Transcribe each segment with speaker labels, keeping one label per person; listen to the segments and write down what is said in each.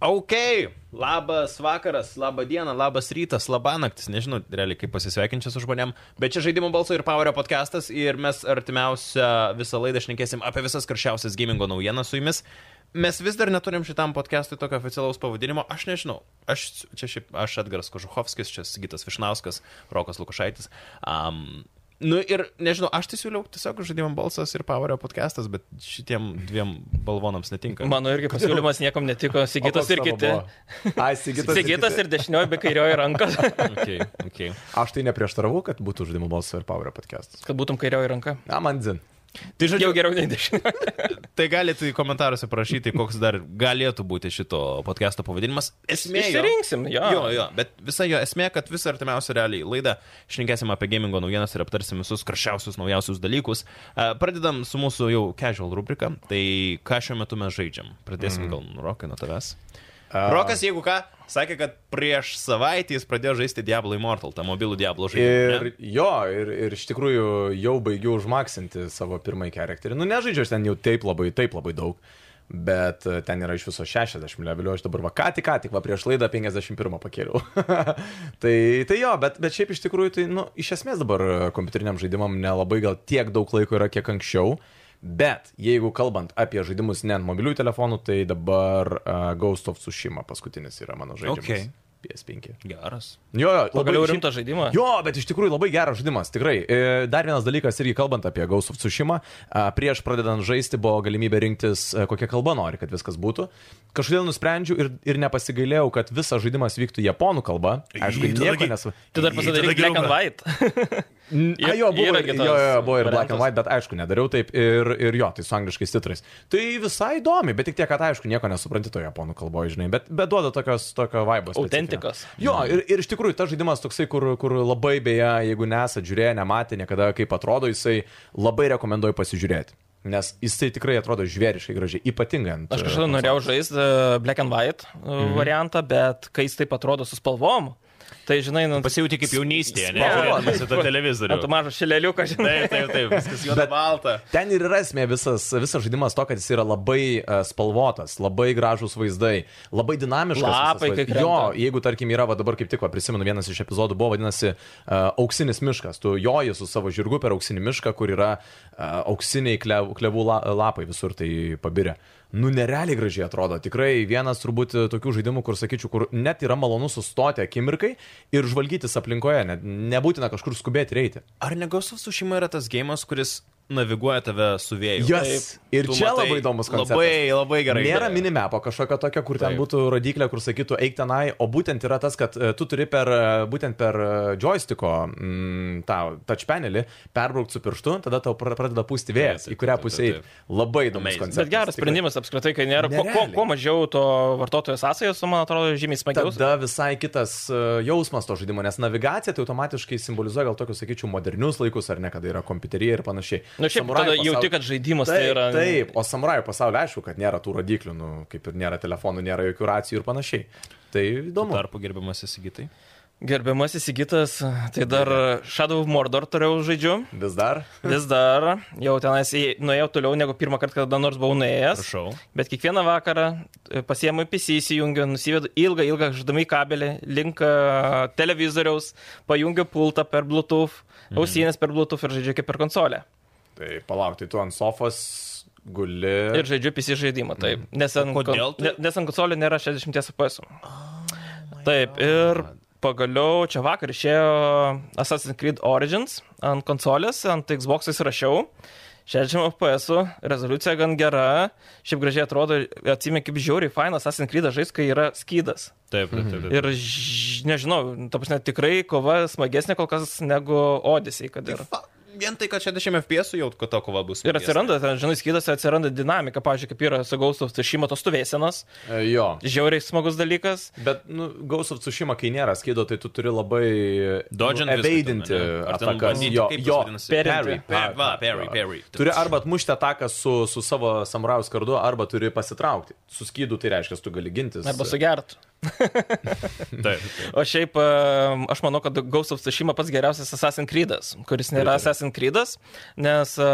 Speaker 1: Ok, labas vakaras, laba diena, labas rytas, laba naktis, nežinau, realiai kaip pasisveikinti su žmonėm, bet čia žaidimų balso ir Powerio podcastas ir mes artimiausią visą laidą šnekėsim apie visas karščiausias gamingo naujienas su jumis. Mes vis dar neturim šitam podcastui tokio oficialaus pavadinimo, aš nežinau, aš čia šiaip, aš Edgaras Kožuhovskis, čia Sigitas Višnauskas, Rokas Lukašaitis. Um, Nu ir nežinau, aš tai siūliau tiesiog žaidimam balsas ir Powerio podcastas, bet šitiem dviem balvonams netinka.
Speaker 2: Mano irgi pasiūlymas niekam netiko, Sigitas ir kiti.
Speaker 3: Ai, Sigitas,
Speaker 2: Sigitas ir dešinioji, bei kairioji ranka.
Speaker 1: Okay, okay.
Speaker 3: Aš tai neprieštaravau, kad būtų žaidimų balsas ir Power podcastas.
Speaker 2: Kad būtum kairioji ranka.
Speaker 3: Na, man zin.
Speaker 1: Tai žodžiu,
Speaker 2: Jau geriau nei dešinioji.
Speaker 1: tai galite į komentaruose parašyti, koks dar galėtų būti šito podcast'o pavadinimas. Esmė. jo-
Speaker 2: Išsirinksim, jo.
Speaker 1: Jo, jo, bet visa jo esmė, kad visą artimiausią realiai laidą šnekėsim apie gamingo naujienas ir aptarsim visus karščiausius naujausius dalykus. A, Pradedam su mūsų jau casual rubrika. Tai ką šiuo metu mes žaidžiam?
Speaker 2: Mhm.
Speaker 1: Pradėsim mm. gal nuo Rokai, nuo tavęs. Uh. Rokas, jeigu ką, sakė, kad prieš savaitę jis pradėjo žaisti Diablo Immortal, tą mobilų Diablo žaidimą.
Speaker 3: Ir
Speaker 1: ne?
Speaker 3: jo, ir, ir iš tikrųjų jau baigiau užmaksinti savo pirmąjį charakterį. Nu, nežaidžiu aš ten jau taip labai, taip labai daug. Bet e, ten yra iš viso 60 levelių, aš dabar va ką tik, ką tik, va prieš laidą 51 pakėliau. tai, tai jo, bet, bet šiaip iš tikrųjų, tai, nu, iš esmės dabar e, kompiuteriniam žaidimam nelabai gal tiek daug laiko yra, kiek anksčiau. Bet jeigu kalbant apie žaidimus ne ant mobiliųjų telefonų, tai dabar uh, Ghost of Tsushima paskutinis yra mano žaidimas.
Speaker 1: Okei.
Speaker 3: PS5.
Speaker 1: Geras.
Speaker 3: Jo, jo,
Speaker 2: Pagaliau
Speaker 3: labai šiaip-
Speaker 2: rimtą žaidimą.
Speaker 3: Jo, bet iš tikrųjų labai geras žaidimas, tikrai. E, Dar vienas dalykas, irgi kalbant apie Ghost of Tsushima, a, prieš pradedant žaisti buvo galimybė rinktis, e, kokia kalba nori, kad viskas būtų. Kažkodėl nusprendžiau ir, ir nepasigailėjau, kad visas žaidimas vyktų japonų kalba. Aišku,
Speaker 1: Į, tada
Speaker 3: nieko
Speaker 1: gi-
Speaker 3: nesu.
Speaker 2: Tu dar
Speaker 1: Jei, tada
Speaker 2: pasidaryk Black and
Speaker 1: geriau,
Speaker 2: White.
Speaker 3: A,
Speaker 2: Ir-
Speaker 3: jo, buvo,
Speaker 2: yra
Speaker 3: ir-
Speaker 2: kitas
Speaker 3: jo, jo, buvo ir Black
Speaker 2: variantas.
Speaker 3: and White, bet aišku, nedariau taip. Ir, ir jo, tai su angliškais titrais. Tai visai įdomi, bet tik tiek, kad aišku, nieko nesupranti to japonų kalboje, žinai, bet, bet duoda tokios, tokio vaibos.
Speaker 2: Autentikos.
Speaker 3: Jo, ir, ir iš tikrųjų tas žaidimas toksai, kur, kur labai beje, jeigu nesat žiūrėję, nematė niekada, kaip atrodo, jisai labai rekomenduoju pasižiūrėti. Nes jisai tikrai atrodo žvėriškai gražiai, ypatingai ant...
Speaker 2: Aš
Speaker 3: e,
Speaker 2: kažkada
Speaker 3: konsolės.
Speaker 2: norėjau žaisti e, Black and White e, variantą, bet kai jis taip atrodo su spalvom, tai žinai, nu,
Speaker 1: Pasijauti kaip jaunystėje, ne?
Speaker 2: Spalva.
Speaker 1: Žiūrėdamas į tą televizorių.
Speaker 2: ant to mažo šileliuką, žinai.
Speaker 1: Taip, taip, taip, viskas juoda balta.
Speaker 3: Ten ir yra esmė visas, visas žaidimas to, kad jis yra labai e, spalvotas, labai gražus vaizdai, labai dinamiškas. visas
Speaker 2: Lapai, kai
Speaker 3: vaizdas.
Speaker 2: krenta.
Speaker 3: Jo, jeigu tarkim yra, va dabar kaip tik, va, prisimenu, vienas iš epizodų buvo vadinasi uh, Auksinis miškas. Tu joji su savo žirgu per auksinį mišką, kur yra uh, auksiniai klevų, klevų la, lapai visur tai pabirė. Nu, nerealiai gražiai atrodo. Tikrai vienas turbūt e, tokių žaidimų, kur sakyčiau, kur net yra malonu sustoti akimirkai ir žvalgytis aplinkoje, net nebūtina kažkur skubėti reiti.
Speaker 1: Ar negausas su šeima yra tas gėjimas, kuris naviguoja tave su vėju?
Speaker 3: Yes.
Speaker 1: Taip.
Speaker 3: Ir
Speaker 1: Tu
Speaker 3: čia
Speaker 1: matai,
Speaker 3: labai įdomus konceptas.
Speaker 1: Labai, labai gerai.
Speaker 3: Nėra minimepo kažkokio tokio, kur ten
Speaker 1: Taip.
Speaker 3: Taip. būtų rodiklė, kur sakytų eik tenai, o būtent yra tas, kad e, tu turi per, e, būtent per e, joysticko mm, tą touch panelį perbraukti su pirštu, tada tau pra- pradeda pūsti vėjas,
Speaker 1: Taip,
Speaker 3: į kurią
Speaker 1: taip,
Speaker 3: pusę
Speaker 1: taip,
Speaker 3: eiti. Labai įdomus
Speaker 1: Amazing.
Speaker 3: konceptas.
Speaker 2: Bet geras
Speaker 3: tikrai.
Speaker 2: sprendimas apskritai, kai nėra kuo, kuo,
Speaker 3: Nerealiai.
Speaker 2: kuo mažiau to vartotojo sąsajos, man atrodo, žymiai smagiau.
Speaker 3: Tada visai kitas e, jausmas to žaidimo, nes navigacija tai automatiškai simbolizuoja gal tokius, sakyčiau, modernius laikus, ar ne, kada yra kompiuterija ir panašiai.
Speaker 2: Na, nu, šiaip
Speaker 3: Samurajų
Speaker 2: tada jauti,
Speaker 3: pasaul-
Speaker 2: kad žaidimas
Speaker 3: Taip,
Speaker 2: tai yra.
Speaker 3: taip, o samurajų pasaulyje aišku, kad nėra tų rodiklių, nu, kaip ir nėra telefonų, nėra jokių racijų ir panašiai. Tai įdomu.
Speaker 1: Tarpu gerbiamas įsigytai.
Speaker 2: Gerbiamas įsigytas, tai dar Shadow of Mordor toliau žaidžiu.
Speaker 3: Vis dar?
Speaker 2: Vis dar, jau tenais į- nuėjau toliau negu pirmą kartą, kada nors buvau nuėjęs.
Speaker 1: Prašau.
Speaker 2: Bet kiekvieną vakarą e, pasiemu PC, įsijungiu, nusivedu ilgą, ilgą žadamai kabelį link e, televizoriaus, pajungiu pultą per Bluetooth, ausinės per Bluetooth ir žaidžiu kaip per konsolę.
Speaker 3: Tai palauk, tai tu ant sofos guli.
Speaker 2: Ir žaidžiu PC žaidimą, taip. Nes ant,
Speaker 1: Mm. Kodėl Oh tu-
Speaker 2: ne, nes ant konsolio nėra 60 FPS. Taip, ir pagaliau čia vakar išėjo Assassin's Creed Origins ant konsolės, ant Xbox įrašiau. 60 FPS, rezoliucija gan gera, šiaip gražiai atrodo, atsimė kaip žiauriai fainas Assassin's Creed žais, kai yra skydas.
Speaker 1: Taip, taip, taip. taip.
Speaker 2: Ir ž... nežinau, ta prasme, tikrai kova smagesnė kol kas negu Odyssey, kad ir.
Speaker 1: Fa- Vien tai, kad 60 FPS jau, kad ta kova bus.
Speaker 2: Ir atsiranda, ten, žinai, skydas atsiranda dinamika, pavyzdžiui, kaip yra su gaustos, tai šį matos stovėsenas,
Speaker 3: E, Jo.
Speaker 2: žiauriai smagus dalykas.
Speaker 3: Bet, nu, Ghost of Tsushima, kai nėra skydo, tai tu turi labai...
Speaker 1: Dodžiant
Speaker 3: nu,
Speaker 1: viską
Speaker 3: eveidinti
Speaker 1: ten, ane? Ar ten
Speaker 3: atakas.
Speaker 1: bandyti,
Speaker 3: Jo,
Speaker 1: kaip tas
Speaker 3: jo,
Speaker 1: vadinasi?
Speaker 2: Parry.
Speaker 1: Per, va,
Speaker 3: A,
Speaker 1: parry,
Speaker 3: jo.
Speaker 1: parry.
Speaker 3: Turi arba atmušti ataką su, su savo samurajaus kardu, arba turi pasitraukti. Su skydu tai reiškia, tu gali gintis.
Speaker 2: Arba sugert.
Speaker 1: Taip.
Speaker 2: O šiaip em, aš manau, kad Ghost of Tsushima pats geriausias Assassin's Creed'as, kuris
Speaker 1: Pritariu.
Speaker 2: nėra Assassin's Creed'as, nes e,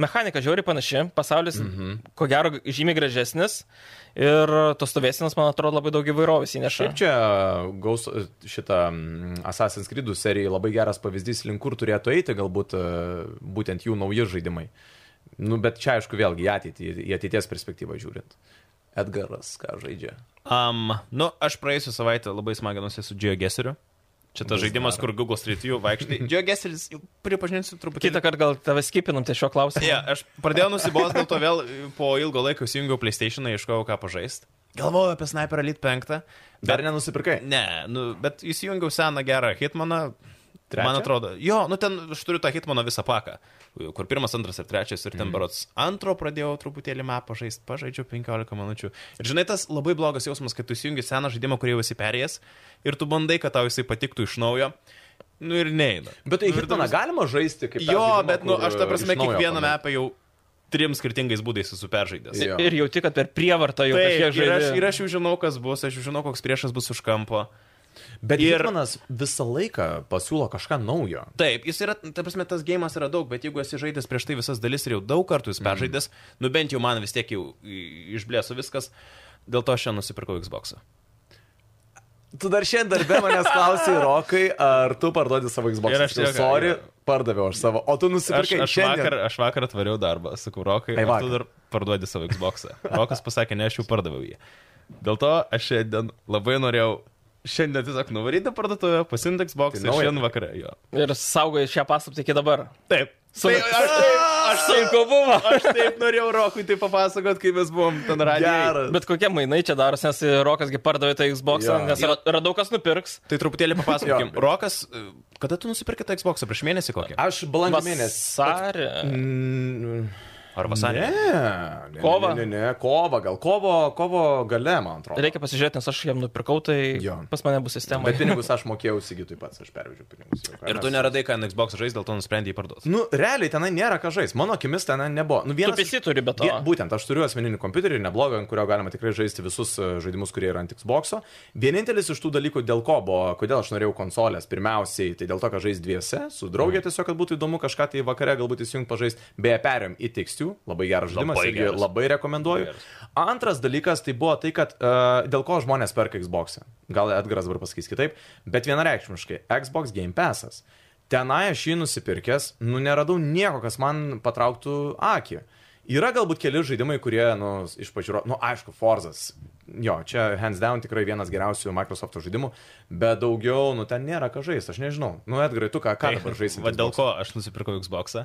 Speaker 2: mechanika žiauri panaši, pasaulis
Speaker 3: Mhm.
Speaker 2: ko gero žymiai gražesnis ir tos stovėsinas, man atrodo, labai daug įvairovės įneša.
Speaker 3: Šiaip čia gaus e, šitą mm, Assassin's Creed seriją labai geras pavyzdys, link kur turėtų eiti galbūt e, būtent jų nauji žaidimai. Nu, bet čia aišku vėlgi į ateitį, į ateities perspektyvą žiūrint. Edgaras, ką žaidžia?
Speaker 1: Um, nu, aš praėjusią savaitę labai smaginusi su GeoGeseriu. Čia tas
Speaker 3: Vis
Speaker 1: žaidimas,
Speaker 3: dar.
Speaker 1: kur Google Street View vaikštai. GeoGeseris, pripažinsiu, truputį.
Speaker 2: Kitą kartą gal tave skipinam ties šiuo klausimu.
Speaker 1: Yeah, aš pradėjau nusibosti, dėl to vėl po ilgo laiko įsijungiau PlayStation, ieškojau ką pažaisti. Galvojau apie Sniper Elite 5.
Speaker 3: Dar nenusipirkai?
Speaker 1: Ne, nu, bet įsijungiau seną gerą Hitmaną.
Speaker 3: Trečią?
Speaker 1: Trečią? Man atrodo, jo, nu ten aš turiu tą Hitmano visą paką, kur pirmas, antras ir trečias, ir
Speaker 3: Mhm.
Speaker 1: ten mm. berots antro pradėjau truputėlį mapą žaisti, pažaidžiau 15 minučių. Ir žinai, tas labai blogas jausmas, kad tu įsijungi seną žaidimą, kurį jau esi perėjęs, ir tu bandai, kad tau jisai patiktų iš naujo. Nu ir neina.
Speaker 3: Bet tai
Speaker 1: Nu ir
Speaker 3: Hitmaną
Speaker 1: toks-
Speaker 3: galima žaisti kaip... tą
Speaker 1: Jo,
Speaker 3: žaidimą,
Speaker 1: bet, nu,
Speaker 3: kur,
Speaker 1: aš ta
Speaker 3: e,
Speaker 1: prasme
Speaker 3: iš naujo
Speaker 1: kiekvieną
Speaker 3: pamėt-
Speaker 1: mepą jau trim skirtingais būdais esu peržaidęs.
Speaker 3: Jo.
Speaker 2: Ir jauti, kad per prievartą jau
Speaker 1: Taip,
Speaker 2: kažkiek
Speaker 1: ir, aš,
Speaker 2: žaidžiu.
Speaker 1: ir aš jau žinau, kas bus, aš jau žinau, koks priešas bus už kampo.
Speaker 3: Bet ir...
Speaker 1: Ir-
Speaker 3: Hitmanas visą laiką pasiūlo kažką naujo.
Speaker 1: Taip, jis yra, ta prasme, tas gėjimas yra daug, bet jeigu esi žaidęs prieš tai visas dalis ir jau daug kartų jis peržaidęs, mm. nu bent jau man vis tiek jau i- išblėso viskas, dėl to aš šiandien nusipirkau Xbox. Ą.
Speaker 3: Tu dar šiandien darbę manęs klausai, Rokai, ar tu parduodi savo Xbox.
Speaker 1: Ir aš
Speaker 3: Sakiau,
Speaker 1: tiesiog-
Speaker 3: sorry, pardaviau aš savo, o tu
Speaker 1: Aš,
Speaker 3: nusipirkai
Speaker 1: aš,
Speaker 3: šiandien.
Speaker 1: vakar, aš vakar atvariau darbą, sakau, Rokai,
Speaker 3: Ai,
Speaker 1: ar tu
Speaker 3: vakar.
Speaker 1: dar parduodi savo Xbox. Ą? Rokas pasakė, ne, aš jau pardaviau jį. Dėl to aš šiandien labai norėjau šiandien tiesiog nuvaryti į parduotuvę, pasimti Xbox
Speaker 3: Tai
Speaker 1: ir
Speaker 3: nauja.
Speaker 1: šiandien vakare jo.
Speaker 2: Ir saugoji šią paslaptį iki dabar.
Speaker 1: Taip.
Speaker 2: Su...
Speaker 1: Tai aš taip,
Speaker 2: aš sunku buvo.
Speaker 1: aš taip norėjau Rokui tai papasakot, kai mes buvom ten radijoje.
Speaker 3: Geras.
Speaker 2: Bet kokie mainai čia daros, nes Rokasgi pardavė tą Xbox,
Speaker 3: Jo.
Speaker 2: nes ra- radau kas nupirks.
Speaker 1: Tai truputėlį papasakokim.
Speaker 3: Jo.
Speaker 1: Rokas, e, kada tu nusipirkai tą Xbox? Prieš mėnesį kokį?
Speaker 3: Aš balandžio mėnesį.
Speaker 2: Vasarį.
Speaker 3: Mm,
Speaker 1: Ar
Speaker 3: Ne,
Speaker 1: vasarį?
Speaker 3: ne,
Speaker 2: Kovą?
Speaker 3: Ne, ne, ne, kova, gal kovo, kovo gale, man atrodo.
Speaker 2: Reikia pasižiūrėti, nes aš jam nupirkau, tai
Speaker 3: Jo.
Speaker 2: pas mane bus sistema.
Speaker 3: Bet pinigus aš mokėjau įsigyti pats, aš pervežiau pinigus. Jau, ką
Speaker 1: Ir
Speaker 3: mes-
Speaker 1: tu neradai, ką ant Xbox žais, dėl to nusprendė jį parduoti.
Speaker 3: Nu, realiai tenai nėra ką žaisti. Mano akimis tenai nebuvo. Nu,
Speaker 2: Tu
Speaker 3: vienas... iš-
Speaker 2: visi turi, bet to.
Speaker 3: Vie- Būtent, aš turiu asmeninį kompiuterį, neblogą, ant kurio galima tikrai žaisti visus e, žaidimus, kurie yra ant Xbox. Vienintelis iš tų dalykų, dėl ko buvo, kodėl aš norėjau konsolės, pirmiausiai, tai dėl to, kad žais dviese, su
Speaker 1: Mhm.
Speaker 3: draugė tiesiog, kad būtų įdomu kažką tai vakare galbūt įsijungti pažaisti. Beje, perėm į tekstių, labai geras žaidimas,
Speaker 1: Labai
Speaker 3: irgi
Speaker 1: geras.
Speaker 3: labai rekomenduoju.
Speaker 1: Labai geras.
Speaker 3: Antras dalykas tai buvo tai, kad uh, dėl ko žmonės perka Xbox. Ą. Gal Edgaras dabar pasakys kitaip, bet vienareikšmiškai Xbox Game Passas. Tenai aš jį nusipirkęs, nu neradau nieko, kas man patrauktų akį. Yra galbūt keli žaidimai, kurie, nu, iš pažiūro, nu, aišku, Forzas. Jo, čia hands down tikrai vienas geriausių Microsoft žaidimų, bet daugiau, nu, ten nėra ką žaisti, aš nežinau. Nu, Edgarai, tu ką, ką dabar žaisi?
Speaker 1: Tai Va dėl ko aš nusipirkau Xboxą.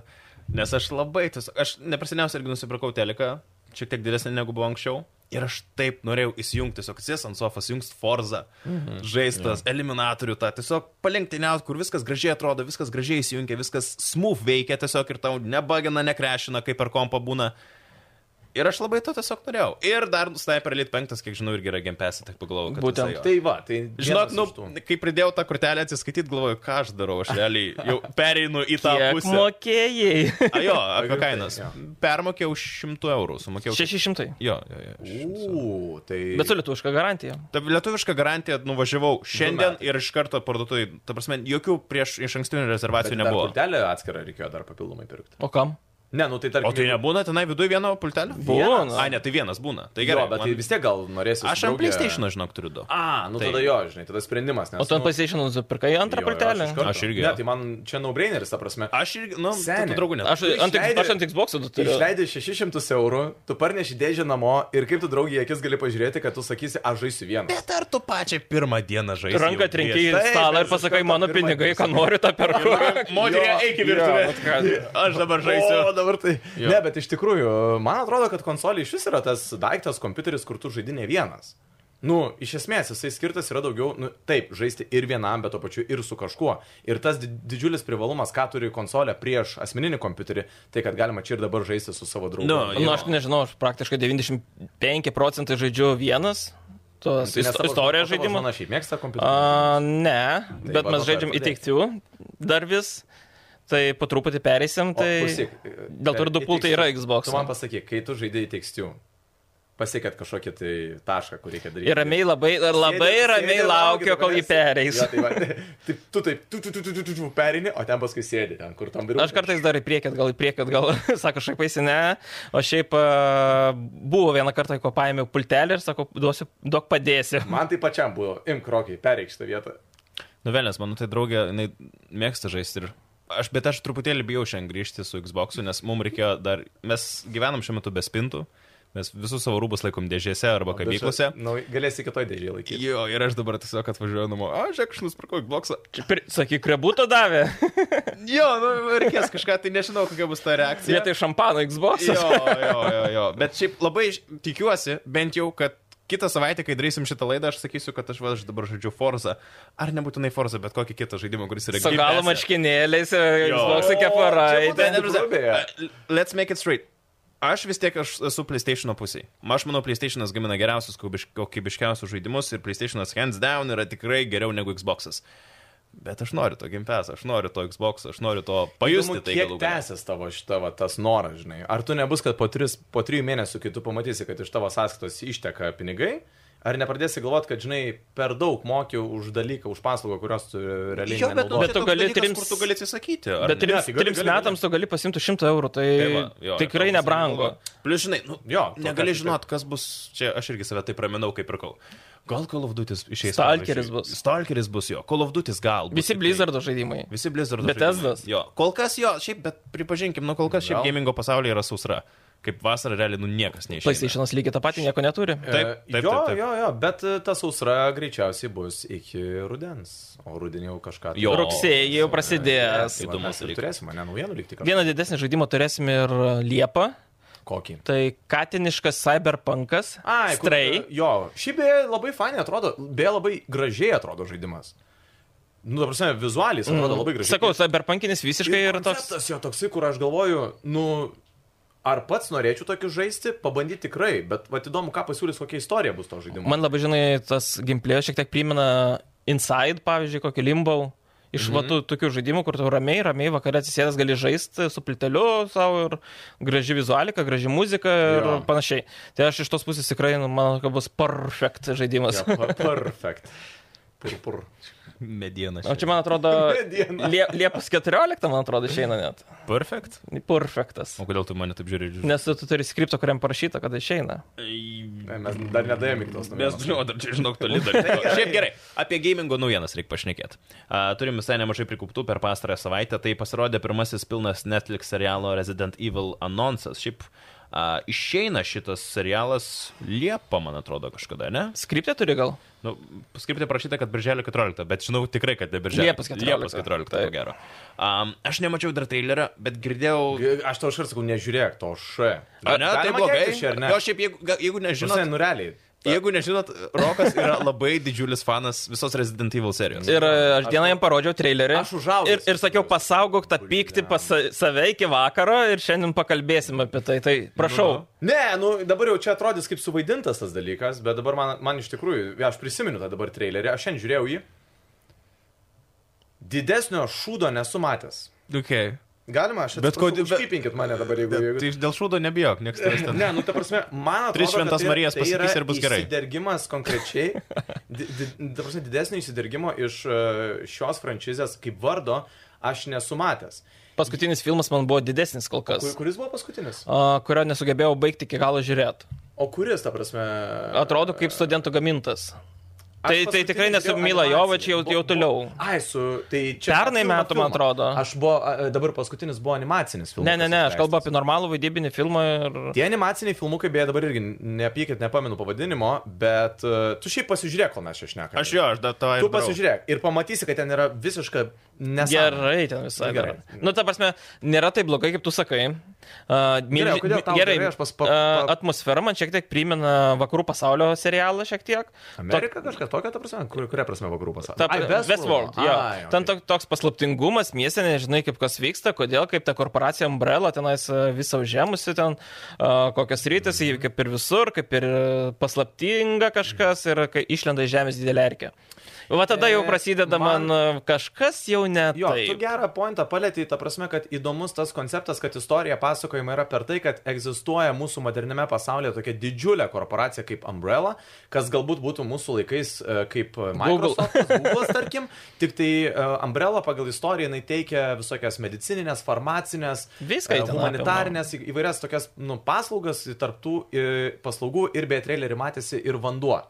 Speaker 1: Nes aš labai, tiesiog, aš neprasiniausiai irgi nusipirkau teleką, šiek tiek didesnį negu buvo anksčiau. Ir aš taip norėjau įsijungti, tiesiog sės ant sofas, jungs Forza, mhm. žaistas, yeah. eliminatorių, tą tiesiog palinktyniaut, kur viskas gražiai atrodo, viskas gražiai įsijungia, viskas smooth veikia tiesiog ir tau nebagina, nekrešina, kaip per kompą būna. Ir aš labai to tiesiog norėjau. Ir dar Sniper Elite 5, kiek žinau, irgi yra gempesė, tai pagalvojau, kad
Speaker 2: Būtent.
Speaker 1: jisai jo.
Speaker 3: Tai va, tai...
Speaker 1: Žinok,
Speaker 3: vienas
Speaker 1: nu,
Speaker 3: iš tų.
Speaker 1: kai pridėjau tą kortelę atsiskaityti, galvoju, ką aš darau, aš realiai jau pereinu į tą
Speaker 2: Kiek
Speaker 1: pusę.
Speaker 2: mokėjai?
Speaker 1: A, jo, apie
Speaker 3: Apskritai,
Speaker 1: kainas.
Speaker 3: jo.
Speaker 1: Permokėjau 100 eurų, sumokėjau.
Speaker 2: 600.
Speaker 1: Jo, jo, jo. šimtus eurų.
Speaker 3: Ū, tai...
Speaker 2: Bet su lietuviška garantija.
Speaker 1: Ta lietuviška garantija nuvažiavau šiandien
Speaker 3: metai.
Speaker 1: ir iš karto parduotuvai, ta prasme, jokių prieš iš ankstinių rezervacijų
Speaker 3: Bet dar
Speaker 1: nebuvo.
Speaker 3: Pultelį atskirą reikėjo dar papildomai pirkti.
Speaker 2: O kam?
Speaker 3: Ne, nu tai tarkim.
Speaker 1: O tai nebūna tenai viduje vieno pultelio?
Speaker 2: Būna.
Speaker 1: A, ne, tai vienas būna. Tai
Speaker 3: Jo,
Speaker 1: gerai,
Speaker 3: bet
Speaker 1: man-
Speaker 3: tai vis tiek gal norėsi.
Speaker 1: Aš ant PlayStation, žinok, turiu du.
Speaker 3: A, nu
Speaker 1: Tai-
Speaker 3: tada jo, žinai, tada sprendimas. Nes,
Speaker 2: O tu ant
Speaker 3: nu,
Speaker 2: PlayStation nusipirkai antrą
Speaker 3: jo, jo,
Speaker 2: pultelį?
Speaker 3: iš karto.
Speaker 1: Aš irgi,
Speaker 3: Ne,
Speaker 1: jo.
Speaker 3: tai man čia naubraineris, ta prasme.
Speaker 1: Aš irgi, nu,
Speaker 3: Seni.
Speaker 1: tu draugų ne.
Speaker 2: Aš
Speaker 3: Tu
Speaker 2: ant,
Speaker 3: išleidi-
Speaker 2: aš ant Xbox
Speaker 3: Tu
Speaker 2: turiu.
Speaker 3: išleidai 600 eurų, tu parneši dėžę namo ir kaip tu draugį į akis gali pažiūrėti, kad tu sakysi, aš žaisiu vieną.
Speaker 1: Bet ar tu pačią pirmą dieną žaidžiu?
Speaker 2: Ranką trenki į
Speaker 3: Taip,
Speaker 2: stalą
Speaker 3: aš
Speaker 2: ir pasakai,
Speaker 3: iš karto
Speaker 2: mano
Speaker 3: pirmą
Speaker 2: pinigai, ką
Speaker 3: pirmą.
Speaker 2: noriu, tą perku.
Speaker 1: Moterį,
Speaker 3: tai, Jo,
Speaker 1: eik į
Speaker 3: jo, vat
Speaker 1: virtuvę.
Speaker 3: ką.
Speaker 1: Aš dabar
Speaker 3: O
Speaker 1: žaisiu.
Speaker 3: dabar tai.
Speaker 1: Jo.
Speaker 3: Jo. Ne, bet iš tikrųjų, man atrodo, kad konsolė iš vis yra tas daiktas, kompiuteris, kur tu žaidinė vienas. Nu, iš esmės, jisai skirtas yra daugiau, nu, taip, žaisti ir vienam, bet to pačiu ir su kažkuo. Ir tas di- didžiulis privalumas, ką turi konsolė prieš asmeninį kompiuterį, tai kad galima čia ir dabar žaisti su savo draugu. Tai
Speaker 1: Nu,
Speaker 2: Na, aš nežinau, aš praktiškai 95 procentai žaidžiu vienas. Tos
Speaker 3: Tai nes tavo- o
Speaker 2: istorijos
Speaker 3: tavo
Speaker 2: žaidimų.
Speaker 3: žmona šiaip mėgsta kompiuterį.
Speaker 2: A, ne,
Speaker 3: Tai
Speaker 2: bet
Speaker 3: va, nuo
Speaker 2: mes
Speaker 3: to
Speaker 2: žaidžiam
Speaker 3: ir
Speaker 2: įteiktių dar vis. Tai po truputį pereisim. Tai
Speaker 3: klausyk, e, tai
Speaker 2: dėl to ir du
Speaker 3: per-
Speaker 2: pultai
Speaker 3: į
Speaker 2: yra
Speaker 3: tekstių.
Speaker 2: Xbox.
Speaker 3: Tu man pasakyk, kai tu žaidėjai tekstių, pasiekėt kažkokį tai tašką, kur reikia daryti.
Speaker 2: Ir ramiai labai, ir labai
Speaker 3: Sėdi-
Speaker 2: ramiai
Speaker 3: sėdi,
Speaker 2: laukiu,
Speaker 3: lauki,
Speaker 2: kol jį
Speaker 3: tavęs.
Speaker 2: pereis.
Speaker 3: Jo, tai va, tai tu taip, tu, tu, tu, tu, tu, tu, tu perini, o ten paskui sėdi, ten, kur tam vyru.
Speaker 2: Aš kartais dar į priekį, gal į priekį, gal, sako, šaipaisi ne. O šiaip a, buvo vieną kartą, ko paėmiau pultelį ir sako, duosiu, duok padėsiu.
Speaker 3: Man tai pačiam buvo, imk krokiai, pereik šitą vietą.
Speaker 1: Nuvelės, mano tai draugė, jinai mėgsta žaisti ir... Aš, bet aš truputėlį bijau šiandien grįžti su Xbox'u, nes mums reikėjo dar... Mes gyvenam šiuo metu be spintų, mes visus savo rūbus laikom dėžėse arba kabyklose.
Speaker 3: Na, nu, galėsi kitoj dėžėje laikyti.
Speaker 1: Jo, ir aš dabar tiesiog atvažiuoju namo. A, žiūrėk, aš nusipirkau Xbox'ą.
Speaker 2: Pri- Sakyk, rebuto davė.
Speaker 1: Jo, nu, reikės kažką, tai nežinau, kokia bus ta reakcija.
Speaker 2: Vietoj šampano Xbox.
Speaker 1: Jo, jo, jo, jo. Bet šiaip labai iš- tikiuosi, bent jau, kad kitą savaitę, kai darysim šitą laidą, aš sakysiu, kad aš, va, aš dabar žaidžiu Forza. Ar nebūtinai Forza, bet kokį kitą žaidimą, kuris yra
Speaker 2: Su e, galo
Speaker 1: gyvesnis.
Speaker 2: maškinėliais,
Speaker 1: Jo.
Speaker 2: Xbox
Speaker 3: O, čia būtų-
Speaker 2: keparaitė.
Speaker 1: Ne, ne, prasme,
Speaker 3: Grubiai, ar-
Speaker 1: a, Let's make it straight. Aš vis tiek aš esu PlayStation pusėje. Aš manau, PlayStation gamina geriausius, kokybiš- kokybiškiausius žaidimus ir PlayStation hands down yra tikrai geriau negu Xbox. Bet aš noriu to gimpes, aš noriu to Xbox, aš noriu to pajusti
Speaker 3: Įdomu,
Speaker 1: tai
Speaker 3: kiek
Speaker 1: galų gale.
Speaker 3: tęsis tavo šitą, va, tas noras, žinai. Ar tu nebus, kad po, tris, po trijų mėnesių, kai tu pamatysi, kad iš tavo sąskaitos išteka pinigai, ar nepradėsi galvoti, kad, žinai, per daug mokiau už dalyką, už paslaugą, kurios tu realiai...
Speaker 1: Jo, bet, nu,
Speaker 3: nenaudoji?
Speaker 1: čia
Speaker 2: tu
Speaker 1: toks
Speaker 2: gali
Speaker 1: dalykas,
Speaker 2: trims-
Speaker 1: kur tu gali atsisakyti. ar
Speaker 2: Bet
Speaker 1: ne?
Speaker 2: trims,
Speaker 3: tai gali-
Speaker 2: trims
Speaker 3: gali-
Speaker 2: metams tu gali pasimti 100 eurų, tai
Speaker 1: Tai va, jo,
Speaker 2: tikrai
Speaker 1: ir tau
Speaker 2: nebrangu.
Speaker 1: bus Plius, žinai, nu, jo,
Speaker 3: Jo,
Speaker 1: negali
Speaker 3: tokia-
Speaker 1: žinot, kas bus. Čia aš irgi save taip raminau, kaip pirkau. Gal Call of Duty išeis.
Speaker 2: Stalkeris
Speaker 1: pavyzdžiui.
Speaker 2: bus.
Speaker 1: Stalkeris bus jo, Call of Duty gal. bus
Speaker 2: Visi
Speaker 1: tiktai.
Speaker 2: Blizzardo žaidimai.
Speaker 1: Visi Blizzardo.
Speaker 2: Bethesda's.
Speaker 1: žaidimai. Jo, kol kas jo, šiaip, bet pripažinkim, nu kol kas šiaip
Speaker 3: Gal.
Speaker 1: gamingo pasaulyje yra sausra. Kaip vasara realiai, nu niekas neišeina.
Speaker 2: PlayStation'as lygiai tą patį nieko neturi.
Speaker 1: Taip,
Speaker 3: E,
Speaker 1: taip,
Speaker 3: jo,
Speaker 1: taip, taip.
Speaker 3: jo, jo, bet e, ta sausra greičiausiai bus iki rudens, o rudenį jau kažką. tai-
Speaker 1: Jo.
Speaker 2: Rugsėjį jau prasidės.
Speaker 3: Tai va,
Speaker 1: Įdomus
Speaker 3: mes ir
Speaker 1: dalykas.
Speaker 3: Turėsime, ne naujienų likti kažką.
Speaker 2: Vieną didesnį žaidimą turėsim ir Liepą.
Speaker 3: Kokį?
Speaker 2: Tai katiniškas cyberpunkas.
Speaker 3: Ai, kur-
Speaker 2: Stray.
Speaker 3: Jo, šiaip beje labai faniai atrodo, beje labai gražiai atrodo žaidimas. Nu, dabar, prasme, vizualiai jis atrodo labai gražiai.
Speaker 2: Mm. Sakau, cyberpunkinis visiškai yra toks.
Speaker 3: Tas jo toksai, kur aš galvoju, nu, ar pats norėčiau tokius žaisti, pabandyti tikrai, bet va įdomu, ką pasiūlys, kokia istorija bus to žaidimo.
Speaker 2: Man labai, žinai, tas gameplay šiek tiek primena Inside, pavyzdžiui, kokį limbau. Iš mm -hmm.
Speaker 3: Mhm.
Speaker 2: vatų tokių žaidimų, kur tu ramiai, ramiai vakarė atsisėdęs gali žaisti su pliteliu savo ir graži vizualika, graži muzika ir
Speaker 3: Jo.
Speaker 2: jo. panašiai. Tai aš iš tos pusės tikrai, nu, manau, kad bus perfekt žaidimas.
Speaker 3: Jo, pa- Perfect. Pur, pur.
Speaker 1: Mediena.
Speaker 2: O čia, man atrodo,
Speaker 3: Mediena.
Speaker 2: lie, Liepos 14, man atrodo, išeina net.
Speaker 1: Perfect?
Speaker 2: Perfektas.
Speaker 1: O kodėl tu mane taip žiūri?
Speaker 2: Nes tu, tu turi skriptą, kuriam parašyta, kad išeina.
Speaker 1: Ai,
Speaker 3: Ne, Mes dar nedavėme iki tos
Speaker 1: Mes,
Speaker 3: naujienos.
Speaker 1: žinau, dar čia žinok, toli dar. Šiaip gerai, apie gamingo naujienas reikia pašnekėti. Uh, turim visai nemažai prikuptų per pastarąją savaitę, tai pasirodė pirmasis pilnas Netflix serialo Resident Evil annonsas. Šiaip uh, išeina šitas serialas Liepa, man atrodo, kažkada, ne?
Speaker 2: Skriptė turi gal?
Speaker 1: Nu, skriptė parašyta, kad birželio 14, bet žinau tikrai, kad ne birželio
Speaker 2: Liepos 14.
Speaker 1: Liepos 14, ko
Speaker 2: Taip.
Speaker 1: gero. Um, aš nemačiau dar trailerio, bet girdėjau...
Speaker 3: G- Aš tau iškart sakau, nežiūrėk to š.
Speaker 1: Ar ne, tai
Speaker 3: Galima
Speaker 1: blogai? nu,
Speaker 3: keiktis čia, Ar ne?
Speaker 1: Jo, šiaip, jeigu, ga- jeigu nežinot,
Speaker 3: Žinai, nureliai.
Speaker 1: Jeigu nežinot, Rokas yra labai didžiulis fanas visos Resident Evil serijos.
Speaker 2: Ir e, aš dieną jam parodžiau trailerį.
Speaker 3: Aš užaugęs
Speaker 2: Ir, ir sakiau, pasaugok tą pyktį pas sa- save iki vakaro ir šiandien pakalbėsim apie tai. Tai prašau.
Speaker 3: Ne, nu dabar jau čia atrodys kaip suvaidintas tas dalykas, bet dabar man, man iš tikrųjų, aš prisimenu tą dabar trailerį, aš šiandien žiūrėjau jį. Didesnio šūdo nesu matęs.
Speaker 1: Okay.
Speaker 3: Galima, aš
Speaker 1: Bet kodėl- bet-
Speaker 3: Užkypinkit mane dabar, jeigu... jeigu...
Speaker 1: Tai dėl šūdo nebijok, niekas tavęs ten.
Speaker 3: Ne, nu ta prasme, man atrodo,
Speaker 1: Tris šventas
Speaker 3: kad tai-
Speaker 1: Marijas
Speaker 3: tai yra
Speaker 1: pasakys ir bus gerai.
Speaker 3: Įsidergimas konkrečiai, di, di, ta prasme, didesnio įsidergimo iš e, šios franšizės kaip vardo aš nesu matęs.
Speaker 2: Paskutinis filmas man buvo didesnis kol kas,
Speaker 3: Kur, kuris buvo paskutinis?
Speaker 2: a, kurio nesugebėjau baigti iki galo žiūrėti.
Speaker 3: O kuris, ta prasme...
Speaker 2: Atrodo kaip studentų gamintas.
Speaker 3: Aš
Speaker 2: Tai- tai
Speaker 3: paskutinį
Speaker 2: tikrai ne su
Speaker 3: žiūrėjau
Speaker 2: Mila
Speaker 3: animacinį.
Speaker 2: Jovovič, jau-
Speaker 3: Bu-
Speaker 2: jau
Speaker 3: bu-
Speaker 2: toliau.
Speaker 3: Ai, su... Tai čia...
Speaker 2: Pernai
Speaker 3: filmą-
Speaker 2: metų, man
Speaker 3: filmą.
Speaker 2: atrodo.
Speaker 3: Aš buvo... a, Dabar paskutinis buvo animacinis filmas.
Speaker 2: Ne, ne, ne, aš kalbu apie normalų vaidybinį filmą ir...
Speaker 3: Tie animaciniai filmukai, beje, dabar irgi nepykit, nepamenu pavadinimo, bet uh, tu šiaip pasižiūrėk, kol mes čia šnekame.
Speaker 1: Aš jo, aš dar to
Speaker 3: Tu pasižiūrėk ir pamatysi, kad ten yra visiška nesąmonė.
Speaker 2: Gerai, ten visai
Speaker 3: Gerai.
Speaker 2: gerai. Nu, ta prasme, nėra taip blogai, kaip tu sakai. Uh,
Speaker 3: Gerai, o kodėl tau gerai? Aš pas- pa- pa-
Speaker 2: atmosfera man šiek tiek primena vakarų pasaulio serialą šiek tiek.
Speaker 3: Amerika kažkas tokia, ta prasme, kur, kuria prasme vakarų pasaulio?
Speaker 2: Ta, Ai, Westworld. Jo.
Speaker 3: Ai,
Speaker 2: Ten
Speaker 3: okay.
Speaker 2: to, toks paslaptingumas, miestė, nežinai, kaip kas vyksta, kodėl, kaip ta korporacija Umbrella tenais e, visą užėmusi, ten a, kokios rytis, ji kaip ir visur, kaip ir e, paslaptinga kažkas ir kai išlenda iš žemės didelė erkė. Va tada jau
Speaker 3: E,
Speaker 2: prasideda man, e, kažkas jau ne.
Speaker 3: Jo, tu
Speaker 2: taip.
Speaker 3: gerą pointą palėtėjai, ta prasme, kad įdomus tas konceptas, kad istorija pasakojama yra per tai, kad egzistuoja mūsų modernėme pasaulyje tokia didžiulė korporacija kaip Umbrella, kas galbūt būtų mūsų laikais e, kaip Microsoft, Google, tarkim, tik tai e, Umbrella pagal istoriją jinai teikia visokias medicininės, farmacinės,
Speaker 2: Viską
Speaker 3: e,
Speaker 2: ji ten
Speaker 3: humanitarinės, į- įvairias tokias nu, paslaugas, tarptų paslaugų ir beje trailerį matėsi ir vanduo e,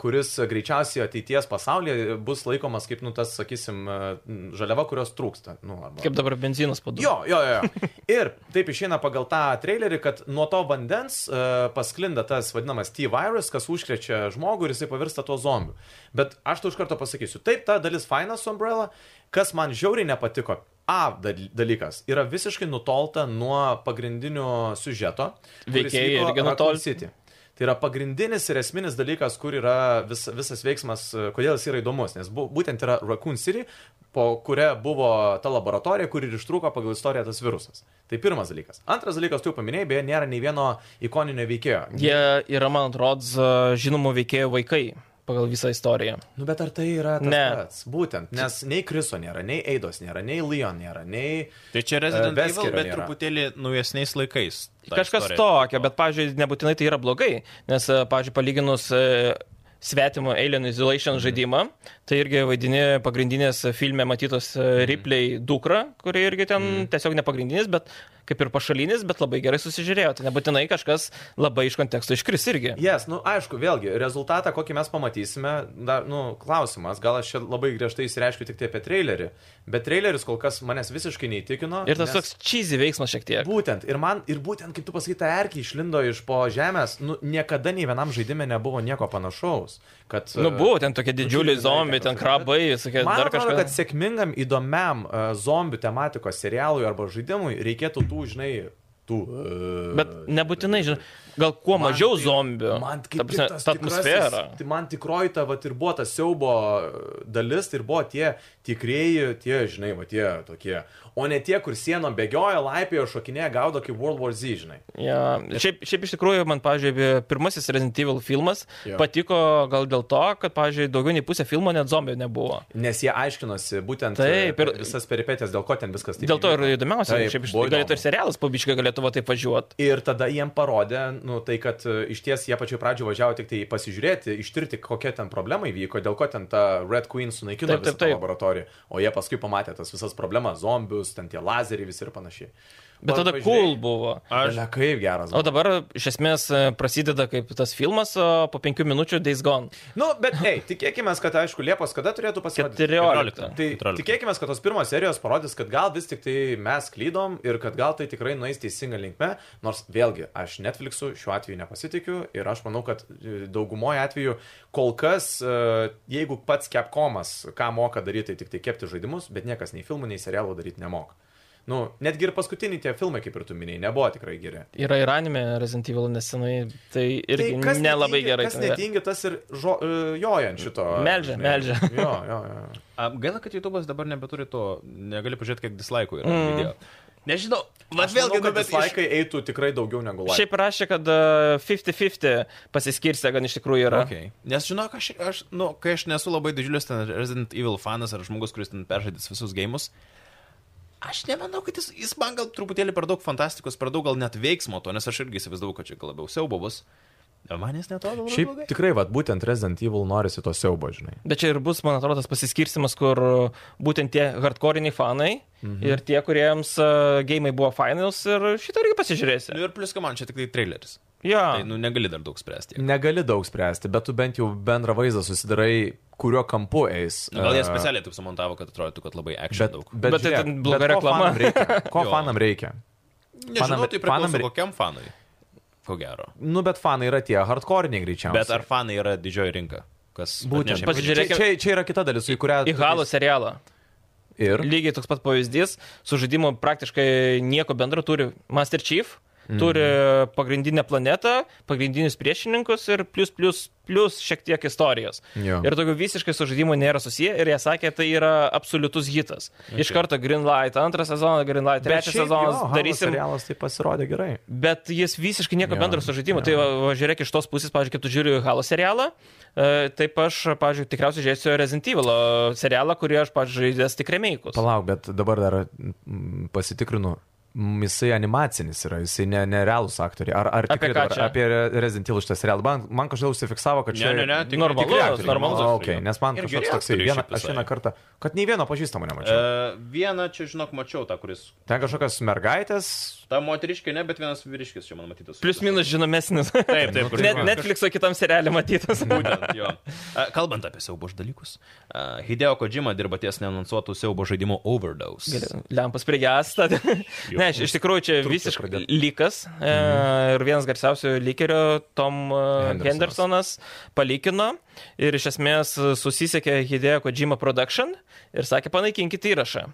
Speaker 3: kuris greičiausiai ateities pasaulyje bus laikomas kaip, nu, tas, sakysim, e, m, žaliava, kurios trūksta. Nu, arba...
Speaker 2: Kaip dabar benzinas padarė.
Speaker 3: Jo, jo, jo. Ir taip išeina pagal tą trailerį, kad nuo to vandens uh, pasklinda tas vadinamas T-virus, kas užkrečia žmogų ir jisai pavirsta tuo zombiu. Bet aš tau iš karto pasakysiu, taip, ta dalis faina su Umbrella, kas man žiauriai nepatiko. A dal- dalykas yra visiškai nutolta nuo pagrindinio siužeto. kuris
Speaker 2: Veikėjai
Speaker 3: vyko
Speaker 2: irgi
Speaker 3: Raccoon
Speaker 2: nutolti.
Speaker 3: City. Tai yra pagrindinis ir esminis dalykas, kur yra vis, visas veiksmas, e, kodėl jis yra įdomus, nes bu, būtent yra Raccoon City, po kuria buvo ta laboratorija, kur ir ištrūko pagal istoriją tas virusas. Tai pirmas dalykas. Antras dalykas, tu jau paminėjai, beje, nėra nei vieno ikoninio veikėjo.
Speaker 2: Jie yra, man atrodo, žinomų veikėjų vaikai pagal visą istoriją.
Speaker 3: Nu, bet ar tai yra tas
Speaker 2: Ne.
Speaker 3: pats? Būtent, nes nei Kriso nėra, nei Eidos nėra, nei Leon nėra, nei...
Speaker 1: Tai čia Resident
Speaker 3: E,
Speaker 1: Evil,
Speaker 3: Veskerio
Speaker 1: bet
Speaker 3: nėra.
Speaker 1: truputėlį naujesniais laikais. ta
Speaker 2: Kažkas
Speaker 1: istorija.
Speaker 2: tokio, bet, pavyzdžiui, nebūtinai tai yra blogai, nes, e, pavyzdžiui, palyginus e, svetimų Alien
Speaker 3: Mhm.
Speaker 2: Isolation žaidimą, tai irgi vaidini pagrindinės filme matytos
Speaker 3: Mhm.
Speaker 2: e, Ripley dukra, kuri irgi ten tiesiog ne pagrindinis, bet kaip ir pašalinis, bet labai gerai susižiūrėjo. Tai nebūtinai kažkas labai iš konteksto iškris irgi.
Speaker 3: Jes, nu aišku, vėlgi, rezultatą, kokį mes pamatysime, dar, nu, klausimas, gal aš čia labai griežtai įsireiškiu tik tai apie trailerį, bet traileris kol kas manęs visiškai neįtikino.
Speaker 2: Ir tas
Speaker 3: nes-
Speaker 2: toks cheesy veiksmas šiek tiek.
Speaker 3: Būtent, ir man, ir būtent, kaip tu pasakai, ta erkė išlindo iš po žemės, nu, niekada nei vienam žaidime nebuvo nieko panašaus. Kad,
Speaker 2: Nu,
Speaker 3: e,
Speaker 2: buvo ten tokie didžiuliai
Speaker 3: didžiuliai
Speaker 2: zombiai,
Speaker 3: dalykai,
Speaker 2: ten
Speaker 3: bet-
Speaker 2: krabai, sakė,
Speaker 3: Man
Speaker 2: dar
Speaker 3: atrodo, kad
Speaker 2: kažkas.
Speaker 3: sėkmingam, įdomiam uh, zombių tematikos serialui arba žaidimui reikėtų tų, žinai, tų... Uh,
Speaker 2: Bet nebūtinai, žinai, gal kuo mažiau zombių.
Speaker 3: Man
Speaker 2: Ta
Speaker 3: kaip
Speaker 2: prasme,
Speaker 3: tik tas
Speaker 2: ta atmosfera.
Speaker 3: tikrasis- Tai man tikroji ta, vat, ir buvo ta siaubo e, dalis, tai ir buvo tie tikrieji, tie, žinai, va tie tokie. O ne tie, kur sienom bėgioja, laipioja, šokinėja, gaudo kaip World War Z, žinai.
Speaker 2: Ja. Mm, Šiaip, šiaip iš tikrųjų, man, pavyzdžiui, pirmasis Resident Evil filmas
Speaker 3: Jo.
Speaker 2: patiko gal dėl to, kad, pavyzdžiui, daugiau nei pusė filmo net zombių nebuvo.
Speaker 3: Nes jie aiškinosi būtent
Speaker 2: Taip,
Speaker 3: Taip,
Speaker 2: ir-
Speaker 3: ir... visas peripetės, dėl ko ten viskas taip.
Speaker 2: Dėl to ir
Speaker 3: įvyko.
Speaker 2: įdomiausia,
Speaker 3: Taip,
Speaker 2: Taip, šiaip iš
Speaker 3: buvo
Speaker 2: tikrųjų galėtų ir
Speaker 3: įdomu.
Speaker 2: serialas pabiškai galėtų va taip važiuoti.
Speaker 3: Ir tada jiem parodė, nu, tai kad e, iš ties jie pačiu pradžiu važiavo tik tai pasižiūrėti, ištirti, kokia ten problema įvyko, dėl ko ten ta Red Queen sunaikino
Speaker 2: Taip,
Speaker 3: visą
Speaker 2: taip,
Speaker 3: tą
Speaker 2: taip.
Speaker 3: laboratoriją. O jie paskui pamatė tas visas problemas, zombius, ten tie lazeriai visi ir panašiai.
Speaker 2: Bet tada cool buvo.
Speaker 1: Aš,
Speaker 3: Na kaip geras.
Speaker 2: O dabar iš esmės e, prasideda kaip tas filmas, o po penkių minučių Days Gone.
Speaker 3: Nu, bet ei, tikėkime, kad aišku, Liepos kada turėtų pasirodyti.
Speaker 2: 14.
Speaker 3: Tai
Speaker 1: 14.
Speaker 3: tikėkime, kad tos pirmos serijos parodys, kad gal vis tik tai mes klydom ir kad gal tai tikrai nueis teisinga linkme, nors vėlgi aš Netflixu šiuo atveju nepasitikiu ir aš manau, kad e, daugumoje atveju kol kas, e, jeigu pats Capcomas, ką moka daryti, tai tik tai kepti žaidimus, bet niekas nei filmų, nei serialų daryti nemoka. Nu, netgi ir paskutiniai tie filmai, kaip ir tu minėjai, nebuvo tikrai geri.
Speaker 2: Yra ir anime Resident Evil nesenai, tai irgi
Speaker 3: Tai
Speaker 2: tai
Speaker 3: kas
Speaker 2: nelabai
Speaker 3: netingi-
Speaker 2: gerai.
Speaker 3: Kas
Speaker 2: ten yra.
Speaker 3: netingi, tas ir žo, e, joja ant šito.
Speaker 2: Melžia,
Speaker 3: žinai.
Speaker 2: melžia.
Speaker 3: Jo, jo, jo.
Speaker 1: a, gaila, kad YouTube'as dabar nebeturi to, negali pažiūrėti, kiek dislaikų yra. Mm. Video. Nežinau, va
Speaker 3: Aš
Speaker 1: vėlgi,
Speaker 3: vėlgi,
Speaker 1: nu,
Speaker 3: kad
Speaker 1: bet iš...
Speaker 3: dislaikai iš... eitų tikrai daugiau negu laikai.
Speaker 2: Šiaip rašė, kad e, 50-50 pasiskirstė, gan iš tikrųjų yra.
Speaker 1: Okay. Nes žinok, aš, aš, nu, kai aš nesu labai didžiulis ten Resident Evil fanas ar žmogus, kuris ten peržaidys visus gėjimus, aš nemanau, kad jis, jis man gal truputėlį per daug fantastikos, per daug gal net veiksmo to, nes aš irgi įsivaizdavau, kad čia gal labiau siaubo bus. O Man jis netodo labai
Speaker 3: Šiaip
Speaker 1: blogai.
Speaker 3: tikrai, vat, būtent Resident Evil norisi to siaubo, žinai.
Speaker 2: Bet čia ir bus, man atrodo, tas pasiskirstimas, kur būtent tie hardcore'iniai fanai mhm. ir tie, kuriems uh, gėjimai buvo finals ir šitą irgi pasižiūrėsi.
Speaker 1: Nu ir plus, ką man čia tik tai traileris.
Speaker 2: Ja.
Speaker 1: Tai, nu, negali dar daug spręsti.
Speaker 3: Negali daug spręsti, bet tu bent jau bendrą vaizdą susidarai, kuriuo kampu eis.
Speaker 1: Nu, Gal jie
Speaker 3: E,
Speaker 1: specialiai taip sumontavo, kad atrodytų, kad labai action
Speaker 3: Bet,
Speaker 1: daug.
Speaker 3: bet,
Speaker 2: Bet tai
Speaker 3: žiūrėk,
Speaker 2: ten bloga
Speaker 3: bet ko
Speaker 2: reklama.
Speaker 3: fanam reikia? Ko
Speaker 1: Jo.
Speaker 3: fanam reikia?
Speaker 1: Nežinau,
Speaker 3: fanam-
Speaker 1: tai priklauso
Speaker 3: fanam-
Speaker 1: kokiam fanui. Ko gero.
Speaker 3: Nu, bet fanai yra tie hardcore'iniai greičiausiai.
Speaker 1: Bet ar fanai yra didžioji rinka? Kas
Speaker 3: Būtent.
Speaker 1: atneša-
Speaker 2: Pasižiūrėkim-
Speaker 3: Čia, čia, čia yra kita dalis, į kurią...
Speaker 2: Į Halo serialą.
Speaker 3: Ir...
Speaker 2: Lygiai toks pat pavyzdys, su žaidimu praktiškai nieko bendro turi Master Chief, Turi pagrindinę planetą, pagrindinius priešininkus ir plus, plus, plus šiek tiek istorijos.
Speaker 3: Jo.
Speaker 2: Ir tokių visiškai su žaidimu nėra susiję ir jie sakė, tai yra absoliutus hitas. Okay. Iš karto Greenlight, antras sezonas Greenlight, trečias sezonas darysim.
Speaker 3: Serialas tai pasirodė gerai.
Speaker 2: Bet jis visiškai nieko
Speaker 3: Jo,
Speaker 2: bendro su žaidimu.
Speaker 3: jo.
Speaker 2: Tai va, va, žiūrėk iš tos pusės, pavyzdžiui, kaip tu žiūri Halo serialą, e, taip aš, pavyzdžiui, tikriausiai žiūrėsiu Resident Evil e, serialą, kurį aš, pavyzdžiui, žaidęs tik remeikus.
Speaker 3: Palauk, bet dabar dar mm, pasitikrinu. Mm, Jisai animacinis yra, jisai ne, nerealus aktoriai. Ar, ar
Speaker 2: Apie
Speaker 3: tikrai
Speaker 2: ką
Speaker 3: dabar,
Speaker 2: čia?
Speaker 3: apie Re- Resident Evil šitą serialą? Man, man kažkaip užsifiksavo, kad čia...
Speaker 1: Ne, ne, ne, tik
Speaker 2: normalus,
Speaker 1: tikri aktoriai.
Speaker 2: normalus
Speaker 3: O, okay, nes man
Speaker 1: Ir
Speaker 3: kažkoks
Speaker 1: geri
Speaker 3: toksai,
Speaker 1: aktoriai
Speaker 3: vieną,
Speaker 1: šiaip
Speaker 3: aš
Speaker 1: visai.
Speaker 3: vieną kartą, kad nei vieno pažįstamo nemačiau.
Speaker 1: E, vieną čia, žinok, mačiau tą, kuris.
Speaker 3: Ten kažkokios mergaitės.
Speaker 1: Ta moteriškė, ne, bet vienas vyriškis čia man matytas.
Speaker 2: Plius minus žinomesnis.
Speaker 1: Taip, taip, kur-
Speaker 2: Net Netflix'o kitam serialė matytas.
Speaker 1: Būtent, jo. E, Kalbant apie siaubo dalykus, e, Hideo Kojima dirba ties neanonsuotų siaubo žaidimo Overdose.
Speaker 2: Lempas prie gesta. Ne, iš- iš tikrųjų čia
Speaker 3: Trūksta
Speaker 2: visiškai
Speaker 3: pradėt. Mhm.
Speaker 2: lykas. E, ir vienas garsiausių lykerių, Tom
Speaker 3: Hendersonas.
Speaker 2: Hendersonas, Hendersonas palikino ir iš esmės susisiekė Hideo Kojima Production ir sakė, panaikinkit įrašą.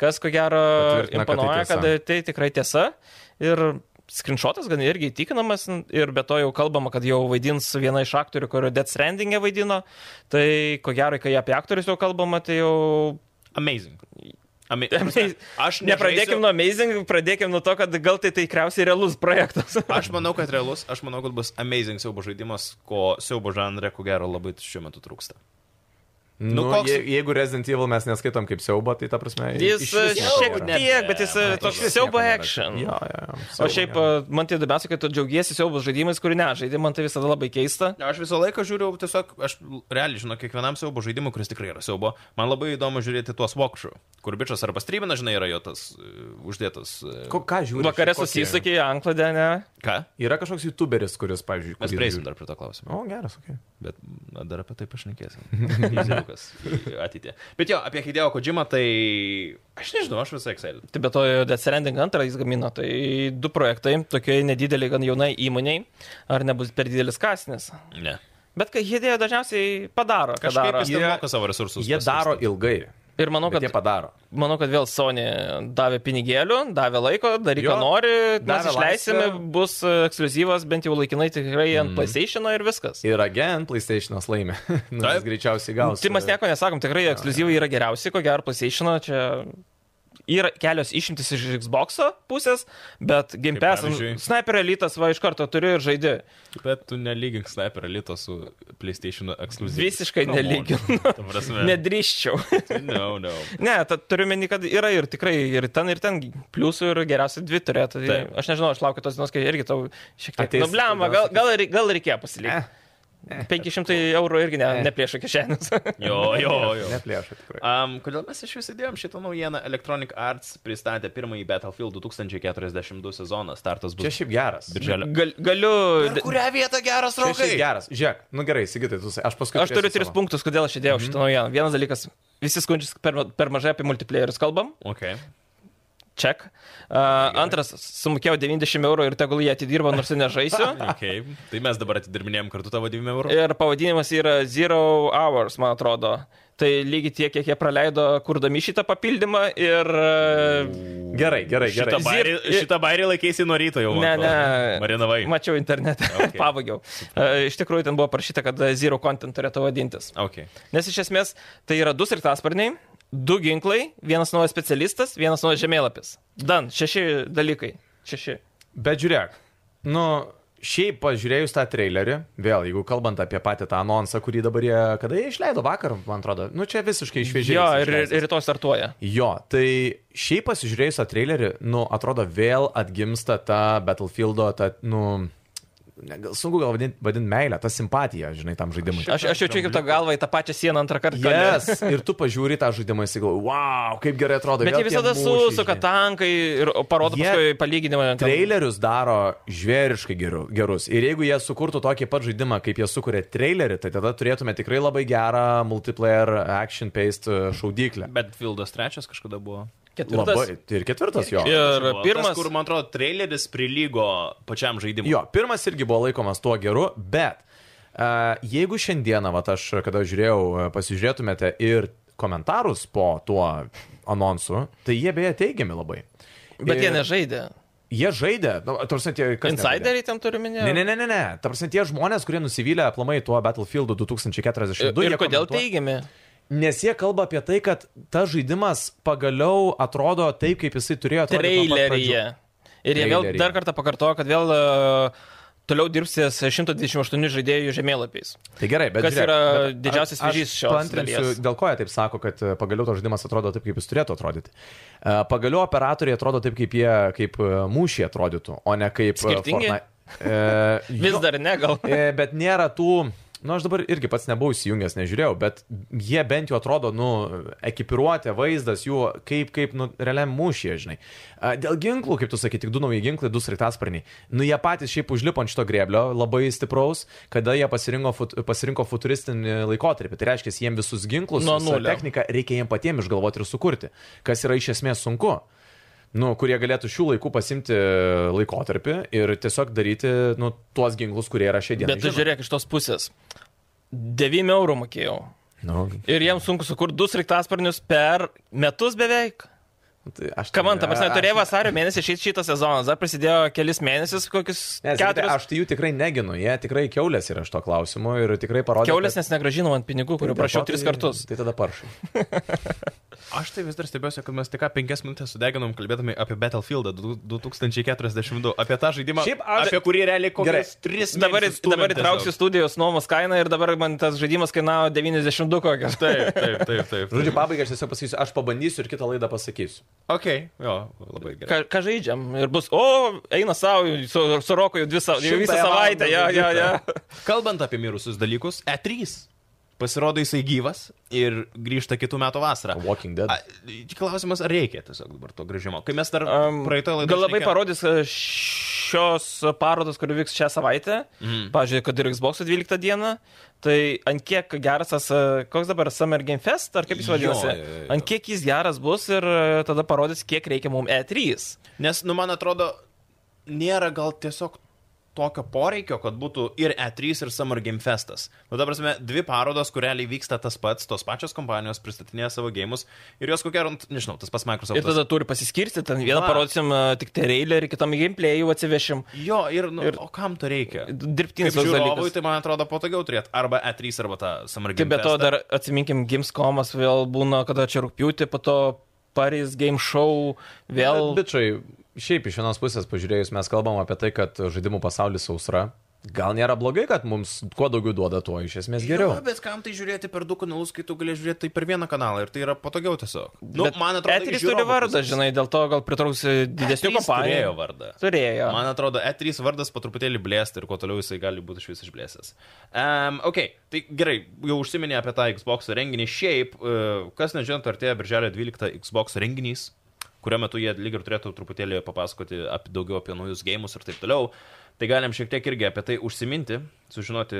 Speaker 2: Kas ko gero
Speaker 3: Patvirtina, kad tai
Speaker 2: imponuoja, kad
Speaker 3: tiesa.
Speaker 2: tai tikrai tiesa. Ir skrinšotas gan irgi įtikinamas ir be to jau kalbama, kad jau vaidins viena iš aktorių, kurio Death Stranding'e vaidino. Tai ko gero, kai apie aktorius jau kalbama, tai jau
Speaker 1: Amazing. Ami...
Speaker 2: Amazing.
Speaker 1: Aš
Speaker 2: Nepradėkim nuo Amazing, pradėkim nuo to, kad gal tai tikriausiai realus projektas.
Speaker 1: Aš manau, kad realus, aš manau, kad bus amazing siaubo žaidimas, ko siaubo žanre, ko gero, labai šiuo metu trūksta.
Speaker 3: Nu, nu,
Speaker 1: koks-
Speaker 3: je, jeigu Resident Evil mes neskaitom kaip siaubo, tai ta prasme...
Speaker 2: Jis uh,
Speaker 3: išvis nieko
Speaker 2: šiek
Speaker 3: nėra.
Speaker 2: tiek, bet jis e,
Speaker 1: e, Ne,
Speaker 2: toks
Speaker 3: Išvis
Speaker 2: siaubo
Speaker 3: nieko nėra.
Speaker 2: action.
Speaker 3: Jo, jo, jo,
Speaker 2: O
Speaker 3: siaubo
Speaker 2: šiaip,
Speaker 3: nėra.
Speaker 2: e, man tai įdomiausia, kad tu džiaugiesi siaubos žaidimais, kurį nežaidži, man tai visada labai keista.
Speaker 1: Aš visą laiką žiūriu, tiesiog, aš l- realiai žinau, kiekvienam siaubo žaidimui, kuris tikrai yra siaubo, man labai įdomu žiūrėti tuos walkthrough, kur bičias arba strymina, žinai, yra jo tas e, uždėtas. e,
Speaker 3: Ko, ką žiūri?
Speaker 2: Vakare
Speaker 3: Kokį-
Speaker 2: susisakė, ankladė, ne?
Speaker 1: Ką?
Speaker 3: Yra kažkoks youtuberis, kuris, pavyzdžiui,
Speaker 1: Mes
Speaker 3: kurį
Speaker 1: prieisim
Speaker 3: žiūri.
Speaker 1: dar prie to klausimo.
Speaker 3: O, geras, okei. Okay.
Speaker 1: Bet na, dar apie tai pašnekėsim. Įsiaukas ateitie. Bet jo, apie Hideo Kojima, tai aš nežinau, aš visai excited.
Speaker 2: Tai be to, Death Stranding antrą jis gamino, tai du projektai, tokiai nedideliai, gan jaunai įmoniai, ar nebus per didelis kasnis.
Speaker 1: Ne.
Speaker 2: Bet kai idėja dažniausiai padaro, ką
Speaker 1: Kažkaip
Speaker 2: daro.
Speaker 1: jis ten
Speaker 3: Jie-
Speaker 1: moka savo resursus.
Speaker 3: Jie
Speaker 1: paskirstyt.
Speaker 3: daro ilgai.
Speaker 2: Ir manau,
Speaker 3: Bet
Speaker 2: kad
Speaker 3: jie padaro.
Speaker 2: Manau, kad vėl Sony davė pinigėlių, davė laiko, daryk, ką
Speaker 3: Jo,
Speaker 2: nori, mes
Speaker 3: davė
Speaker 2: išleisime,
Speaker 3: laisvę.
Speaker 2: bus e, ekskluzyvas, bent jau laikinai tikrai ant mm. PlayStation ir viskas.
Speaker 3: Ir again, PlayStation'as laimė. nu,
Speaker 1: Taip.
Speaker 3: jis greičiausiai gaus.
Speaker 2: Tai mes nieko nesakom, tikrai ekskluzyvai yra geriausi, ko gero PlayStation, čia yra kelios išimtis iš Xbox pusės, bet Game
Speaker 1: Kaip
Speaker 2: Pass,
Speaker 1: pavyzdžiui?
Speaker 2: Sniper Elitas va iš karto turi ir žaidži.
Speaker 1: Bet tu nelygink sniper elito su PlayStation ekskluzivu.
Speaker 2: Visiškai nelyginu. Nedrįščiau.
Speaker 1: No, no.
Speaker 2: Ne, ta, turiu meni, kad yra ir tikrai ir ten, ir ten pliusų, ir geriausiai dvi turėtų. Tai
Speaker 1: Taip.
Speaker 2: aš nežinau, aš laukiu tos dienos, kai irgi tau šiek tiek...
Speaker 3: Ateis-
Speaker 2: Nublema, gal, gal, ir- gal reikėjo pasilikti. 500 eurų irgi ne, neplėšia kišenės.
Speaker 1: Jo, jo, jo.
Speaker 3: Neplėšai tikrai.
Speaker 1: Um, kodėl mes iš vis įdėjom šitą naujieną? Electronic Arts pristatė pirmąjį Battlefield 2042 sezoną. Startas
Speaker 3: Čia
Speaker 1: bus
Speaker 3: šiaip geras.
Speaker 1: birželio.
Speaker 2: Gal, galiu...
Speaker 1: Kurią vietą geras
Speaker 3: Čia šiaip geras. Žiūrėk, nu gerai, sigitai, tu, sa- aš paskui.
Speaker 2: Aš turiu tris punktus, kodėl aš įdėjau šitą naujieną. Vienas dalykas, visi skundžiasi, kad per, per mažai apie multiplayerius kalbam.
Speaker 1: Okay.
Speaker 2: Ček. Uh, antras, sumokėjau 90 eurų ir tegul jie atidirba, nors ir nežaisiu.
Speaker 1: Okay. Tai mes dabar atidirbinėjom kartu tavo 2 eurų.
Speaker 2: Ir pavadinimas yra Zero Hours, man atrodo. Tai lygiai tiek, kiek jie praleido kurdami šitą papildymą ir... e,
Speaker 3: Gerai, gerai, gerai.
Speaker 1: Šitą bairį, šitą bairį laikėsi nuo ryto jau. man
Speaker 2: Ne,
Speaker 1: atrodo.
Speaker 2: ne.
Speaker 1: Marinavai.
Speaker 2: Mačiau internete,
Speaker 1: Okay.
Speaker 2: okay. pavagiau. E, Iš tikrųjų, ten buvo parašyta, kad e, Zero Content turėtų vadintis.
Speaker 1: Okay.
Speaker 2: Nes iš esmės tai yra du sraigtasparniai, du ginklai, vienas naujas specialistas, vienas naujas žemėlapis. Dan, šeši dalykai. Šeši.
Speaker 3: Bet žiūrėk, nu, šiaip pažiūrėjus tą trailerį, vėl, jeigu kalbant apie patį tą anonsą, kurį dabar jie, kada jie išleido vakar, man atrodo, nu čia visiškai išvežė.
Speaker 2: Jo, ir, ir rytoj startuoja.
Speaker 3: Jo, tai šiaip pasižiūrėjus tą trailerį, nu, atrodo vėl atgimsta ta Battlefieldo, ta, nu, ne, gal sunku gal vadinti vadint meilę, ta simpatija, žinai, tam žaidimui.
Speaker 2: Aš, aš jaučiu kaip tą galvą į tą pačią sieną antrą kartą. kone.
Speaker 3: Yes. Ir tu pažiūri tą žaidimą ir galvoji, wow, kaip gerai atrodo.
Speaker 2: Bet jie
Speaker 3: vėl tie
Speaker 2: visada
Speaker 3: mūšiai,
Speaker 2: susuka
Speaker 3: žinai."
Speaker 2: tankai ir parodo
Speaker 3: Jie-
Speaker 2: paskui palyginimą. ten-
Speaker 3: Trailerius daro žvėriškai geru- gerus. Ir jeigu jie sukurtų tokį pat žaidimą, kaip jie sukuria trailerį, tai tada turėtume tikrai labai gerą multiplayer action-paced e, šaudyklę.
Speaker 1: Bet Fildas trečias kažkada buvo.
Speaker 2: Ketvirtas.
Speaker 3: Labai. Ir ketvirtas jo.
Speaker 2: Ir
Speaker 1: Buvo
Speaker 2: pirmas,
Speaker 1: Tas, kur, man atrodo, traileris prilygo pačiam žaidimui.
Speaker 3: Jo, pirmas irgi buvo laikomas tuo geru, bet uh, jeigu šiandieną, va, aš kada žiūrėjau, e, pasižiūrėtumėte ir komentarus po tuo anonsu, tai jie beje teigiami labai.
Speaker 2: bet jie
Speaker 3: Ir-
Speaker 2: nežaidė.
Speaker 3: jie žaidė, nu, tarsi tie, kas nežaidė?
Speaker 2: Insideriai ten turiu minėti.
Speaker 3: Ne, ne, ne, ne, ne. Tarsi tie žmonės, kurie nusivylė aplamai tuo Battlefield 2042.
Speaker 2: Ir, ir
Speaker 3: jie
Speaker 2: kodėl
Speaker 3: komentuoja-
Speaker 2: teigiami?
Speaker 3: Nes jie kalba apie tai, kad tas žaidimas pagaliau atrodo taip, kaip jisai turėjo atrodyt nuo pat
Speaker 2: Traileryje. Ir jie vėl
Speaker 3: Traileryje.
Speaker 2: dar kartą pakartojo, kad vėl e, toliau dirbsės 128 žaidėjų žemėlapiais.
Speaker 3: pradžių. Tai gerai, bet
Speaker 2: Kas
Speaker 3: žiūrėk,
Speaker 2: yra
Speaker 3: bet
Speaker 2: didžiausias
Speaker 3: aš- aš
Speaker 2: vėžys šios
Speaker 3: paantrinsiu,
Speaker 2: dalies?
Speaker 3: Dėl ko jie taip sako, kad e, pagaliau tas žaidimas atrodo taip, kaip jis turėtų atrodyti. E, Pagaliau operatoriai atrodo taip, kaip jie, kaip e, mūšiai atrodytų, o ne kaip... e,
Speaker 2: Skirtingi?
Speaker 3: Fortnite. E,
Speaker 2: Vis
Speaker 3: jo.
Speaker 2: dar ne, gal.
Speaker 3: E, bet nėra tų... Nu, aš dabar irgi pats nebuvau įsijungęs, nežiūrėjau, bet jie bent jau atrodo, nu, ekipiruotė, vaizdas jų, kaip, kaip, nu, realiam mūšyje, žinai. A, Dėl ginklų, kaip tu sakai, tik du nauji ginklai, du sraigtasparniai. Nu, jie patys šiaip užlipo ant šito greblio, labai stipraus, kada jie pasirinko, fut, pasirinko futuristinį laikotarpį. Tai reiškia, jiems visus ginklus,
Speaker 2: Nuo
Speaker 3: visą
Speaker 2: nulio.
Speaker 3: techniką reikia jiems patiems išgalvoti ir sukurti, kas yra iš esmės sunku nu, kurie galėtų šių laikų pasimti laikotarpį ir tiesiog daryti nu, tuos ginklus, kurie yra šiandien.
Speaker 2: Bet tu žiūrėk iš tos pusės. 9 eurų mokėjau.
Speaker 3: Nu,
Speaker 2: Ir jiems sunku sukurti du sraigtasparnius per metus beveik.
Speaker 3: tai aš
Speaker 2: Kam man, ta prasme,
Speaker 3: aš-
Speaker 2: turėjo vasario mėnesį šį, šitą sezoną, dar prasidėjo kelis mėnesius, kokius
Speaker 3: Ne, sakyti,
Speaker 2: keturis.
Speaker 3: Aš tai jų tikrai neginu, jie tikrai keulės yra iš to klausimo ir tikrai parodė.
Speaker 2: Keulės, nes negražinau ant pinigų, kurių prašiau tris kartus.
Speaker 3: Tai tada paršai.
Speaker 1: Aš tai vis dar stebiuosi, kad mes tik ką penkias minutės sudeginom kalbėdami apie Battlefield 2042, apie tą žaidimą,
Speaker 3: Šiaip aš-
Speaker 1: apie kurį realiai
Speaker 3: Gerai.
Speaker 1: kokias tris
Speaker 2: Dabar,
Speaker 1: mėnesius stūmėm
Speaker 2: dabar
Speaker 1: tiesiog.
Speaker 2: įtrauksiu studijos nuomos kainą ir dabar man tas žaidimas kainavo 92 kokias.
Speaker 1: Taip, taip, taip, taip.
Speaker 3: Žodžiu, pabaigai aš tiesiog pasakysiu, aš pabandysiu ir kitą laidą pasakysiu.
Speaker 1: Ok, jo, labai gerai.
Speaker 2: Ką, ką žaidžiam? Ir bus, o, eina savo, su, su Roku jau, dvi, sa- jau visą
Speaker 3: Šimtąją
Speaker 2: savaitę, jo,
Speaker 3: valandą
Speaker 2: jo, jo.
Speaker 1: Kalbant apie mirusius dalykus, E3 pasirodo jisai gyvas ir grįžta kitų metų vasarą.
Speaker 3: Walking Dead.
Speaker 1: A, klausimas, ar reikia tiesiog dabar to grįžimo? Kai mes dar um,
Speaker 2: Am,
Speaker 1: praeitą laidą...
Speaker 2: Gal labai parodys e, šios parodos, kuri vyks šią savaitę.
Speaker 1: Mhm.
Speaker 2: Mm. Pavyzdžiui, kad ir Xbox 12 dieną. Tai ant kiek geras tas, e, koks dabar Summer Game Fest, ar kaip
Speaker 1: Jo,
Speaker 2: jis vadinasi?
Speaker 1: jo, jo, jo.
Speaker 2: Ant kiek jis geras bus ir e, tada parodys, kiek reikia E mums E3.
Speaker 1: Nes, nu, man atrodo, nėra gal tiesiog tokio poreikio, kad būtų ir E3, ir Summer Game Festas. Nu, dabar, prasme, dvi parodos, kur realiai vyksta tas pats, tos pačios kompanijos pristatinėja savo gėjimus ir jos kokia, nu, nežinau, tas pats Microsoft.
Speaker 2: Ir tada turi pasiskirstyti, ten vieną
Speaker 1: Va.
Speaker 2: parodysim e, tik trailerį, kitam gameplay jau atsivešim.
Speaker 1: Jo, ir, nu, ir...
Speaker 2: ir-
Speaker 1: o kam to reikia? Kaip
Speaker 2: Dirbtinis toks
Speaker 1: žiūrovui,
Speaker 2: dalykas.
Speaker 1: tai man atrodo patogiau turėti arba E3, arba tą Summer Game
Speaker 2: Taip, be
Speaker 1: Festą.
Speaker 2: to dar atsiminkim, Gamescomas vėl būna, kada čia rūpjūti, po to Paris Game Show vėl...
Speaker 3: Bet, bičiai, šiaip iš vienos pusės pažiūrėjus, mes kalbam apie tai, kad žaidimų pasaulis sausra. Gal nėra blogai, kad mums kuo daugiau duoda, tuo iš esmės geriau.
Speaker 1: Jo, bet kam tai žiūrėti per du kanalus, kai tu gali žiūrėti tai per vieną kanalą ir tai yra patogiau tiesiog. Nu,
Speaker 2: Bet
Speaker 1: man atrodo,
Speaker 2: E3
Speaker 1: iš
Speaker 2: turi
Speaker 1: žiūrovo
Speaker 2: vardą,
Speaker 1: pusės.
Speaker 2: žinai, dėl to gal pritrauks
Speaker 1: E3
Speaker 2: didesnių kompanijų.
Speaker 1: Turėjo vardą.
Speaker 2: Turėjo.
Speaker 1: Man atrodo, E3 vardas po truputėlį blėsta ir kuo toliau jisai gali būti iš vis išblėsęs. Um, ok, tai gerai, jau užsiminė apie tą Xbox renginį. Šiaip, uh, kas nežinot, artėja birželio 12 Xbox renginys, kuriuo metu jie lyg ir turėtų truputėlį papasakoti apie, daugiau apie naujus gėjimus ir taip toliau. Tai galim šiek tiek irgi apie tai užsiminti, sužinoti,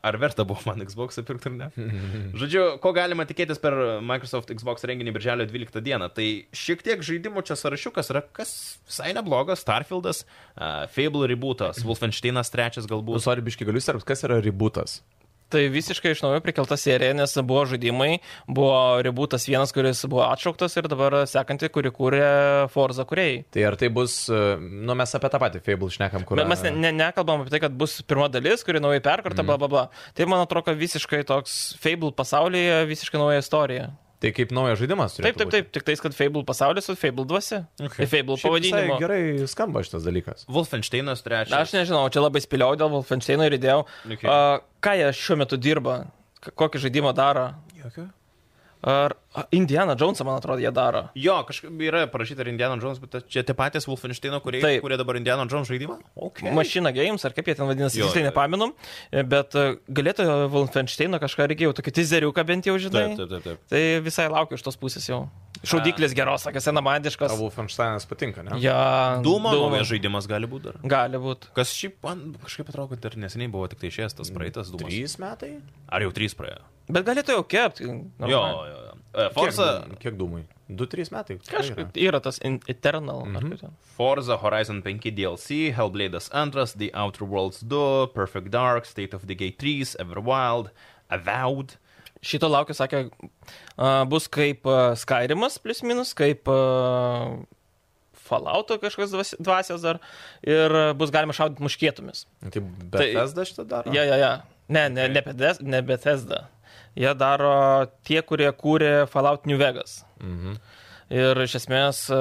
Speaker 1: ar verta buvo man Xbox pirkti ar ne. Žodžiu, ko galima tikėtis per Microsoft Xbox renginį birželio 12 dieną. Tai šiek tiek žaidimų čia sąrašiukas yra, kas visai neblogas. Starfieldas, uh, Fable rebootas, Wolfensteinas trečias
Speaker 3: Nu,
Speaker 1: galbūt.
Speaker 3: sorry, biški galiu serps, kas yra ributas?
Speaker 2: Tai visiškai iš naujo prikelta serija, nes buvo žaidimai, buvo ribūtas vienas, kuris buvo atšauktas ir dabar sekanti, kurį kūrė Forza kuriejai.
Speaker 3: Tai ar tai bus, e, nu mes apie tą patį Fable šnekam, kur...
Speaker 2: Bet mes ne, ne, nekalbam apie tai, kad bus pirma dalis, kuri naujai
Speaker 1: Mhm.
Speaker 2: perkarta, bla bla bla. Tai man atrodo, kad visiškai toks Fable pasaulyje, visiškai nauja istorija.
Speaker 3: Tai kaip naujas žaidimas turėtų
Speaker 2: Taip, taip, taip, tik tais, kad Fable pasaulis su Fable dvasia.
Speaker 1: Okay.
Speaker 2: Okay. Fable
Speaker 3: Šiaip visai
Speaker 2: pavadinimu.
Speaker 3: Gerai skamba šitas dalykas.
Speaker 1: Wolfensteinas trečias.
Speaker 2: Aš nežinau, čia labai spėliau dėl Wolfensteino ir įdėjau.
Speaker 1: Okay.
Speaker 2: Okay. Uh, ką jie šiuo metu dirba, K- kokį žaidimą daro.
Speaker 1: Jokio?
Speaker 2: Ar a, Indiana Jonesą, man atrodo, jie daro.
Speaker 1: Jo, kažkaip yra parašyta ir Indiana Jones, bet čia tie patys Wolfensteino, kurie,
Speaker 2: Taip.
Speaker 1: kurie dabar Indiana Jones žaidimą. Okay.
Speaker 2: Mašina Games, ar kaip jie ten vadinasi,
Speaker 1: Jo,
Speaker 2: tiksliai
Speaker 1: jo.
Speaker 2: nepaminu, bet e, galėtų Wolfensteino kažką reikėjo, tokį tizeriuką bent jau, žinai.
Speaker 1: Taip, taip, taip. taip.
Speaker 2: Tai visai laukiu iš tos pusės jau. Šaudyklės geros, sakė, senamadiškas.
Speaker 3: Tavo Wolfensteinas patinka, ne?
Speaker 2: Ja,
Speaker 1: Dūmo
Speaker 2: Doom.
Speaker 1: naujas žaidimas gali būti dar.
Speaker 2: Gali būti.
Speaker 1: Kas šiaip man kažkaip atrodo, kad dar neseniai buvo tik tai išėjęs tas praeitas dūmas.
Speaker 3: Trys metai?
Speaker 1: Ar jau trys praėjo?
Speaker 2: Bet galėtų jau kept.
Speaker 1: Jo, jo, jo. E, Forza,
Speaker 3: Kiek, kiek dūmai? Du, trys metai. tikrai yra.
Speaker 2: Kažkaip yra tas in- Eternal. Mm
Speaker 1: Mhm.
Speaker 2: -hmm.
Speaker 1: Forza Horizon 5 DLC, Hellblade'as 2, The Outer Worlds 2, Perfect Dark, State of the Gate 3, Everwild, Avowed.
Speaker 2: Šito laukiu, sakė, a, bus kaip a, Skyrimas, plus minus, kaip a, Fallouto kažkokios dvas- dvasios dar ir e, bus galima šaudyti muškietomis.
Speaker 3: Tai Bethesda šitą daro?
Speaker 2: Ja, ja, ja. Ne, ne, ne, Bethesda, ne Bethesda. Jie daro tie, kurie kūrė Fallout New Vegas.
Speaker 3: Mhm.
Speaker 2: Ir iš esmės e,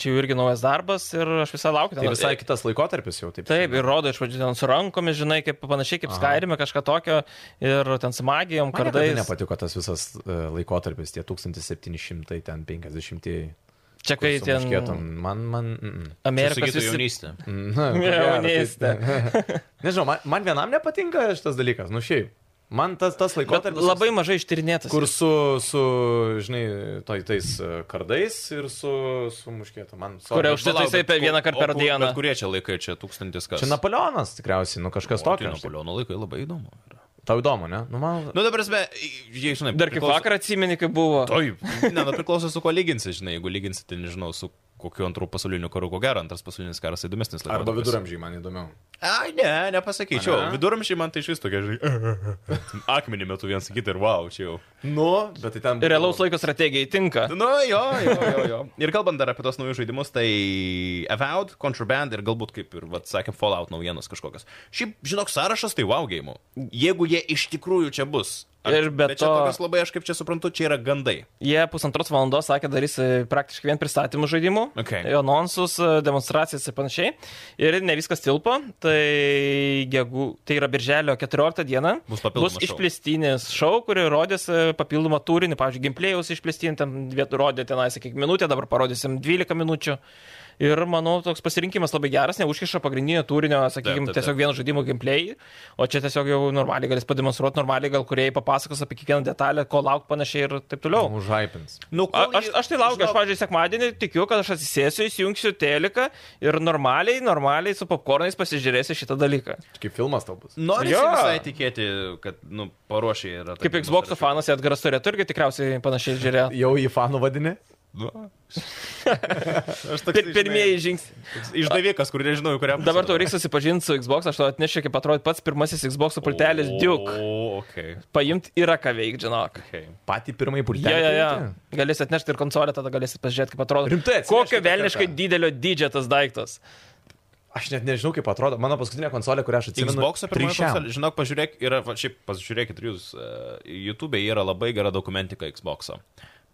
Speaker 2: čia jau irgi naujas darbas ir aš visai laukiu.
Speaker 3: Tai
Speaker 2: ten.
Speaker 3: visai kitas laikotarpis jau taip.
Speaker 2: Taip, ir rodo iš pradžių ten su rankomis, žinai, kaip panašiai kaip Skyrime kažką tokio ir ten su magijom,
Speaker 3: Man niekada
Speaker 2: kardais.
Speaker 3: tai nepatiko tas visas e, laikotarpis, tie 1750-ieji.
Speaker 2: Čia kai ten
Speaker 3: Man, man. Mm,
Speaker 1: Amerikos
Speaker 2: Amerikos
Speaker 1: visi...
Speaker 2: visi...
Speaker 1: jaunystė.
Speaker 3: mm. Na, ko gero,
Speaker 2: Jaunystė.
Speaker 3: tai- Nežinau, man, man vienam nepatinka šitas dalykas, nu šiaip. Man tas, tas
Speaker 2: Bet
Speaker 3: laikotarpis.
Speaker 2: labai mažai ištyrinėtas.
Speaker 3: Kur su, su žinai, toj, tais e, kardais ir su, su muškėtu. Man nu, su
Speaker 2: Kuria už- Štai
Speaker 1: Palauk, bet
Speaker 2: tai taip
Speaker 1: ku-
Speaker 2: vieną kart
Speaker 1: o
Speaker 2: per
Speaker 1: ku-
Speaker 2: dieną.
Speaker 1: bet Kurie čia laikai, čia tūkstantis kas?
Speaker 3: Čia Napoleonas tikriausiai, nu kažkas
Speaker 1: O, tai
Speaker 3: tokio. aš taip-
Speaker 1: Napoleono laikai labai įdomu. yra.
Speaker 3: Tau įdomu, ne? Nu, man...
Speaker 1: Nu, dabar, esmė, jei žinai,
Speaker 2: Dar kaip
Speaker 1: priklauso-
Speaker 2: vakar atsimeni, kaip buvo.
Speaker 1: Taip, ne, nu priklauso su kuo lyginsi, žinai, jeigu lyginsi, tai nežinau, su kokiu antrų pasauliniu karu, ko gero, antras pasaulinis karas įdomesnis laikotarpis.
Speaker 3: Arba viduramžiai man įdomiau.
Speaker 1: Ai, ne, nepasakyčiau.
Speaker 3: Ane?
Speaker 1: Viduramžiai man tai iš vis tokia, žinai, akmenį metu viens į kitą ir wow, čia jau.
Speaker 3: Nu, bet tai ten...
Speaker 2: Ir realaus laiko strategijai tinka.
Speaker 1: Nu, jo, jo, jo, jo. Ir kalbant dar apie tos naujus žaidimus, tai Avowed, Contraband ir galbūt, kaip ir, vad, sakė, Fallout naujienos kažkokios. Šiaip, žinok, sąrašas tai wow game. Jeigu jie iš tikrųjų čia bus.
Speaker 2: Ir be
Speaker 1: bet čia
Speaker 2: to-
Speaker 1: tokios labai, aš kaip čia suprantu, čia yra gandai.
Speaker 2: Jie pusantros valandos sakė, darys e, praktiškai vien pristatymų žaidimų,
Speaker 1: Okay.
Speaker 2: anonsus, e, demonstracijas ir panašiai. Ir ne viskas tilpo, tai, jeigu, tai yra birželio 14 diena.
Speaker 1: Bus papildomas
Speaker 2: Bus
Speaker 1: šou.
Speaker 2: išplėstinis šou, kurį rodys e, papildomą turinį, pavyzdžiui, gameplay'us išplėstinį, ten vietų rodė tenai, sakyk, minutę, dabar parodysim 12 minučių. Ir manau, toks pasirinkimas labai geras, neužkiša pagrindinio turinio, sakykime,
Speaker 1: taip, taip.
Speaker 2: tiesiog vieno žaidimo gameplay, o čia tiesiog jau normaliai galės pademonstruoti, normaliai gal kuriejai papasakos apie kiekvieną detalę, ko laukti panašiai ir taip toliau.
Speaker 3: Užhypins.
Speaker 1: Nu,
Speaker 2: A, aš, aš tai laukiu, aš, pavyzdžiui, sekmadienį tikiu, kad aš atsisėsiu, įsijungsiu teliką ir normaliai, normaliai su popkornais pasižiūrėsiu šitą dalyką.
Speaker 3: Kaip filmas tau bus.
Speaker 1: Noriu
Speaker 2: Jo.
Speaker 1: visai tikėti, kad, nu, paruošė yra.
Speaker 2: Kaip Xbox fanas Edgaras turėtų irgi tikriausiai panašiai žiūrėti.
Speaker 3: Jau į fanų vadini?
Speaker 1: Nu, aš toks,
Speaker 2: Pir, pirmieji žingsniai.
Speaker 1: Išdavikas, kur nežinau, į kurią. pusę
Speaker 2: Dabar tau reiks susipažinti su Xbox, aš tau atnešiu, kaip atrodo pats pirmasis Xbox pultelis Duke.
Speaker 1: O, okay,
Speaker 2: Paimti yra ką veikti, žinok.
Speaker 1: okay.
Speaker 3: Patį pirmąjį pultelį.
Speaker 2: Ja, ja, ja.
Speaker 3: paimti?
Speaker 2: Galės atnešti ir konsolę, tada galėsit pažiūrėti, kaip atrodo.
Speaker 3: Rimtai atsineši
Speaker 2: Kokio
Speaker 3: kitą
Speaker 2: velniškai
Speaker 3: kartą?
Speaker 2: didelio dydžio tas daiktas.
Speaker 3: Aš net nežinau, kaip atrodo. Mano paskutinė konsolė, kurią aš atsimenu.
Speaker 1: Xbox apie
Speaker 3: trišiam.
Speaker 1: konsolę. Žinok, pažiūrėk, yra, va, šiaip pasižiūrėkit, jūs uh, YouTube yra labai gera dokumentika Xbox'o.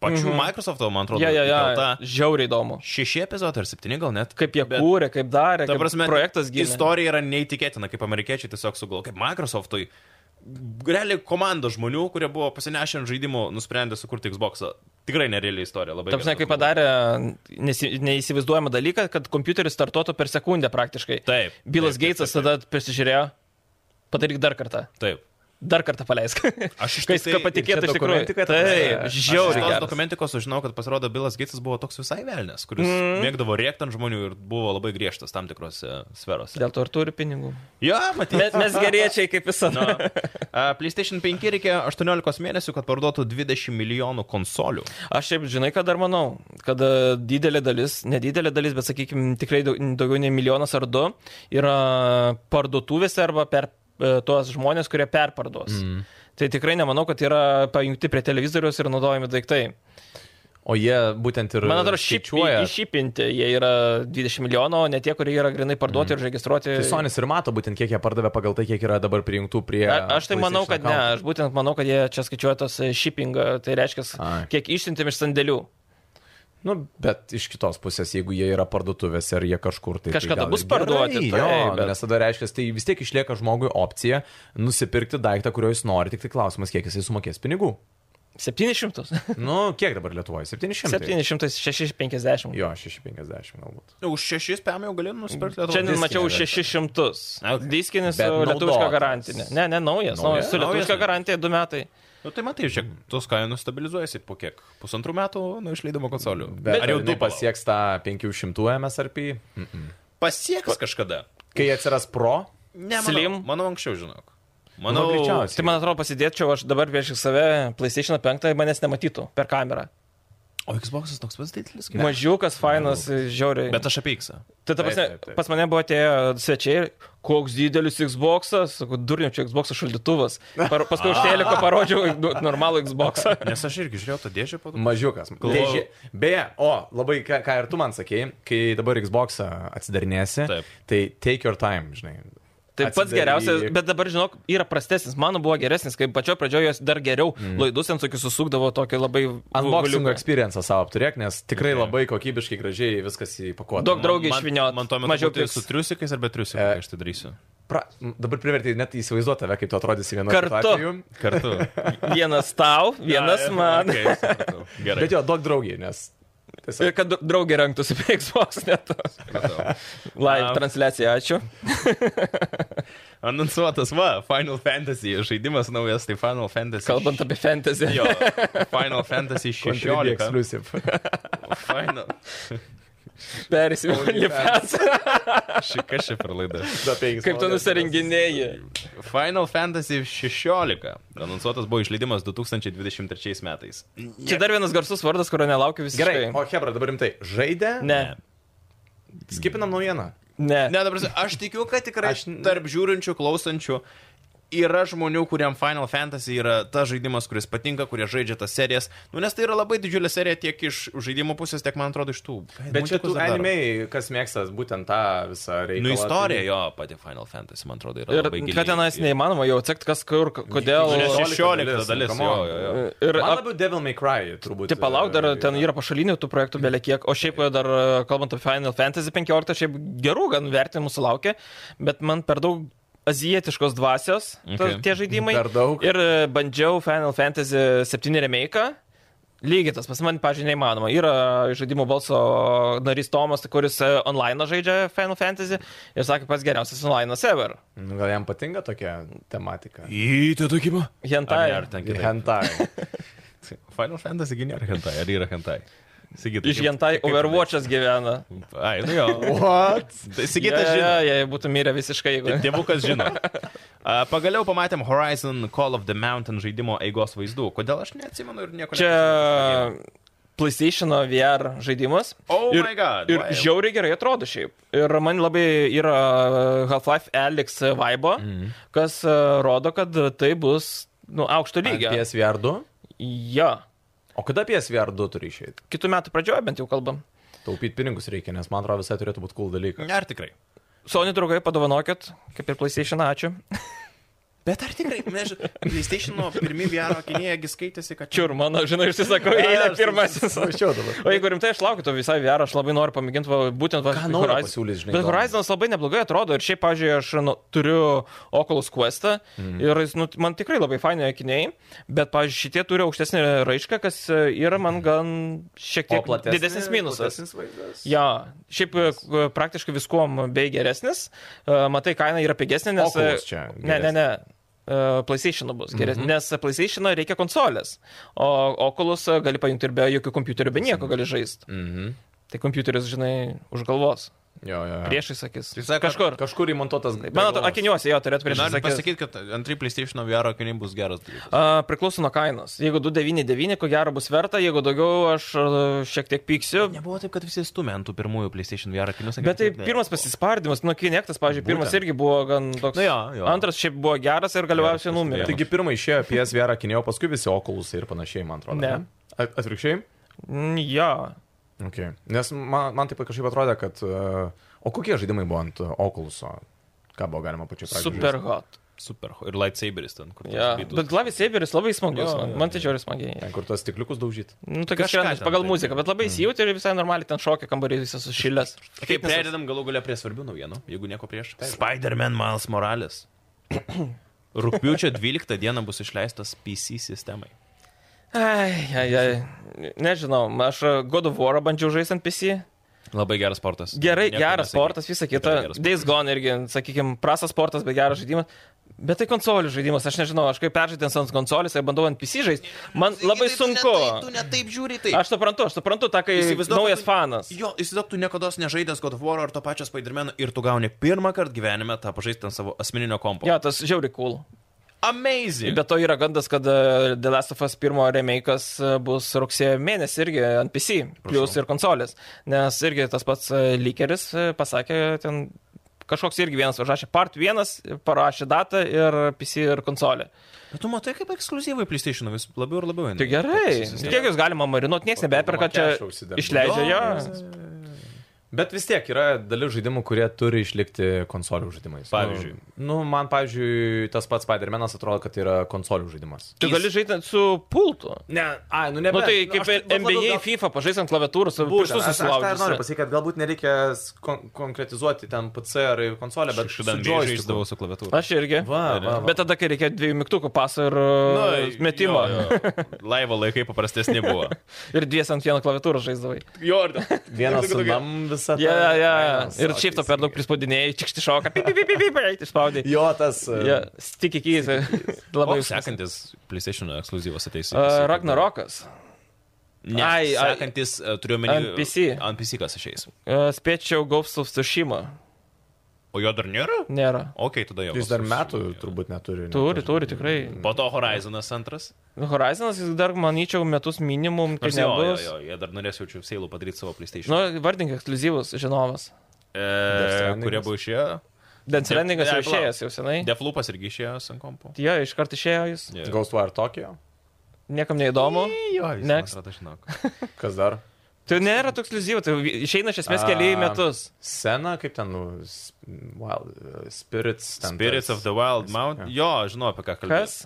Speaker 1: Pačių mm -hmm. Microsoft'o, man atrodo,
Speaker 2: Mhm. Ja, ja, ja.
Speaker 1: įkelta
Speaker 2: Žiauriai įdomu.
Speaker 1: Šeši epizodai ar septyni gal net.
Speaker 2: Kaip jie
Speaker 1: Bet-
Speaker 2: kūrė, kaip darė,
Speaker 1: Ta
Speaker 2: kaip
Speaker 1: prasme,
Speaker 2: projektas gimė.
Speaker 1: Istorija yra neįtikėtina, kaip amerikiečiai tiesiog sugalvo, kaip Microsoftui. Realiai komanda žmonių, kurie buvo pasinešę ant žaidimų, nusprendė sukurti Xbox. Tikrai nereali istorija, labai.
Speaker 2: Taip, žinai,
Speaker 1: geras
Speaker 2: kaip
Speaker 1: dokumentas.
Speaker 2: padarė nesi- neįsivaizduojamą dalyką, kad kompiuteris startuotų per sekundę praktiškai.
Speaker 1: Taip.
Speaker 2: Bilas
Speaker 1: taip, taip,
Speaker 2: Geitsas
Speaker 1: taip,
Speaker 2: tada prisižiūrėjo, padaryk dar kartą,
Speaker 1: Taip.
Speaker 2: dar kartą paleisk.
Speaker 1: Aš iš
Speaker 2: Kai jis
Speaker 1: tai- ir
Speaker 2: patikėtų
Speaker 3: čia
Speaker 2: iš tikrųjų.
Speaker 3: dokumentika, ta prasme,
Speaker 2: Taip,
Speaker 3: aš
Speaker 1: Aš iš
Speaker 2: žiauriai.
Speaker 1: tos
Speaker 2: geras.
Speaker 1: dokumentikos sužinojau, kad pasirodo Bilas Geitsas buvo toks visai velnės, kuris mm. mėgdavo rėkti ant žmonių ir buvo labai griežtas tam tikrose sferose.
Speaker 2: Dėl to ir turi pinigų.
Speaker 1: Jo, matyt.
Speaker 2: Mes, mes geriečiai kaip
Speaker 1: Nu,
Speaker 2: visada.
Speaker 1: a, PlayStation 5 reikėjo 18 mėnesių, kad parduotų 20 milijonų konsolių.
Speaker 2: Aš šiaip žinai, ką dar manau, kad e, didelė dalis, nedidelė dalis, bet sakykime, tikrai daug- daugiau nei milijonas ar du yra parduotuvėse arba per e, tuos žmonės, kurie perparduos. Mm. Tai tikrai nemanau, kad yra pajungti prie televizorius ir naudojami daiktai.
Speaker 3: O jie būtent ir...
Speaker 2: Man atrodo,
Speaker 3: skaičiuoja.
Speaker 2: šipiuoja. Išipinti jie yra 20 milijonų, o ne tie, kurie yra grinai parduoti mm. ir registruoti.
Speaker 3: Tai Sonis ir mato būtent, kiek jie pardavė pagal tai, kiek yra dabar prijungtų prie...
Speaker 2: A- Aš tai manau, kad ne,
Speaker 3: PlayStation
Speaker 2: aš būtent manau, kad jie čia skaičiuoja tos e, shipping, e, tai reiškia,
Speaker 3: Ai.
Speaker 2: kiek išsiuntėm iš sandėlių.
Speaker 3: account. Nu, bet iš kitos pusės, jeigu jie yra parduotuvėse ar jie kažkur tai... tai
Speaker 2: Kažkada
Speaker 3: gal
Speaker 2: bus
Speaker 3: ir
Speaker 2: parduoti,
Speaker 3: gerai,
Speaker 2: tai,
Speaker 3: jo,
Speaker 2: bet-
Speaker 3: Nes tada reiškia, tai vis tiek išlieka žmogui opcija nusipirkti daiktą, kurio jis nori, tik tai klausimas, kiek jisai sumokės pinigų.
Speaker 2: 700.
Speaker 3: Nu, kiek dabar Lietuvoje? 700.
Speaker 2: 750.
Speaker 3: Jo, 650 galbūt.
Speaker 1: Už 6 pėm jau gali nusipirkti Lietuvos.
Speaker 2: Šiandien
Speaker 3: diskinė
Speaker 2: mačiau
Speaker 3: vertė.
Speaker 2: 600.
Speaker 1: Ok.
Speaker 2: Diskinis su
Speaker 3: Bet
Speaker 2: e, lietuviška
Speaker 3: naudotas.
Speaker 2: garantinė. Ne, ne, naujas.
Speaker 3: Naujas?
Speaker 2: naujas su
Speaker 1: Naujas,
Speaker 2: lietuviška
Speaker 1: naujas.
Speaker 2: garantija 2 metai.
Speaker 1: Nu, tai matai, žiūrėk, tos kainos stabilizuojasi po kiek? Pusantrų metų nuo išleidimo konsolių.
Speaker 3: Bet
Speaker 1: ar jau du pasieks?
Speaker 3: pasieks tą 500 MSRP? Mm-mm.
Speaker 1: Pasieks kažkada.
Speaker 3: Kai atsiras Pro,
Speaker 1: Ne,
Speaker 2: Slim?
Speaker 1: manau, manau anksčiau, žinok. Manau,
Speaker 3: Nu, greičiausiai.
Speaker 2: Tai man atrodo, pasidėčiau aš dabar prieš save PlayStation 5, manęs nematytų per kamerą.
Speaker 1: O Xbox toks pats didelis kaip.
Speaker 2: Mažiukas, fainas, žiauriai.
Speaker 1: Bet aš apie X.
Speaker 2: Tai ta prasme,
Speaker 3: Taip, taip, taip.
Speaker 2: pas mane buvo atėję svečiai, ir, koks didelis Xbox'as, sakau, durniu čia Xbox'o šaldytuvas. Par, paskui už teleką parodžiau nu, normalų Xbox'ą.
Speaker 1: Nes aš irgi žiūrėjau tą dėžę po to.
Speaker 3: Mažiukas.
Speaker 1: Galvojau-
Speaker 3: Dėžė. Beje, o, labai ką, ką ir tu man sakei, kai dabar Xbox atsidarnėsi,
Speaker 1: Taip.
Speaker 3: tai take your time, žinai.
Speaker 2: Tai pats
Speaker 3: Atsidaryk.
Speaker 2: geriausias, bet dabar, žinok, yra prastesnis. Mano buvo geresnis, kai pačio pradžioje jos dar geriau mm. laidus ant tokių susukdavo tokį labai...
Speaker 3: Unboxing
Speaker 2: guliuką.
Speaker 3: experience savo apturėk, nes tikrai
Speaker 1: Okay.
Speaker 3: labai kokybiškai gražiai viskas įpakuota.
Speaker 2: Daug- Draugė išvyniot,
Speaker 1: Man to
Speaker 2: mažiau
Speaker 1: mažiau tai
Speaker 2: pigs.
Speaker 1: su triusikais ar be triusikų,
Speaker 3: E.
Speaker 1: kai aš tai darysiu.
Speaker 3: Pra... Dabar privertai net įsivaizduoti tave, kaip tu atrodysi vienu
Speaker 2: Kartu.
Speaker 1: Kartu.
Speaker 2: Vienas tau, vienas
Speaker 1: Ja,
Speaker 2: man.
Speaker 1: Okay, supratau. Gerai.
Speaker 3: Bet jo, daug draugiai, nes
Speaker 2: Ir
Speaker 3: tiesiog
Speaker 2: kad dra- draugė ranktųsi prie Xbox net.
Speaker 1: supratau.
Speaker 2: Live
Speaker 1: Na.
Speaker 2: transliacija, ačiū.
Speaker 1: Anonsuotas, va, Final Fantasy, žaidimas naujas, tai Final Fantasy.
Speaker 2: Kalbant apie fantasy.
Speaker 1: Jo, Final Fantasy 16.
Speaker 3: contribute exclusive.
Speaker 1: Final...
Speaker 2: Perėsime į OnlyFans.
Speaker 1: Ši- Kas čia per laida?
Speaker 3: Da, penkis
Speaker 2: Kaip tu
Speaker 3: žmonės.
Speaker 2: nusirenginėjai?
Speaker 1: Final Fantasy 16. Anonsuotas buvo išleidimas 2023 metais.
Speaker 2: Čia dar vienas garsus vardas, kurio nelaukiu visi.
Speaker 3: Gerai, o Hebra dabar rimtai. Žaidė?
Speaker 2: Ne,
Speaker 3: Skipinam naujieną.
Speaker 2: ne. ne.
Speaker 1: Ne, dabar aš tikiu, kad tikrai aš...
Speaker 3: E, Aš-
Speaker 1: tarp žiūrinčių, klausančių yra žmonių, kuriam Final Fantasy yra ta žaidimas, kuris patinka, kurie žaidžia tas serijas. Nu, nes tai yra labai didžiulė serija tiek iš žaidimo pusės, tiek, man atrodo, iš tų.
Speaker 3: Bet čia
Speaker 1: multikus
Speaker 3: tu
Speaker 1: dar daro.
Speaker 3: animiai, kas mėgsta būtent tą visą reikalą.
Speaker 1: Nu, istorija
Speaker 3: tai-
Speaker 1: jo pati Final Fantasy, man atrodo, yra
Speaker 2: Ir
Speaker 1: labai gili.
Speaker 2: kad tenais neįmanoma jau atsekti, kas kur, k- kodėl.
Speaker 1: Nu, nes
Speaker 3: 16
Speaker 1: 16 dalis.
Speaker 3: come
Speaker 1: Jo,
Speaker 3: on.
Speaker 1: jo, jo.
Speaker 2: Ir
Speaker 3: Man
Speaker 2: ap-
Speaker 3: labiau Devil May Cry, turbūt.
Speaker 2: Tai palauk, dar
Speaker 3: e,
Speaker 2: ten yra pašalinių tų projektų belie kiek, o šiaip dar e, kalbant apie Final Fantasy 15, šiaip gerų gan vertinimų sulaukė, bet man per daug azijietiškos dvasios okay.
Speaker 1: Okay.
Speaker 2: tie žaidimai.
Speaker 3: Per daug.
Speaker 2: Ir e, bandžiau Final Fantasy 7 remake. Lygiai tas, pas man, pažiūrėjau, neįmanoma. Yra žaidimo balso narys Tomas, kuris e, online žaidžia Final Fantasy ir sakė, pats geriausias online ever.
Speaker 3: Nu, gal jam patinka tokia tematika.
Speaker 1: Į, tai tokie buvo.
Speaker 2: Hentai.
Speaker 1: Ar, ne, ar ten kitaip?
Speaker 3: Hentai.
Speaker 1: Final Fantasy gi nėra hentai, ar yra hentai? Sigita,
Speaker 2: Iš
Speaker 1: kaip-
Speaker 2: Hentai
Speaker 1: kaip-
Speaker 2: Overwatch'as gyvena.
Speaker 1: Ai, nu jo.
Speaker 3: What?
Speaker 1: Tai Sigita
Speaker 2: jie,
Speaker 1: žino.
Speaker 2: jie būtų mirę visiškai, jeigu...
Speaker 1: Tėvukas žino. A, Pagaliau pamatėm Horizon Call of the Mountain žaidimo eigos vaizdų. Kodėl aš neatsimenu ir nieko
Speaker 2: Čia PlayStation VR žaidimas.
Speaker 1: Oh
Speaker 2: ir,
Speaker 1: my god.
Speaker 2: Ir
Speaker 1: wow.
Speaker 2: žiauriai gerai atrodo šiaip. Ir man labai yra Half-Life Alex vibo,
Speaker 1: Mhm.
Speaker 2: mm. kas e, rodo, kad tai bus nu, aukšto lygio.
Speaker 3: PSVR 2?
Speaker 2: Ja.
Speaker 3: O kada PSVR 2 turi išeiti?
Speaker 2: Kitų metų pradžioje bent jau kalbam.
Speaker 3: Taupyti pinigus reikia, nes man atrodo visai turėtų būti cool dalykas.
Speaker 1: Ar tikrai?
Speaker 2: Sony draugai padovanokit, kaip ir PlayStation, ačiū.
Speaker 1: Bet ar tikrai? Mes, PlayStation pirmie VR akiniejegi skaitėsi, kad
Speaker 2: Čiur, mano, žinai, išsisakau, eilė pirmasis.
Speaker 3: Mačiau dabar.
Speaker 2: O jeigu rimtai, aš laukiu to visai VR, aš labai noriu pamėginti va, būtent va,
Speaker 3: Ką naujo pasiūlys, žinai,
Speaker 2: Bet
Speaker 3: įdomu.
Speaker 2: Horizons labai neblogai atrodo ir šiaip, pažiūrėjau, aš nu, turiu Oculus Questą
Speaker 3: Mhm.
Speaker 2: mm. ir jis, nu, man tikrai labai faini akiniai, bet, pažiūrėjau, šitie turi aukštesnį raišką, kas e, yra
Speaker 3: Mhm.
Speaker 2: man gan šiek tiek didesnis minusas.
Speaker 3: platesnis vaizdas.
Speaker 2: Ja, šiaip e, k- praktiškai viskuom bei geresnis, E, matai, kaina yra pigesnė, nes... e,
Speaker 3: Oculus čia
Speaker 2: Ne, ne, ne. e, PlayStation bus geresnis, mm -hmm. nes PlayStation reikia konsolės, o Oculus e, gali pajungti ir be jokių kompiuterių, be nieko gali žaisti.
Speaker 3: Mhm.
Speaker 2: Tai kompiuteris, žinai, už galvos,
Speaker 3: Jo, jo. jo.
Speaker 2: priešais akis.
Speaker 1: Tai sako,
Speaker 2: Kažkur.
Speaker 3: Kažkur įmontuotas.
Speaker 2: Mano akiniuose jo turėtų prieš
Speaker 1: Noriu
Speaker 2: akis.
Speaker 1: pasakyti, kad antrai PlayStation VR akiniai bus geras. dalykas.
Speaker 2: A, priklauso nuo kainos. Jeigu 299, ko gero bus verta, jeigu daugiau aš a, šiek tiek pyksiu.
Speaker 1: Nebuvo taip, kad visi stumė ant tų pirmųjų PlayStation VR akinių. sakė,
Speaker 2: Bet tai
Speaker 1: kad ne.
Speaker 2: pirmas pasispardimas, nu, Kinektas, pavyzdžiui, pirmas
Speaker 1: Būtent.
Speaker 2: irgi buvo gan toks.
Speaker 1: Nu jo, jo.
Speaker 2: Antras šiaip buvo geras ir galiausiai numirė.
Speaker 3: Taigi pirmą išėjo PSVR akinėjo, paskui visi okulusai ir panašiai, man atrodo.
Speaker 2: Ne.
Speaker 3: A- Atvirkščiai?
Speaker 2: Mm, Jo.
Speaker 3: Okay. Nes man, man taip kažkaip atrodė, kad... Uh, o kokie žaidimai buvo ant okuluso? Ką buvo galima pačiu pradžiu
Speaker 2: Super hot.
Speaker 1: Super. ho- Ir lightsaberis ten, kur
Speaker 2: Ja.
Speaker 1: tas
Speaker 2: Bet Glavis Eberis labai smagus,
Speaker 1: Jo,
Speaker 2: man,
Speaker 1: jo,
Speaker 2: man tai žiauri smagiai.
Speaker 3: Ten, kur tas stikliukus daužyti.
Speaker 2: Nu, tai
Speaker 1: Kažką
Speaker 2: kažkas
Speaker 1: ten Mhm.
Speaker 2: pagal
Speaker 1: taip.
Speaker 2: muziką, bet labai įsijauti ir visai normaliai ten šokia kambarys visas sušilęs.
Speaker 1: Kaip perėdam galų galę prie svarbių naujienų, jeigu nieko prieš. Spider-Man Miles Morales. Rūpiučio 12 dieną bus išleistas PC sistemai.
Speaker 2: Ai, ai, ai. Nežinau, aš e, God of War bandžiau žaisti ant PC.
Speaker 1: Labai geras sportas.
Speaker 2: Gerai,
Speaker 1: Nieko
Speaker 2: geras
Speaker 1: nesakyk.
Speaker 2: sportas, visa
Speaker 1: Gerai,
Speaker 2: kita.
Speaker 1: geras
Speaker 2: Days Gone irgi, sakykime, prastas sportas, bet geras žaidimas. Bet tai konsolių žaidimas, aš nežinau, aš kaip peržaidęs ant konsolės, ar bandau ant PC žaisti, man labai sunku.
Speaker 1: tai Tu netaip žiūri tai.
Speaker 2: Aš suprantu, aš suprantu tą, kai
Speaker 1: Įsivaizduok,
Speaker 2: naujas
Speaker 1: kad tu-
Speaker 2: fanas.
Speaker 1: Jo, įsivaizduok, tu niekada nežaidęs God of War ar to pačio Spider-Man ir tu gauni pirmą kartą gyvenime tą pažaisti ant savo asmeninio kompo.
Speaker 2: Jo, tas žiauri cool.
Speaker 1: Amazing.
Speaker 2: Bet to yra gandas, kad e, The Last of Us pirmo remake'as e, bus rugsėjo mėnesį irgi ant PC, plus ir konsolės. Nes irgi tas pats e, leakeris e, pasakė, ten kažkoks irgi vienas užrašė part 1, parašė datą ir PC ir konsolė.
Speaker 1: Bet tu matai, kaip ekskluzyvai PlayStation vis labiau ir labiau eina.
Speaker 2: Tai gerai, kiek jūs galima marinuoti, niekas nebeperka čia
Speaker 3: Papildomą cashą užsideda.
Speaker 2: išleidžia jo.
Speaker 1: Oh.
Speaker 3: Bet vis tiek yra dalis žaidimų, kurie turi išlikti konsolių žaidimais.
Speaker 1: Pavyzdžiui?
Speaker 3: Nu, nu, man, pavyzdžiui, tas pats Spider-Man'as atrodo, kad tai yra konsolių žaidimas.
Speaker 2: Tu gali žaisti su pultu.
Speaker 3: Ne, ai, nu ne.
Speaker 2: Na nu, tai kaip ir NBA, FIFA, pažaisant klaviatūrų, su
Speaker 3: Būtent,
Speaker 2: pirštu
Speaker 3: Nu, tai aš, aš tą ir noriu
Speaker 2: susilaužęs.
Speaker 3: pasakyti, kad galbūt nereikia s- kon konkretizuoti ten PC ar konsolę, bet su
Speaker 1: Šitą
Speaker 3: joysticku.
Speaker 1: žaisdavau su klaviatūra.
Speaker 2: Aš irgi.
Speaker 3: Va, va, va.
Speaker 2: Bet tada, kai reikia dviejų mygtukų paso ir e, metimo.
Speaker 1: Nu, Laivo laikai paprastesni buvo.
Speaker 2: Ir dvies ant vieno klaviatūros žaisdavai.
Speaker 1: Jordan.
Speaker 3: vienas nam visą nu,
Speaker 2: Ja, ja, ja. Ir šiaip to
Speaker 3: to
Speaker 2: per daug prispaudinėjai, čikšti šoka, pi, pi, pi, pi, pi, pi, išspaudai.
Speaker 3: Jo, tas. e,
Speaker 2: Ja, Stikį keisą. Labai
Speaker 1: Labai
Speaker 2: užsakai.
Speaker 1: sekantis PlayStation ekskluzyvas ateis. į
Speaker 2: E,
Speaker 1: PC.
Speaker 2: Ragnarokas.
Speaker 1: Ne,
Speaker 2: Ai, ai.
Speaker 1: sekantis e, turiu omeny.
Speaker 2: Ant PC.
Speaker 1: Ant PC kas išeis.
Speaker 2: E, Spėčiau Ghost of Tsushima.
Speaker 1: O jo dar nėra?
Speaker 2: Nėra.
Speaker 1: Ok, tada jau.
Speaker 3: Tai Jis dar metų turbūt neturi.
Speaker 2: Turi, turi, tikrai.
Speaker 1: Po to Horizonas antras.
Speaker 2: Horizonas jis dar, manyčiau, metus minimum, kai
Speaker 1: Nors jo, jo,
Speaker 2: nebus.
Speaker 1: jo, jie dar norės jaučiu seilų padaryti savo PlayStation.
Speaker 2: Nu, vardink ekskluzyvus, žinovas.
Speaker 1: e,
Speaker 3: Strandingas.
Speaker 1: kurie buvo išėję.
Speaker 2: Dance
Speaker 1: Def-
Speaker 2: Landingas jau
Speaker 1: ne, palauk.
Speaker 2: išėjęs jau senai.
Speaker 1: Deflupas irgi išėjo ant kompo.
Speaker 2: Jo, iškart išėjo jis.
Speaker 1: Jo, jo.
Speaker 3: Ghostwire Tokyo.
Speaker 2: Niekam neįdomu.
Speaker 1: Jo, jis, man
Speaker 2: Next.
Speaker 1: atrodo, žinok.
Speaker 3: Kas dar?
Speaker 2: Tai nėra toks liuzyvų, tai išeina iš esmės keliai
Speaker 3: A,
Speaker 2: metus.
Speaker 3: Sena, kaip ten, nu, s- Wild, uh, Spirits. Ten
Speaker 1: Spirits
Speaker 3: tas-
Speaker 1: of the Wild Mount. Jo, žinau apie ką kalbėti.
Speaker 2: Kas?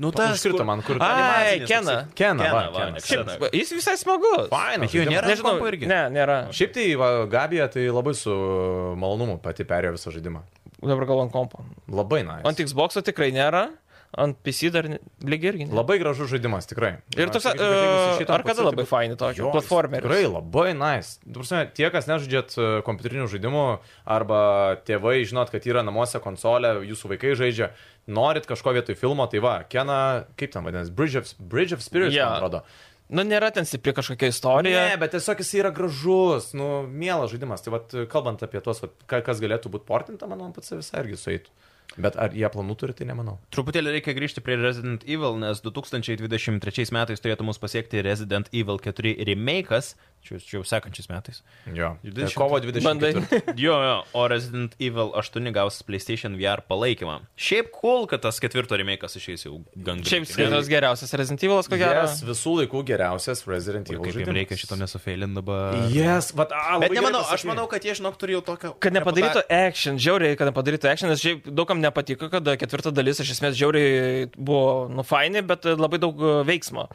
Speaker 1: Nu,
Speaker 3: Tas skrito man, kur.
Speaker 2: Ai,
Speaker 1: animacinis
Speaker 2: Kena.
Speaker 3: Kena,
Speaker 1: Kena,
Speaker 3: va,
Speaker 1: va,
Speaker 3: Kena.
Speaker 1: ne,
Speaker 3: Šiaip-
Speaker 1: Kena.
Speaker 2: Jis visai smagus.
Speaker 3: Fainas
Speaker 1: Bet jo
Speaker 3: žaidimas.
Speaker 1: nėra ant kompo irgi?
Speaker 2: Ne, nėra.
Speaker 3: Šiaip tai, va, Gabija, tai labai su malonumu pati perėjo visą žaidimą.
Speaker 2: Dabar gal ant kompo.
Speaker 3: Labai, na.
Speaker 2: Ant Xbox tikrai nėra, ant PC dar ne- lyg irgi nėra.
Speaker 3: Labai gražus žaidimas, tikrai.
Speaker 2: Ir toks,
Speaker 3: Aš sakyčiau, kad jeigu jis
Speaker 2: uh,
Speaker 3: išeitų ant
Speaker 2: arkada
Speaker 3: PC,
Speaker 2: labai
Speaker 3: tai būtų-
Speaker 2: faini tokio,
Speaker 3: Jo, jis
Speaker 2: platformeris.
Speaker 3: Tikrai labai nice. Ta Prasme, tie, kas nežaidžiat e, kompiuterinių žaidimų, arba tėvai žinot, kad yra namuose konsolė, jūsų vaikai žaidžia, norit kažko vietoj filmo, tai va, Kena, kaip ten vadinasi, Bridge of, Bridge of Spirits,
Speaker 2: Jo.
Speaker 3: yeah. man atrodo.
Speaker 2: Nu, nėra ten stipri kažkokia istorija.
Speaker 3: Ne, bet tiesiog jis yra gražus, nu, mielas žaidimas. Tai vat, kalbant apie tuos, vat, ka- kas galėtų būti portinta, manau, pats visai irgi sueitų. Bet ar jie planų turi, tai nemanau.
Speaker 1: Truputėlį reikia grįžti prie Resident Evil, nes 2023 metais turėtų mus pasiekti Resident Evil 4 remake'as, čia čia jau sekančiais metais.
Speaker 3: Jo.
Speaker 1: Dvidešimt-
Speaker 3: Kovo 20.
Speaker 2: Bandai.
Speaker 1: Jo, jo, o Resident Evil 8 gaus PlayStation VR palaikymą. Šiaip cool, kad tas ketvirto remake'as išeis jau gan
Speaker 2: Šiaip
Speaker 1: greitai, ne?
Speaker 2: skaitos geriausias Resident Evilas, ko gero.
Speaker 3: Geras visų laikų geriausias Resident
Speaker 1: Ir
Speaker 3: Evil
Speaker 1: Kaip
Speaker 3: žaidimas.
Speaker 1: jiems reikia šito nesufeilinti dabar.
Speaker 3: Yes, vat, a,
Speaker 1: Bet nemanau, aš manau, kad jie, žinok, turi jau tokią...
Speaker 2: Kad nepadarytų action, žiauriai, kad nepadarytų action, nes šiaip daugam nepatiko, kad e, ketvirta dalis iš esmės žiauriai buvo nufaini, bet labai daug e, veiksmo.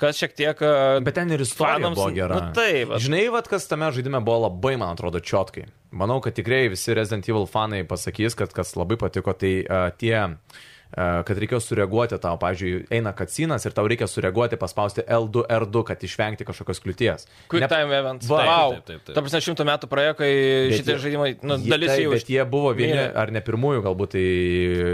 Speaker 2: Kas šiek tiek... e,
Speaker 3: Bet ten ir istorija
Speaker 2: fanams-
Speaker 3: buvo gera.
Speaker 2: Nu, taip, vat.
Speaker 3: Žinai, vat, kas tame žaidime buvo labai, man atrodo, čiotkai. Manau, kad tikrai visi Resident Evil fanai pasakys, kad kas labai patiko, tai uh, tie, uh, kad reikėjo sureaguoti tau, pavyzdžiui, eina kacinas ir tau reikia sureaguoti, paspausti L2, R2, kad išvengti kažkokios kliūties.
Speaker 2: Quick
Speaker 3: Ne-
Speaker 2: ne... time events.
Speaker 3: Va.
Speaker 2: Va, wow.
Speaker 1: Taip, taip, taip, taip.
Speaker 2: Ta prasme, šimtų metų praėjo, kai
Speaker 3: Bet
Speaker 2: šitie
Speaker 3: jie-
Speaker 2: žaidimai, nu,
Speaker 3: jie-
Speaker 2: dalis
Speaker 3: taip,
Speaker 2: jų
Speaker 3: Bet jie buvo vieni,
Speaker 2: mirė.
Speaker 3: ar ne pirmųjų, galbūt, į...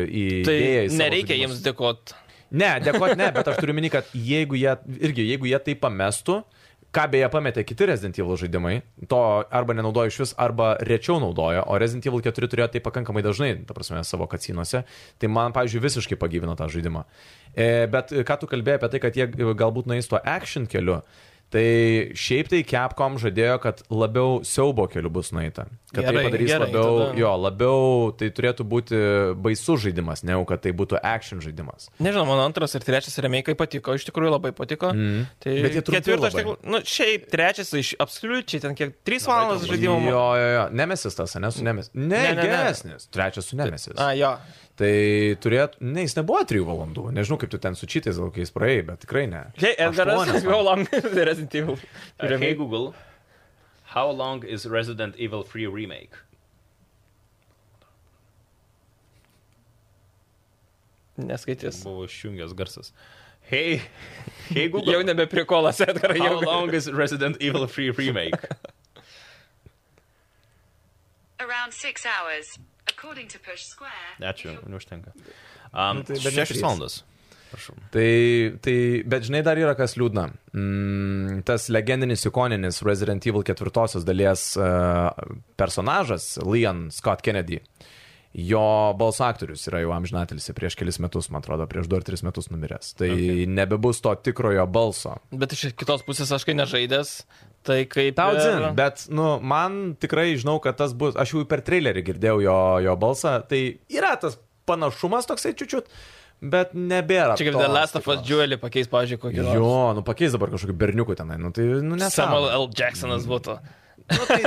Speaker 3: į
Speaker 2: Tai
Speaker 3: idėją į savo
Speaker 2: nereikia
Speaker 3: žaidimus.
Speaker 2: jiems dėkoti.
Speaker 3: Ne, dėkoti ne, bet aš turiu minį, kad jeigu jie, irgi, jeigu jie tai pamestų, ką beje pametė kiti Resident Evil žaidimai, to arba nenaudoja iš vis, arba rečiau naudoja, o Resident Evil 4 turėjo tai pakankamai dažnai, ta prasme, savo kacinuose, tai man, pavyzdžiui, visiškai pagyvino tą žaidimą. E, bet e, ką tu kalbėjai apie tai, kad jie galbūt nueis tuo action keliu. Tai šiaip tai Capcom žadėjo, kad labiau siaubo keliu bus nueita. Kad gerai,
Speaker 2: Gerai,
Speaker 3: tai padarys
Speaker 2: gerai,
Speaker 3: gerai, labiau,
Speaker 2: tada-
Speaker 3: tada... jo, labiau tai turėtų būti baisus žaidimas, ne jau kad tai būtų action žaidimas.
Speaker 2: Nežinau, mano antras ir trečias remake patiko, iš tikrųjų labai patiko. Mm. Tai
Speaker 3: Mhm. Bet jie trumpi
Speaker 2: ketvirtas,
Speaker 3: labai.
Speaker 2: na, nu, šiaip trečias, tai iš absoliučiai ten kiek 3 valandas žaidimo. Mm.
Speaker 3: Jo, jo, jo. Nemesis tas, ne su Nemesis. Ne, ne,
Speaker 2: Ne, ne,
Speaker 3: ne
Speaker 2: ne.
Speaker 3: geresnis. Trečias su Nemesis.
Speaker 2: A, jo.
Speaker 3: Tai turėtų, ne, jis nebuvo 3 valandų. Nežinau, kaip tu ten su čitais laukiais praėjai, bet tikrai ne.
Speaker 2: Hei, Edgaras,
Speaker 3: Aštuonias,
Speaker 2: jau long Resident Evil.
Speaker 1: Uh, hey Google, how long is Resident Evil 3 remake?
Speaker 2: Neskaitys.
Speaker 1: Buvo išjungęs garsas. Hey, hey Google.
Speaker 2: Jau nebe prikolas, Edgaras,
Speaker 1: How
Speaker 2: jau.
Speaker 1: long is Resident Evil 3 remake?
Speaker 4: Around six hours, according to Push Square.
Speaker 1: Ačiū,
Speaker 4: if you're-
Speaker 1: neužtenka. Um,
Speaker 3: Nu, tai bet ne
Speaker 1: 6
Speaker 3: trys.
Speaker 1: valandos. Prašau.
Speaker 3: Tai, tai, bet žinai, dar yra kas liūdna. Mm, tas legendinis, ikoninis e, Resident Evil ketvirtosios dalies uh, personažas, Leon Scott Kennedy, Jo balso aktorius yra jau amžinatelis, prieš kelis metus, man atrodo, prieš 2-3 metus numiręs. Tai okay. nebebus to tikrojo balso.
Speaker 2: Bet iš kitos pusės aš kai nežaidęs, tai kaip...
Speaker 3: Tau
Speaker 2: ir-
Speaker 3: dzin, bet, nu, man tikrai žinau, kad tas bus, aš jau per trailerį girdėjau jo, jo balsą, tai yra tas panašumas toksai čiučiut, bet nebėra.
Speaker 2: Čia kaip
Speaker 3: tos
Speaker 2: The Last of Us
Speaker 3: tikros.
Speaker 2: Jewelį pakeis, pažiūrėjau, kokį nors.
Speaker 3: Jo, nu pakeis dabar kažkokį berniukų tenai, nu tai, nu
Speaker 2: Samuel
Speaker 3: nesąmonė.
Speaker 2: L. Jacksonas būtų.
Speaker 3: Nu, tai,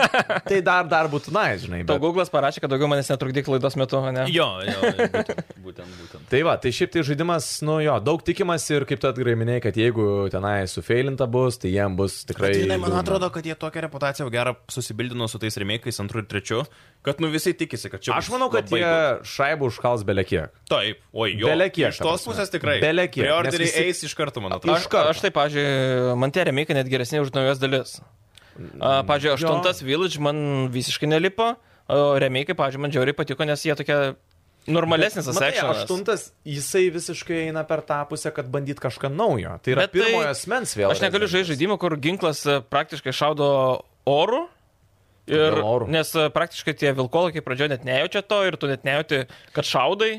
Speaker 3: tai dar, dar būtų, na, žinai,
Speaker 2: Tau
Speaker 3: bet.
Speaker 2: Google'as parašė, kad daugiau manęs netrukdyk laidos metu, ne?
Speaker 1: Jo, jo, būtent, būtent. būtent.
Speaker 3: Tai va, tai šiaip tai žaidimas, nu jo, daug tikimas ir kaip tu atgraiminėjai, kad jeigu tenai sufeilinta bus, tai jiem bus tikrai...
Speaker 1: Bet, žinai, man
Speaker 3: liūdna.
Speaker 1: atrodo, kad jie tokią reputaciją gerą susibildino su tais remėkais antrų ir trečių, kad nu visi tikisi, kad čia...
Speaker 3: Aš
Speaker 1: bus
Speaker 3: manau, kad
Speaker 1: labai
Speaker 3: jie
Speaker 1: daug.
Speaker 3: šaibų užkals belekiek.
Speaker 1: Taip, oi, jo.
Speaker 3: Belekiek,
Speaker 1: Iš
Speaker 3: ta
Speaker 1: tos
Speaker 3: prasme.
Speaker 1: pusės tikrai.
Speaker 3: Belekiek, nes
Speaker 1: Preorderiai
Speaker 3: visi-
Speaker 1: eis iš karto, man atrodo.
Speaker 2: Aš,
Speaker 3: Iš karto.
Speaker 2: aš tai, pažiūrėjau, man tie remikai net geresni už naujas dalis. A, Pavyzdžiui,
Speaker 3: Jo.
Speaker 2: aštuntas Village man visiškai nelipo, o remikai, pažiūrėjau, man džiauriai patiko, nes jie tokie normalesnis
Speaker 3: Matai,
Speaker 2: asmeniškas.
Speaker 3: tai aštuntas, jisai visiškai eina per tą pusę, kad bandyt kažką naujo. Tai yra
Speaker 2: Bet tai-
Speaker 3: pirmojo asmens vėl.
Speaker 2: Aš negaliu žaisti žaidimą, kur ginklas a, praktiškai šaudo oru. Ir,
Speaker 3: Kodėl oru?
Speaker 2: nes a, praktiškai tie vilkolakiai pradžioje net nejaučia to ir tu net nejauti, kad šaudai.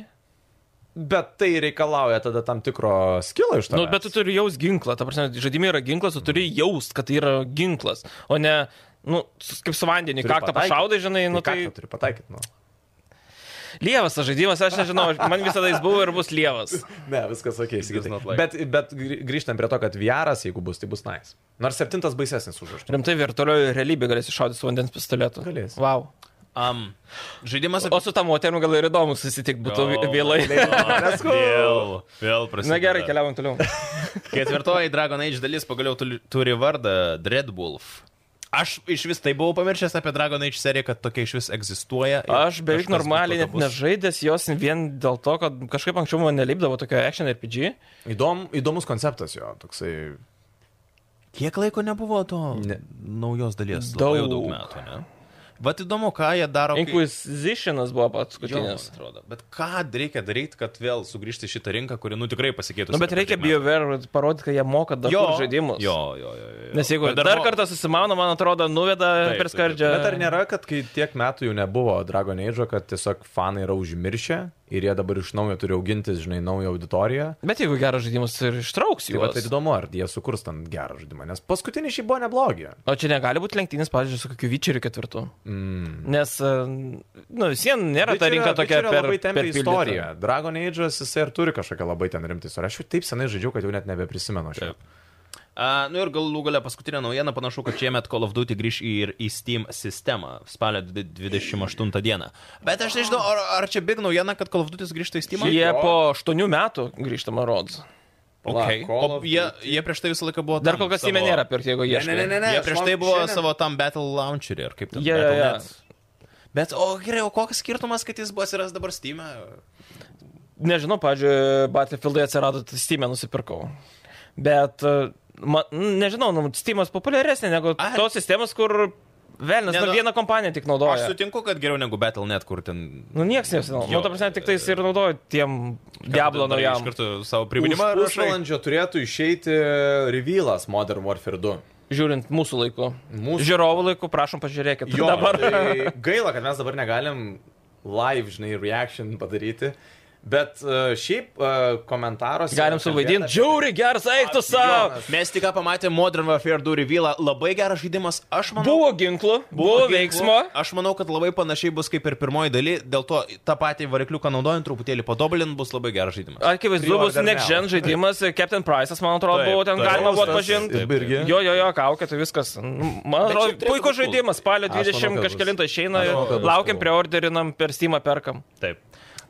Speaker 3: Bet tai reikalauja tada tam tikro skilo iš to.
Speaker 2: Nu, bet tu turi jaust ginklą, ta prasme, žaidime yra ginklas, tu turi jaust, kad tai yra ginklas, o ne, nu, su- kaip su vandeniu, kaktą pašaudai, žinai, nu tai...
Speaker 3: Turi pataikyti, nu.
Speaker 2: Lievas tas žaidimas, aš nežinau, aš- man visada jis buvo ir bus lievas.
Speaker 3: Ne, viskas ok,
Speaker 1: does
Speaker 3: sakytai.
Speaker 1: not like.
Speaker 3: Bet, bet grį- grįžtam prie to, kad VR, jeigu bus, tai bus nice. Nors septintas baisesnis už aštuntą.
Speaker 2: Rimtai virtualioje realybėje galėsi šaudyti su vandens pistoletu.
Speaker 3: Galėsi.
Speaker 2: Wow.
Speaker 1: Um, žaidimas
Speaker 2: O su tą moterim gal ir įdomu susitikti būtų vi- vėlai.
Speaker 1: Let's
Speaker 3: go.
Speaker 1: Vėl, vėl prasideda.
Speaker 2: Na gerai, keliaujam toliau.
Speaker 1: Ketvirtoji Dragon Age dalis pagaliau tuli- turi vardą Dreadwolf. Aš iš vis tai buvau pamiršęs apie Dragon Age seriją, kad tokia iš vis egzistuoja. ir
Speaker 2: Aš beveik
Speaker 1: kažkas bus
Speaker 2: normaliai net
Speaker 1: tokio bus.
Speaker 2: nežaidęs jos vien dėl to, kad kažkaip anksčiau man nelipdavo tokio action RPG.
Speaker 3: Įdom, įdomus konceptas jo, toksai.
Speaker 1: Kiek laiko nebuvo to
Speaker 3: Ne.
Speaker 1: naujos dalies? Daug,
Speaker 2: Daug.
Speaker 1: daug metų, ne? Vat įdomu, ką jie daro. kai-
Speaker 2: Inquisitionas
Speaker 1: Jo,
Speaker 2: buvo
Speaker 1: man
Speaker 2: paskutinis.
Speaker 1: atrodo. Bet ką reikia daryti, kad vėl sugrįžti į šitą rinką, kuri, nu, tikrai pasikeitus.
Speaker 2: Nu, bet reikia BioWare parodyti, kad jie moka dar jo, žaidimus.
Speaker 1: Jo, jo, jo, jo.
Speaker 2: Nes jeigu
Speaker 1: Bet
Speaker 2: dar
Speaker 1: mo-
Speaker 2: kartą susimauna, man atrodo, nuveda
Speaker 1: Taip,
Speaker 2: per skardžią.
Speaker 1: taip,
Speaker 3: Bet ar nėra, kad kai tiek metų jau nebuvo Dragon Age, kad tiesiog fanai yra užmiršę ir jie dabar iš naujo turi augintis, žinai, naują auditoriją?
Speaker 2: Bet jeigu geras žaidimas ir ištrauks
Speaker 3: Tai
Speaker 2: jų.
Speaker 3: va, tai įdomu, ar jie sukurs ten gerą žaidimą, nes paskutinis šiaip buvo neblogi.
Speaker 2: O čia negali būti lenktynis, pavyzdžiui, su kokiu Vyčeriu ketvirtu. Mm. Nes, e, nu, vis vien nėra ta rinka tokia
Speaker 3: Witcherio
Speaker 2: per,
Speaker 3: labai
Speaker 2: per
Speaker 3: tempia istorija. Dragon Age'as jisai ir turi kažkokią labai ten rimtą istoriją. Aš jau taip senai žaidžiau, kad jau net nebeprisimenu šio.
Speaker 1: Taip. A, nu ir galų galę paskutinė naujiena, panašu, kad šiemet Call of Duty grįž į, ir į Steam sistemą spalio dvi- 28 dieną. Bet aš nežinau, ar, ar čia big naujiena, kad Call of Duty grįžta į Steam?
Speaker 2: Jie po 8 metų grįžtama rods.
Speaker 1: Okay.
Speaker 3: Pala, Call
Speaker 1: O
Speaker 3: of
Speaker 1: jie, jie prieš tai visą laiką buvo...
Speaker 2: Dar
Speaker 1: tam
Speaker 2: kol kas jame
Speaker 1: savo-
Speaker 2: nėra pirkti, jeigu jie.
Speaker 1: Ne, jie prieš tai buvo
Speaker 3: šiandien-
Speaker 1: savo tam Battle Launcherį, ar kaip ten.
Speaker 2: Jo, jo, jo.
Speaker 1: Battle.net. Bet, o gerai, o koks skirtumas, kad jis buvo atsiras dabar Steam'e?
Speaker 2: Nežinau, pavyzdžiui, Battlefield'ai atsirado, tai Steam'e nusipirkau. Bet, e, ma, n- nežinau, nu, Steam'as populiaresnė negu
Speaker 1: Ai.
Speaker 2: tos sistemos, kur velnės,
Speaker 1: Ne,
Speaker 2: nu,
Speaker 1: nu,
Speaker 2: vieną kompaniją tik
Speaker 1: Aš
Speaker 2: naudoja.
Speaker 1: sutinku, kad geriau negu Battle.net, kur ten...
Speaker 2: Nu, nieks nesinau.
Speaker 1: Jo.
Speaker 2: Nu, ta prasme, tik tais ir naudoju tiem Diablo
Speaker 1: Dar
Speaker 2: naujam.
Speaker 1: Iš karto e, savo
Speaker 3: Už
Speaker 1: priminimą rašai.
Speaker 3: pusvalandžio turėtų išeiti revealas Modern Warfare 2.
Speaker 2: Žiūrint mūsų laiku.
Speaker 3: Mūsų-
Speaker 2: Žiūrovų laiku, prašom, pažiūrėkit.
Speaker 3: Jo,
Speaker 2: dabar.
Speaker 3: Tai gaila, kad mes dabar negalim live, žinai, reaction padaryti. Bet uh, šiaip uh, komentaruose.
Speaker 2: Galim suvaidinti. Žiauri, geras aiktas savo.
Speaker 3: Jonas.
Speaker 1: Mes tik ką pamatėme Modern Warfare 2 revealą, labai geras žaidimas, aš manau.
Speaker 2: Buvo ginklų, buvo veiksmo.
Speaker 1: Aš manau, kad labai panašiai bus kaip ir pirmoji daly, dėl to tą patį varikliuką naudojant truputėlį patobulint bus labai geras žaidimas.
Speaker 2: Akivaizdu,
Speaker 3: Priorder
Speaker 2: bus Next Gen
Speaker 3: now.
Speaker 2: žaidimas, Captain Price'as, man atrodo,
Speaker 1: Taip,
Speaker 2: buvo ten
Speaker 1: taip.
Speaker 2: galima buvo
Speaker 1: Jaustas.
Speaker 2: atpažinti.
Speaker 1: Taip,
Speaker 3: Irgi.
Speaker 2: Jo, jo, jo, kaukė, tai viskas. Man
Speaker 1: Bet
Speaker 2: atrodo,
Speaker 1: šiaip turėtų
Speaker 2: puikus
Speaker 1: būt cool.
Speaker 2: žaidimas. Spalio
Speaker 3: Aš manau,
Speaker 2: 20
Speaker 3: kad
Speaker 2: kažkelintą
Speaker 3: bus.
Speaker 2: išeina
Speaker 3: Aš
Speaker 2: ir
Speaker 3: manau, kad bus
Speaker 2: laukiam,
Speaker 3: cool.
Speaker 2: preorderinam, per Steamą perkam.
Speaker 1: Taip.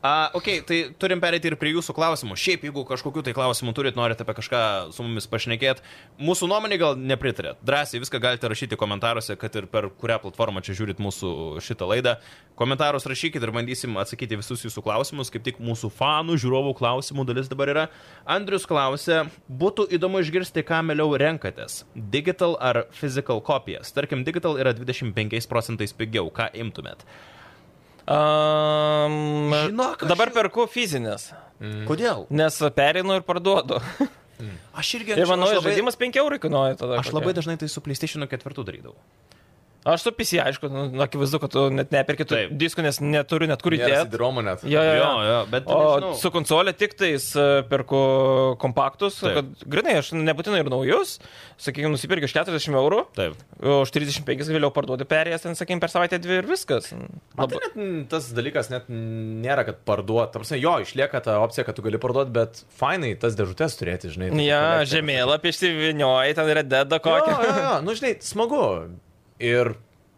Speaker 1: Uh, ok, tai turim perėti ir prie jūsų klausimų. Šiaip, jeigu kažkokių tai klausimų turit, norit apie kažką su mumis pašnekėti, mūsų nuomonė gal nepritarėt. Drąsiai viską galite rašyti komentaruose, kad ir per kurią platformą čia žiūrit mūsų šitą laidą. Komentarus rašykit ir bandysim atsakyti visus jūsų klausimus, kaip tik mūsų fanų, žiūrovų klausimų dalis dabar yra. Andrius klausė, būtų įdomu išgirsti, ką mieliau renkatės - digital ar physical kopijas. Tarkim, digital yra 25 procentais pigiau, ką imtumėt.
Speaker 2: Um,
Speaker 1: Žinok, aš
Speaker 2: dabar
Speaker 1: jau-
Speaker 2: perku fizinės,
Speaker 1: Kodėl?
Speaker 2: nes perinu ir parduodu.
Speaker 1: Aš irgi
Speaker 2: Ir
Speaker 1: anksčiau-
Speaker 2: manau,
Speaker 1: aš
Speaker 2: žaidimas 5 eurų kainuoja tada.
Speaker 1: Aš labai dažnai tai su PlayStation 4 darydavau.
Speaker 2: Aš su PC, aišku, nu, nu, akivaizdu, kad tu net neperki tų
Speaker 1: Taip.
Speaker 2: diskų, nes neturiu net kur
Speaker 3: Nėra
Speaker 2: įdėti.
Speaker 3: CD-ROMų net.
Speaker 2: Jo, jo, jo.
Speaker 1: Jo, jo, bet
Speaker 2: o
Speaker 1: nežinau.
Speaker 2: su konsolė tik tais e, perku kompaktus,
Speaker 1: Taip.
Speaker 2: kad grinai, aš nebūtinai ir naujus, sakykime, nusipirkiu už 40 eurų,
Speaker 1: Taip.
Speaker 2: už 35 vėliau parduoti perėjęs, ten, sakykime, per savaitę dvi ir viskas.
Speaker 3: Man tai net mm, tas dalykas net nėra, kad parduot. Tam prasme, jo, išlieka ta opcija, kad tu gali parduot, bet fainai tas dėžutės turėti, žinai. tai taip,
Speaker 2: Nu, Ja,
Speaker 3: kolekcija.
Speaker 2: žemėlapį išsivinioji, ten yra deda
Speaker 3: Jo,
Speaker 2: kokią.
Speaker 3: jo, jo, nu žinai, smagu. Ir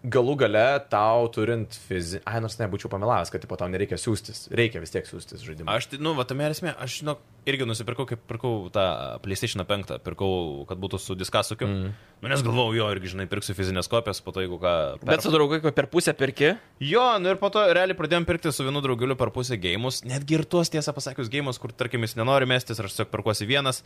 Speaker 3: galų gale tau turint fizinį... Ai, nors nebūčiau pamelavęs, kad tipo, tau nereikia siūstis. Reikia vis tiek siūstis žaidimą.
Speaker 1: Aš, tai, nu, va, tame ir esmė, aš, žinok, irgi nusipirkau, kaip pirkau tą PlayStation 5, pirkau, kad būtų su diskasukiu. Mm. Nu, nes galvojau, jo, irgi, žinai, pirksiu fizinės kopijas, po to, jeigu ką...
Speaker 2: Bet su draugai, kai per pusę pirki,
Speaker 1: Jo, nu ir po to realiai pradėjom pirkti su vienu draugeliu per pusę gėjimus, netgi ir tuos, tiesą pasakius, gėjimus, kur, tarkim, jis nenori mestis, aš tiesiog perkuosi vienas.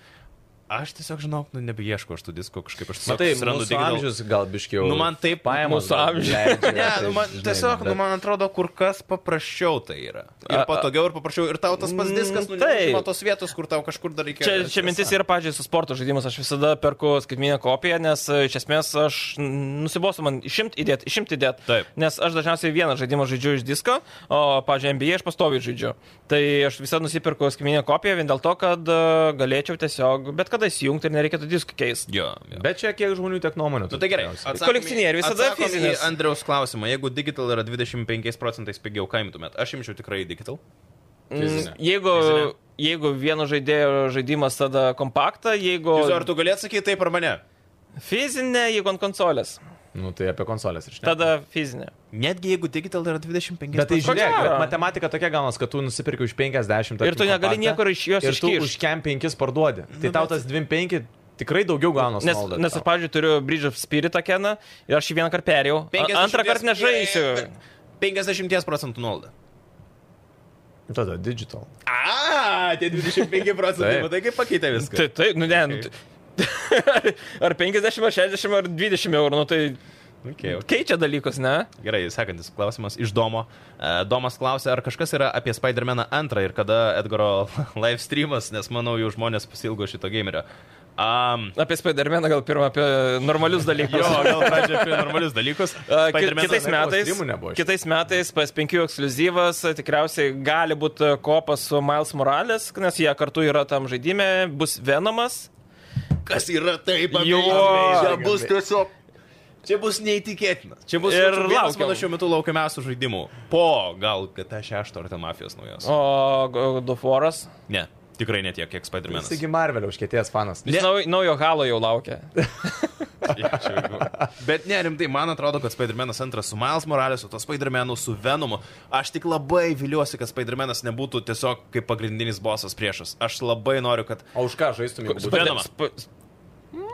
Speaker 1: Aš tiesiog, žinok, nu, nebeieško aš tų diskų kažkaip, aš tiesiog
Speaker 3: Matai,
Speaker 1: susirandu
Speaker 3: mūsų amžius gal biškiau.
Speaker 1: Nu, man taip
Speaker 3: pajamos.
Speaker 2: mūsų
Speaker 3: gal
Speaker 2: amžius.
Speaker 3: leidžia,
Speaker 1: Ne,
Speaker 3: tai,
Speaker 1: nu, man,
Speaker 3: žinai,
Speaker 1: tiesiog, nu,
Speaker 3: bet-
Speaker 1: man atrodo, kur kas paprasčiau tai yra. Ir
Speaker 2: A- a-
Speaker 1: patogiau, ir paprasčiau. Ir tau tas pats diskas, nu,
Speaker 2: Taip.
Speaker 1: nuo tos vietos, kur tau kažkur dar reikia.
Speaker 2: Čia, čia mintis yra, pažiūrėjau, su sporto žaidimus aš visada perku skaitminę kopiją, nes e, iš esmės aš n- nusibostu man išimt įdėti, išimt įdėti.
Speaker 1: Taip.
Speaker 2: Nes aš dažniausiai vieną žaidimą žaidžiu iš disko, o, pažiūrėjau, NBA aš pastoviai žaidžiu. Tai aš visada nusipirku skaitminę kopiją vien dėl to, kad e, galėčiau tiesiog bet kada įsijungti ir nereikėtų diskų keisti.
Speaker 1: Jo. jo.
Speaker 3: Bet čia kiek žmonių, tiek nuomonių.
Speaker 1: Nu, tai gerai.
Speaker 3: tikriausiai.
Speaker 1: atsakom į-
Speaker 2: Kolekcionieriai visada
Speaker 1: atsakom į
Speaker 2: fizinis.
Speaker 1: Andriaus klausimą, jeigu digital yra 25 procentais pigiau, ką imtumėt? Aš imčiau tikrai digital.
Speaker 3: Fizinė.
Speaker 2: Mm, Jeigu,
Speaker 1: Fizinė.
Speaker 2: jeigu vieno žaidėjo žaidimas tada kompaktą, jeigu
Speaker 1: Juzo, ar tu galėtum sakyti taip ar mane?
Speaker 2: fizinė, jeigu ant konsolės,
Speaker 3: Nu, tai apie konsolės ir štai.
Speaker 2: tada fizinė.
Speaker 1: Netgi jeigu digital yra 25
Speaker 3: Bet tai
Speaker 2: Ko
Speaker 3: žiūrėk,
Speaker 2: gero.
Speaker 3: bet matematika tokia galas, kad tu nusipirki už 50.
Speaker 2: Ir tu
Speaker 3: tarkim,
Speaker 2: negali
Speaker 3: kompaktą,
Speaker 2: niekur iš jos
Speaker 3: ir tu
Speaker 2: iškišt.
Speaker 3: už kem 5 parduodi. Tai tau tas 25 tikrai daugiau galas.
Speaker 2: Nes, nes aš, pavyzdžiui, turiu Bridge of Spirit keną ir aš jį vieną kartą perėjau. A-
Speaker 1: 50
Speaker 2: Antrą kartą nežaisiu.
Speaker 1: 50 procentų nuolaidą.
Speaker 3: Tada digital.
Speaker 1: A, tie 25 procentai,
Speaker 3: Taip.
Speaker 1: matai, kaip pakeitė viską.
Speaker 2: Tai, tai, nu ne, nu, tai- ar 50, ar 60, ar 20 eurų, nu tai
Speaker 1: Okay, okay.
Speaker 2: keičia dalykus, ne?
Speaker 1: Gerai, sekantis klausimas iš Domo. E, Domas klausė, ar kažkas yra apie Spider-Man 2 ir kada Edgaro live streamas, nes manau, jau žmonės pasilgo šito gamerio. Um,
Speaker 2: Apie Spider-Man gal pirmą, apie normalius dalykus.
Speaker 1: jo, gal pradžioje apie normalius dalykus.
Speaker 2: A, ki-
Speaker 1: Spider-Man
Speaker 2: Kitais
Speaker 3: Live
Speaker 2: metais,
Speaker 3: streamų nebuvo.
Speaker 2: kitais metais PS5 ekskluzivas e, tikriausiai gali būti kopas su Miles Morales, nes jie kartu yra tam žaidime, bus Venomas.
Speaker 1: Kas yra taip,
Speaker 2: Jo.
Speaker 1: čia bus tiesiog. Čia bus neįtikėtina. Čia bus
Speaker 2: Ir
Speaker 1: žodžiu, vienas
Speaker 2: laukiam.
Speaker 1: mano šiuo metu laukiamiausių žaidimų. Po gal GT6 ar ten mafijos naujos. O.
Speaker 2: O Doforas.
Speaker 1: Ne, tikrai ne tiek, kiek Spider-Man.
Speaker 3: Taigi Marvelio užkėties fanas.
Speaker 1: Ne.
Speaker 2: Naujo halo jau laukia.
Speaker 1: Bet ne, rimtai, man atrodo, kad Spider-Man'as antras su Miles Moralesu, to Spider-Man'u su Venomu. Aš tik labai viliuosi, kad Spider-Man'as nebūtų tiesiog kaip pagrindinis bosas priešas. Aš labai noriu, kad,
Speaker 3: O už ką žaistumėm?
Speaker 1: Venomą.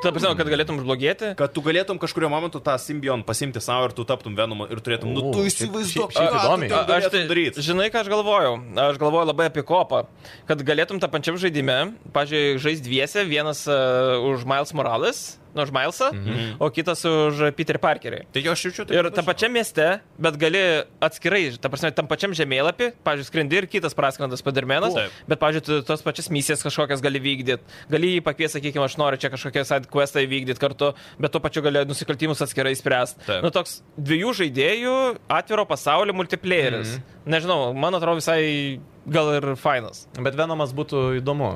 Speaker 2: Ta prasme, kad galėtum užblogėti.
Speaker 1: kad tu galėtum kažkurio momentu tą simbion pasimti savo ir tu taptum Venomu ir turėtum, nu
Speaker 3: O,
Speaker 1: tu
Speaker 3: šiaip-
Speaker 1: įsivaizduok,
Speaker 3: šiaip- šiaip įdomiai.
Speaker 1: ką
Speaker 2: Aš
Speaker 1: aš tai daryti.
Speaker 2: žinai, ką aš galvojau. Aš galvoju labai apie kopą. Kad galėtum tą pačiam žaidime, pažiūrėjau, žaisti dviese, vienas uh, už Miles Morales, nu, už Milesą, mhm. o kitas už Peter Parkerį.
Speaker 1: Tai jo aš jaučiu, tai
Speaker 2: Ir tam pačiam mieste, bet gali atskirai, ta prasme, tam pačiam žemėlapį, pavyzdžiui, skrendi ir kitas praskrendas padarmenas,
Speaker 1: Taip.
Speaker 2: bet, pavyzdžiui, tu tos pačias misijas kažkokias gali vykdyti, gali jį pakviesti, sakykime, aš noriu čia kažkokią side questą įvykdyti kartu, bet tuo pačiu gali nusikaltimus atskirai spręsti.
Speaker 1: Taip.
Speaker 2: Nu, toks dviejų žaidėjų atviro pasaulio multiplayeris.
Speaker 1: Mhm.
Speaker 2: Nežinau, man atrodo visai gal ir fainas.
Speaker 3: Bet Venomas būtų įdomu,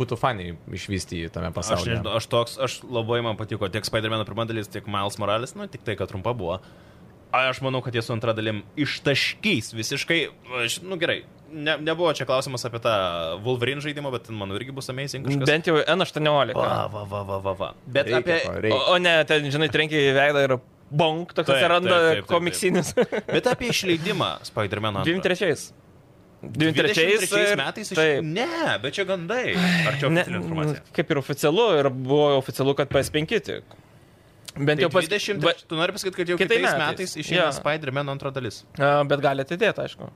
Speaker 3: būtų faniai išvysti jį tame
Speaker 1: Aš
Speaker 3: pasaulyje.
Speaker 1: nežinau, aš toks, aš labai man patiko tiek Spider-Man pirma dalis, tiek Miles Morales, nu tik tai, kad trumpa buvo. A, aš manau, kad jie su antra dalim ištaškys visiškai, aš, nu gerai, ne, nebuvo čia klausimas apie tą Wolverine žaidimą, bet ten, manau, irgi bus amazing kažkas.
Speaker 2: Bent jau N18.
Speaker 1: Va, va, va, va, va, va. Bet
Speaker 3: Reikia
Speaker 1: apie...
Speaker 3: to,
Speaker 2: O,
Speaker 3: reikia.
Speaker 2: o ne, ten, žinai, trenkiai į veidą ir bonk, toks
Speaker 1: tai- Taip, taip,
Speaker 2: atsiranda
Speaker 1: taip, taip, taip.
Speaker 2: komiksinis.
Speaker 1: Bet apie išleidimą Spider-Man.
Speaker 2: 23.
Speaker 1: 23
Speaker 2: ir-
Speaker 1: metais. Iš...
Speaker 2: Taip.
Speaker 1: Ne, bet čia gandai. Ar čia
Speaker 2: Ne, nu,
Speaker 1: oficiali informacija?
Speaker 2: kaip ir oficialu, ir buvo oficialu, kad PS5 tik. Bent
Speaker 1: Tai
Speaker 2: jau pas...
Speaker 1: 20,
Speaker 2: ba-
Speaker 1: tu nori pasakyti, kad jau
Speaker 2: Kitais
Speaker 1: kitais metais, metais
Speaker 2: metais.
Speaker 1: išėjo
Speaker 2: Jo.
Speaker 1: Spider-Man antra dalis.
Speaker 2: a, Bet gali atidėti, aišku.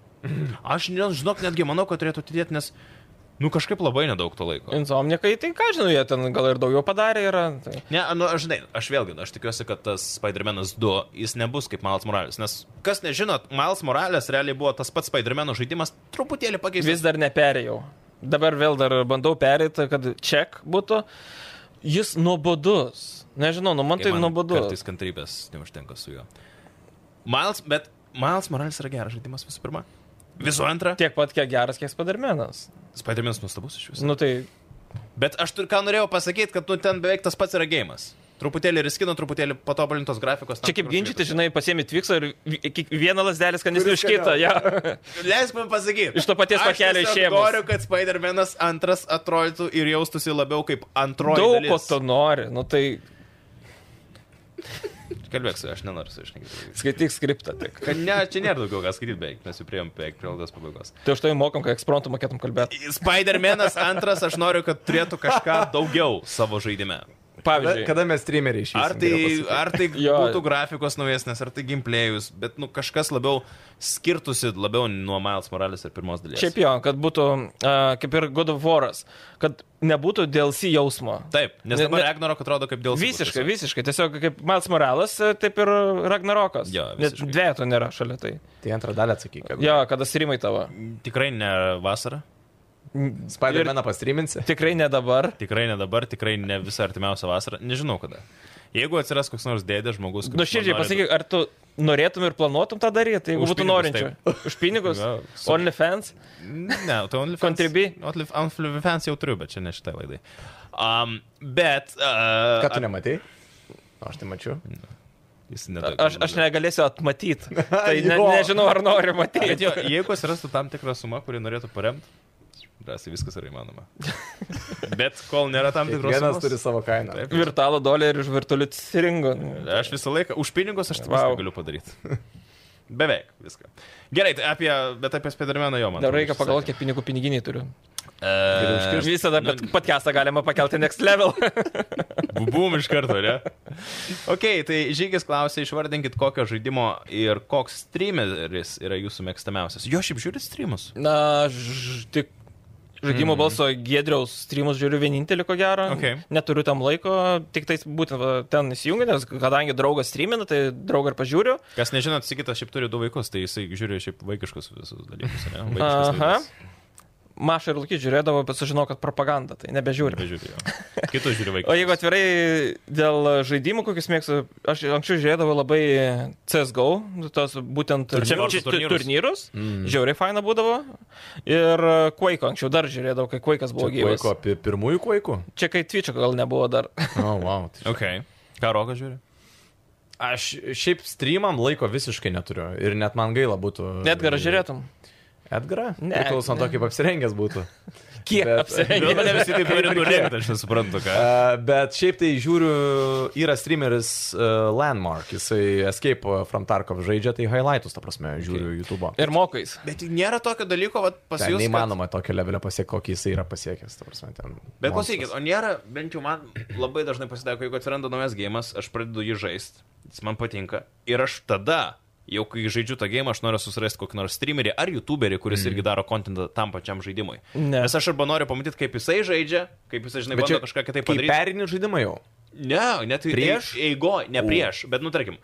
Speaker 1: Aš, ne- žinok, netgi manau, kad turėtų atidėti, nes, nu, kažkaip labai nedaug to laiko.
Speaker 2: Insomnikai, tai ką žinau, jie ten gal ir daugiau padarė. Yra, tai.
Speaker 1: Ne, nu, aš žinai, aš vėlgi, aš tikiuosi, kad tas Spider-Man'as 2, jis nebus kaip Miles Morales, nes, kas nežinot, Miles Morales realiai buvo tas pats Spider-Man'o žaidimas, truputėlį pakeistas.
Speaker 2: Vis dar neperėjau. Dabar vėl dar bandau perėti, kad ček būtų. Jis nuobodus. Nežinau, nu man tai
Speaker 1: man
Speaker 2: nuobodu.
Speaker 1: Kartais kantrybės neužtenka su juo. Miles, bet Miles Morales yra geras žaidimas visų pirma. Visų antra,
Speaker 2: Tiek pat kiek geras, kiek spadarmenas.
Speaker 1: Spider-Man's nuostabus iš viso.
Speaker 2: Nu tai
Speaker 1: Bet aš tur, ką norėjau pasakyti, kad nu, ten beveik tas pats yra gėjimas. Truputėlį riskino, truputėlį patobulintos grafikos. tam
Speaker 2: čia kaip
Speaker 1: tikros
Speaker 2: ginčyti,
Speaker 1: vietos.
Speaker 2: žinai, pasiemi tviksą ir vi- kiekvieną lasdelį skanesnį
Speaker 3: Kuris
Speaker 2: už kitą. Ja.
Speaker 1: Leisk man pasakyti.
Speaker 2: Iš to paties pakelio išėmus.
Speaker 1: Noriu, kad Spider-Man'as antras atrodytų ir jaustųsi labiau kaip antroji.
Speaker 2: Daug ko
Speaker 1: dalis.
Speaker 2: to nori. Nu tai
Speaker 1: Kalbėk su, juo, aš nenoriu su išnekėti.
Speaker 2: skaityk skriptą tik.
Speaker 1: Kad ne, čia nėra daugiau ką skaityti beveik, mes jau priėm beveik prie laidos pabaigos.
Speaker 2: Tai už tai mokam, kad eksprontų mokėtum kalbėti.
Speaker 1: Spider-Man'as antras, aš noriu, kad turėtų kažką daugiau savo žaidime.
Speaker 3: Kada,
Speaker 2: Pavyzdžiui,
Speaker 3: kada mes streameriai išėjome?
Speaker 1: Ar tai, ar tai
Speaker 2: Jo.
Speaker 1: būtų grafikos naujesnės, ar tai gameplayus, bet nu, kažkas labiau skirtusi labiau nuo Miles Morales ir pirmos dalies.
Speaker 2: šiaip jo, kad būtų uh, kaip ir God of Waras, kad nebūtų DLC jausmo.
Speaker 1: Taip, nes
Speaker 2: Ne-
Speaker 1: dabar
Speaker 2: ne-
Speaker 1: Ragnarok atrodo kaip dėl...
Speaker 2: Visiškai, visiškai. Tiesiog kaip Mats Morelas, e, taip ir Ragnarokas.
Speaker 1: Jo,
Speaker 2: Net
Speaker 1: visiškai.
Speaker 2: dvieto nėra šalia tai.
Speaker 3: Tai antrą dalį atsakyk. jeigu-
Speaker 2: Jo, kada streamai tavo.
Speaker 1: Tikrai ne vasara,
Speaker 3: Spider-Man'ą pastreaminsi?
Speaker 2: Tikrai ne dabar.
Speaker 1: tikrai ne dabar, tikrai ne visą artimiausią vasarą, nežinau kada. Jeigu atsiras koks nors dėdė žmogus, kuris...
Speaker 2: Nu širdžiai
Speaker 1: man nori-
Speaker 2: pasakyk, ar tu norėtum ir planuotum tą daryti, jeigu
Speaker 1: Už
Speaker 2: būtų
Speaker 1: pinigus,
Speaker 2: norinčių. Už pinigus.
Speaker 1: Jo, su-
Speaker 2: OnlyFans.
Speaker 1: Ne, tai OnlyFans.
Speaker 2: Contribui?
Speaker 1: Only- OnlyFans jau turiu, bet čia ne šitai laidai. Um, bet... Uh,
Speaker 3: Ką tu nematai? O, Aš tai mačiau.
Speaker 1: Jis
Speaker 2: Aš, aš negalėsiu atmatyti. Tai ne,
Speaker 3: Jo.
Speaker 2: nežinau, ar noriu
Speaker 1: Bet
Speaker 2: matyti.
Speaker 1: jo, jeigu atsirastų tam tikra suma, kuri norėtų paremti, drąsiai viskas yra įmanoma. Bet kol nėra tam tikros
Speaker 3: Vienas
Speaker 1: sumos,
Speaker 3: turi savo kainą.
Speaker 1: Taip.
Speaker 2: Virtualų dolerį už virtualių siringo.
Speaker 1: aš visą laiką už pinigus aš wow.
Speaker 2: Vau.
Speaker 1: viską galiu padaryti. Beveik viską. Gerai, tai apie, bet apie Spidermaną jo man.
Speaker 2: Dar reikia pagalvoti, kiek pinigų piniginiai turiu.
Speaker 1: Uh,
Speaker 2: Visada, bet podcastą galima pakelti next level.
Speaker 1: Bum iš karto, ne? Ok, tai Žygis klausė, išvardinkit kokio žaidimo ir koks streameris yra jūsų mėgstamiausias. Jo, šiaip žiūrit streamus.
Speaker 2: Na, ž- tik žaidimo balso Gedriaus streamus žiūriu vienintelį, ko gero.
Speaker 1: Okay.
Speaker 2: Neturiu tam laiko, tik tais būtent va, ten įsijungiu, nes kadangi draugas streamina, tai draugą ir pažiūriu.
Speaker 1: Kas nežinot, Sigitas šiaip turi du vaikus, tai jisai žiūri šiaip vaikiškus visus dalykus, ne? Vaikiškas
Speaker 2: Aha.
Speaker 1: laidas.
Speaker 2: Maša ir Lukį žiūrėdavo, bet sužinau, kad propaganda, tai nebežiūriu.
Speaker 1: Nežiūri jo. Kitus žiūri vaikus.
Speaker 2: O jeigu atvirai dėl žaidimų, kokius mėgstu, aš anksčiau žiūrėdavau labai CSGO, tos būtent
Speaker 1: Turnyrus,
Speaker 2: čia- čia-
Speaker 1: turnyrus.
Speaker 2: turnyrus. Mm. žiauriai faina būdavo. Ir e, Quake anksčiau dar žiūrėdavau, kai Quake'as buvo gyvas.
Speaker 3: Vaiko apie pirmųjų kuikų?
Speaker 2: Čia kai Twitch'o gal nebuvo dar.
Speaker 3: O, oh, wow. tai-
Speaker 1: Okay. Ką Rokas žiūri?
Speaker 3: Aš šiaip streamam laiko visiškai neturiu. Ir net man gaila būtų.
Speaker 2: Net gerai žiūrėtum.
Speaker 3: Edgarą?
Speaker 2: Ne,
Speaker 3: Priklauso nuo to,
Speaker 2: ne.
Speaker 3: kaip apsirengęs būtų.
Speaker 2: Kiek
Speaker 3: Bet-
Speaker 1: Vėl
Speaker 2: apsirengė?
Speaker 1: mane visi taip nori nurėkti, aš nesuprantu, ką.
Speaker 3: Uh, bet šiaip tai žiūriu, yra streameris uh, Landmark, jisai Escape from Tarkov žaidžia, tai highlightus, ta prasme, žiūriu YouTube.
Speaker 2: Ir mokais.
Speaker 1: Bet nėra tokio dalyko, vad pas
Speaker 3: Ten
Speaker 1: jūs.
Speaker 3: neįmanoma tokio levelio pasiekti, kokį jisai yra pasiekęs, ta prasme,
Speaker 1: Bet
Speaker 3: ten. monstras.
Speaker 1: klausykit, o nėra, bent jau man labai dažnai pasitaiko, jeigu atsiranda naujas gėjimas, aš pradedu jį žaisti, jis man patinka. Ir aš tada, jau kai žaidžiu tą gėjimą, aš noriu susirasti kokį nors streamerį ar youtuberį,
Speaker 3: Mhm.
Speaker 1: kuris mm. irgi daro kontentą tam pačiam žaidimui.
Speaker 2: Ne.
Speaker 1: Nes aš arba noriu pamatyti, kaip jisai žaidžia, kaip jisai, žinai,
Speaker 3: Bet
Speaker 1: bando
Speaker 3: čia
Speaker 1: kažką kitaip
Speaker 3: Kai
Speaker 1: padaryti.
Speaker 3: perini žaidimą jau.
Speaker 1: Ne, net prieš.
Speaker 3: Prieš?
Speaker 1: Eigo, ne prieš, bet, nu, tarkim,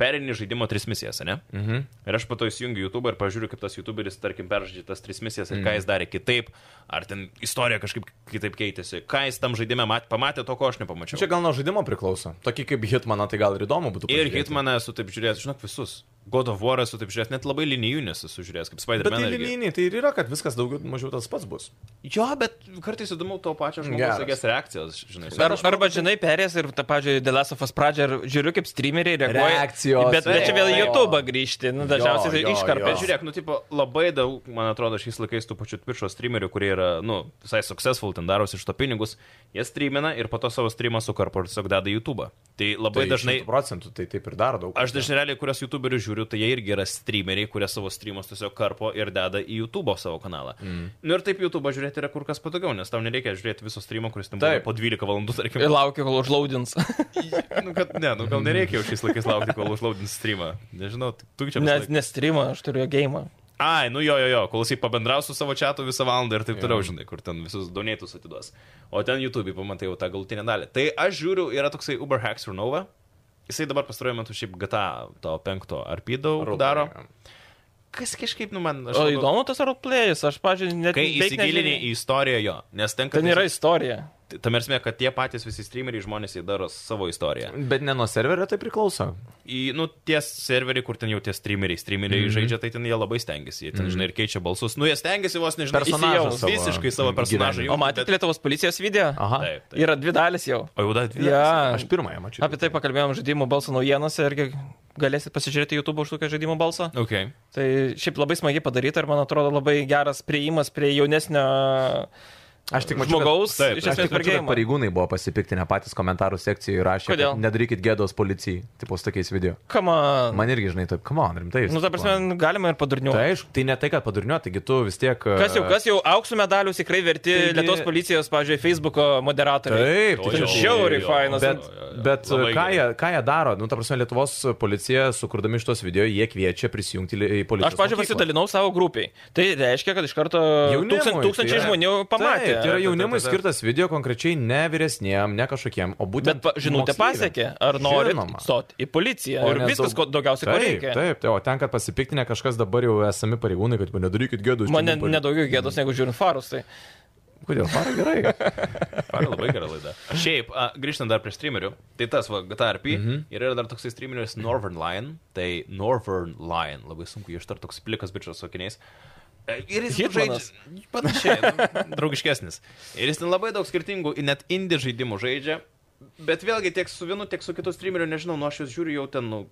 Speaker 1: perini žaidimo tris misijas, ne? Mhm. Ir aš pato įsijungiu YouTube ir pažiūriu, kaip tas YouTuberis, tarkim, peržaidžia tas tris misijas ir mhm. ką jis darė kitaip, ar ten istorija kažkaip kitaip keitėsi, ką jis tam žaidime mat, pamatė to, ko aš nepamačiau.
Speaker 3: Čia gal nuo žaidimo priklauso. Tokį kaip Hitmaną, tai gal ir įdomu būtų.
Speaker 1: Ir
Speaker 3: pažiūrėti.
Speaker 1: Hitmaną esu taip žiūrėjęs, žinok, visus. God of War esu taip žiūrėjęs, net labai linijų nesu žiūrėjęs, kaip
Speaker 3: Bet tai
Speaker 1: Spider-Man. irgi.
Speaker 3: linijiniai, tai ir yra, kad viskas daugiau mažiau tas pats bus.
Speaker 1: Jo, bet kartais įdomu to pačio žmogaus
Speaker 3: Geras.
Speaker 1: tokias reakcijas, žinai.
Speaker 2: Ar, arba, žinai, perės ir, ta, pavyzdžiui, Delasofas pradžią ir žiūriu, kaip streameriai reaguoja.
Speaker 3: Reakcijos,
Speaker 2: Bet, bet čia vėl į
Speaker 3: taip.
Speaker 2: YouTube grįžti, nu, dažniausiai
Speaker 3: Jo, jo,
Speaker 2: tai iškarpė.
Speaker 1: Bet žiūrėk, nu, tipo, labai daug, man atrodo, šiais laikais tų pačių Twitch'o streamerių, kurie yra, nu, visai successful, ten darosi iš to pinigus, jie streamina ir po to savo streamą sukarpo ir tiesiog deda į YouTube. Tai labai tai dažnai,
Speaker 3: 100 procentų, tai taip ir daro daug.
Speaker 1: aš dažnai realiai, kurias YouTuberius žiūriu, tai jie irgi yra streameriai, kurie savo streamus tiesiog karpo ir deda į YouTube savo kanalą. Mm. Nu ir taip YouTube žiūrėti yra kur kas patogiau, nes tau nereikia žiūrėti viso streamo, kuris ten buvo
Speaker 3: Taip.
Speaker 1: po 12 valandų, tarkim.
Speaker 2: Ir laukiu, kol užlaudins.
Speaker 1: nu, kad, ne, nu, gal nereikia jau šiais laikais laukti, kol užlaudins streamą. Nežinau, tu čia
Speaker 2: Nes ne streamą, aš turiu gėjimą.
Speaker 1: Ai, nu jo, jo, jo, kol jisai pabendraus su savo čatu visą valandą ir taip toliau, žinai, kur ten visus donėtus atiduos. O ten YouTube pamatai jau tą galutinę dalį. Tai aš žiūriu, yra toksai Uber Hacks for Nova. Jisai dabar pastaruoju metu šiaip GTA to penkto arpydau daro. kas kažkaip, nu man... aš
Speaker 2: O
Speaker 1: labiau-
Speaker 2: įdomu tas roleplay'is, aš, pažiūrėjau, net
Speaker 1: Kai
Speaker 2: beveik
Speaker 1: įsigilini
Speaker 2: nežiūrėjau.
Speaker 1: į istoriją jo, nes ten, kad...
Speaker 2: Ten yra istorija.
Speaker 1: Tam esmė, kad tie patys visi streameriai žmonės įdaro savo istoriją.
Speaker 3: Bet ne nuo serverio tai priklauso.
Speaker 1: Į, nu, tie serveriai, kur ten jau tie streameriai, streameriai mm
Speaker 3: Mhm.
Speaker 1: -hmm. žaidžia, tai ten jie labai stengiasi, jie ten, mm -hmm. žinai, ir keičia balsus. Nu, jie stengiasi vos, nežinau,
Speaker 3: Personažą
Speaker 1: įsijaust
Speaker 3: savo
Speaker 1: visiškai savo personažą.
Speaker 3: gyvenime.
Speaker 1: jau,
Speaker 2: O matėte
Speaker 1: bet-
Speaker 2: Lietuvos policijos video?
Speaker 3: Aha.
Speaker 1: Taip, taip.
Speaker 2: Yra dvi dalis jau.
Speaker 1: O jau dar dvi.
Speaker 2: Ja.
Speaker 3: Aš pirmąją mačiau.
Speaker 2: Apie tai pakalbėjom žaidimų balso naujienose irgi galėsit pasižiūrėti YouTube užtukę žaidimų balsą.
Speaker 1: Okay.
Speaker 2: Tai šiaip labai smagiai padaryta ir man atrodo labai geras prieimas prie jaunesnio
Speaker 3: Aš tik mačiau,
Speaker 2: žmogaus.
Speaker 1: taip,
Speaker 2: iš
Speaker 1: taip.
Speaker 3: Aš
Speaker 2: esmės
Speaker 3: tik
Speaker 2: per
Speaker 3: mačiau, kad
Speaker 2: gėjimą.
Speaker 3: pareigūnai buvo pasipiktinę patys komentarų sekcijoje ir rašė,
Speaker 2: Kodėl?
Speaker 3: kad nedarykit gėdos policijai, tipo su tokiais video.
Speaker 2: Kama.
Speaker 3: Man irgi, žinai, taip, come on, rimtai. jūs
Speaker 2: Nu, ta prasme, galima ir
Speaker 3: tipo.
Speaker 2: padarniuoti.
Speaker 3: Tai aišku, tai ne tai, kad padurniuot, taigi tu vis tiek...
Speaker 2: Kas jau, kas jau auksų medalius tikrai verti
Speaker 3: Taigi-
Speaker 2: Taigi... Lietuvos policijos, pavyzdžiui, Facebook'o moderatoriai.
Speaker 3: Taip,
Speaker 1: O
Speaker 3: tai
Speaker 1: jo,
Speaker 3: čia
Speaker 2: žiauriai
Speaker 1: jo.
Speaker 2: fainas.
Speaker 3: Bet,
Speaker 1: Jo, jo, jo.
Speaker 3: bet
Speaker 1: Labai
Speaker 3: ką,
Speaker 1: gerai.
Speaker 3: jie, ką jie daro? Nu, ta prasme, Lietuvos policija, sukurdami šitos video, jie kviečia prisijungti li- į policiją.
Speaker 2: Aš, pažiūrėjau, pasidalinau savo grupiai. Tai reiškia, kad iš karto
Speaker 3: Jaunimui,
Speaker 2: tūkstan, tūkstančiai
Speaker 3: tai yra-
Speaker 2: žmonių pamatė.
Speaker 3: Taip, tai yra jaunimui
Speaker 1: Taip, taip, taip.
Speaker 3: skirtas video, konkrečiai ne vyresniem, ne kažkokiem, o
Speaker 2: Bet
Speaker 3: būtent...
Speaker 2: pa, žinutė
Speaker 3: moksleiviam.
Speaker 2: pasiekė, ar nori
Speaker 3: Žinoma.
Speaker 2: stoti į policiją.
Speaker 3: O
Speaker 2: ir
Speaker 3: nes
Speaker 2: viskas, ko
Speaker 3: daug-
Speaker 2: daugiausiai ko
Speaker 3: taip,
Speaker 2: reikia.
Speaker 3: Taip, taip, o ten, kad pasipiktinę kažkas dabar jau esami pareigūnai, kad nedarykit gėdų.
Speaker 2: Man ne- nedaugiau gėdos negu žiūrint farus. Tai.
Speaker 3: Kodėl? Para gerai.
Speaker 1: Parą labai gerą laidą. Šiaip, a, grįžtant dar prie streamerių, tai tas, va, GTRP, mm -hmm. ir yra dar toksai streameris Northern Lion, tai Northern Lion, labai sunku jį ištart, toks plikas bičias su akiniais. E, Ir jis
Speaker 2: Hitmanas.
Speaker 1: žaidžia panašiai, nu, draugiškesnis. Ir jis ten labai daug skirtingų, net indie žaidimų žaidžia, bet vėlgi tiek su vienu, tiek su kitu streameriu, nežinau, nu aš jūs žiūriu jau ten, nu,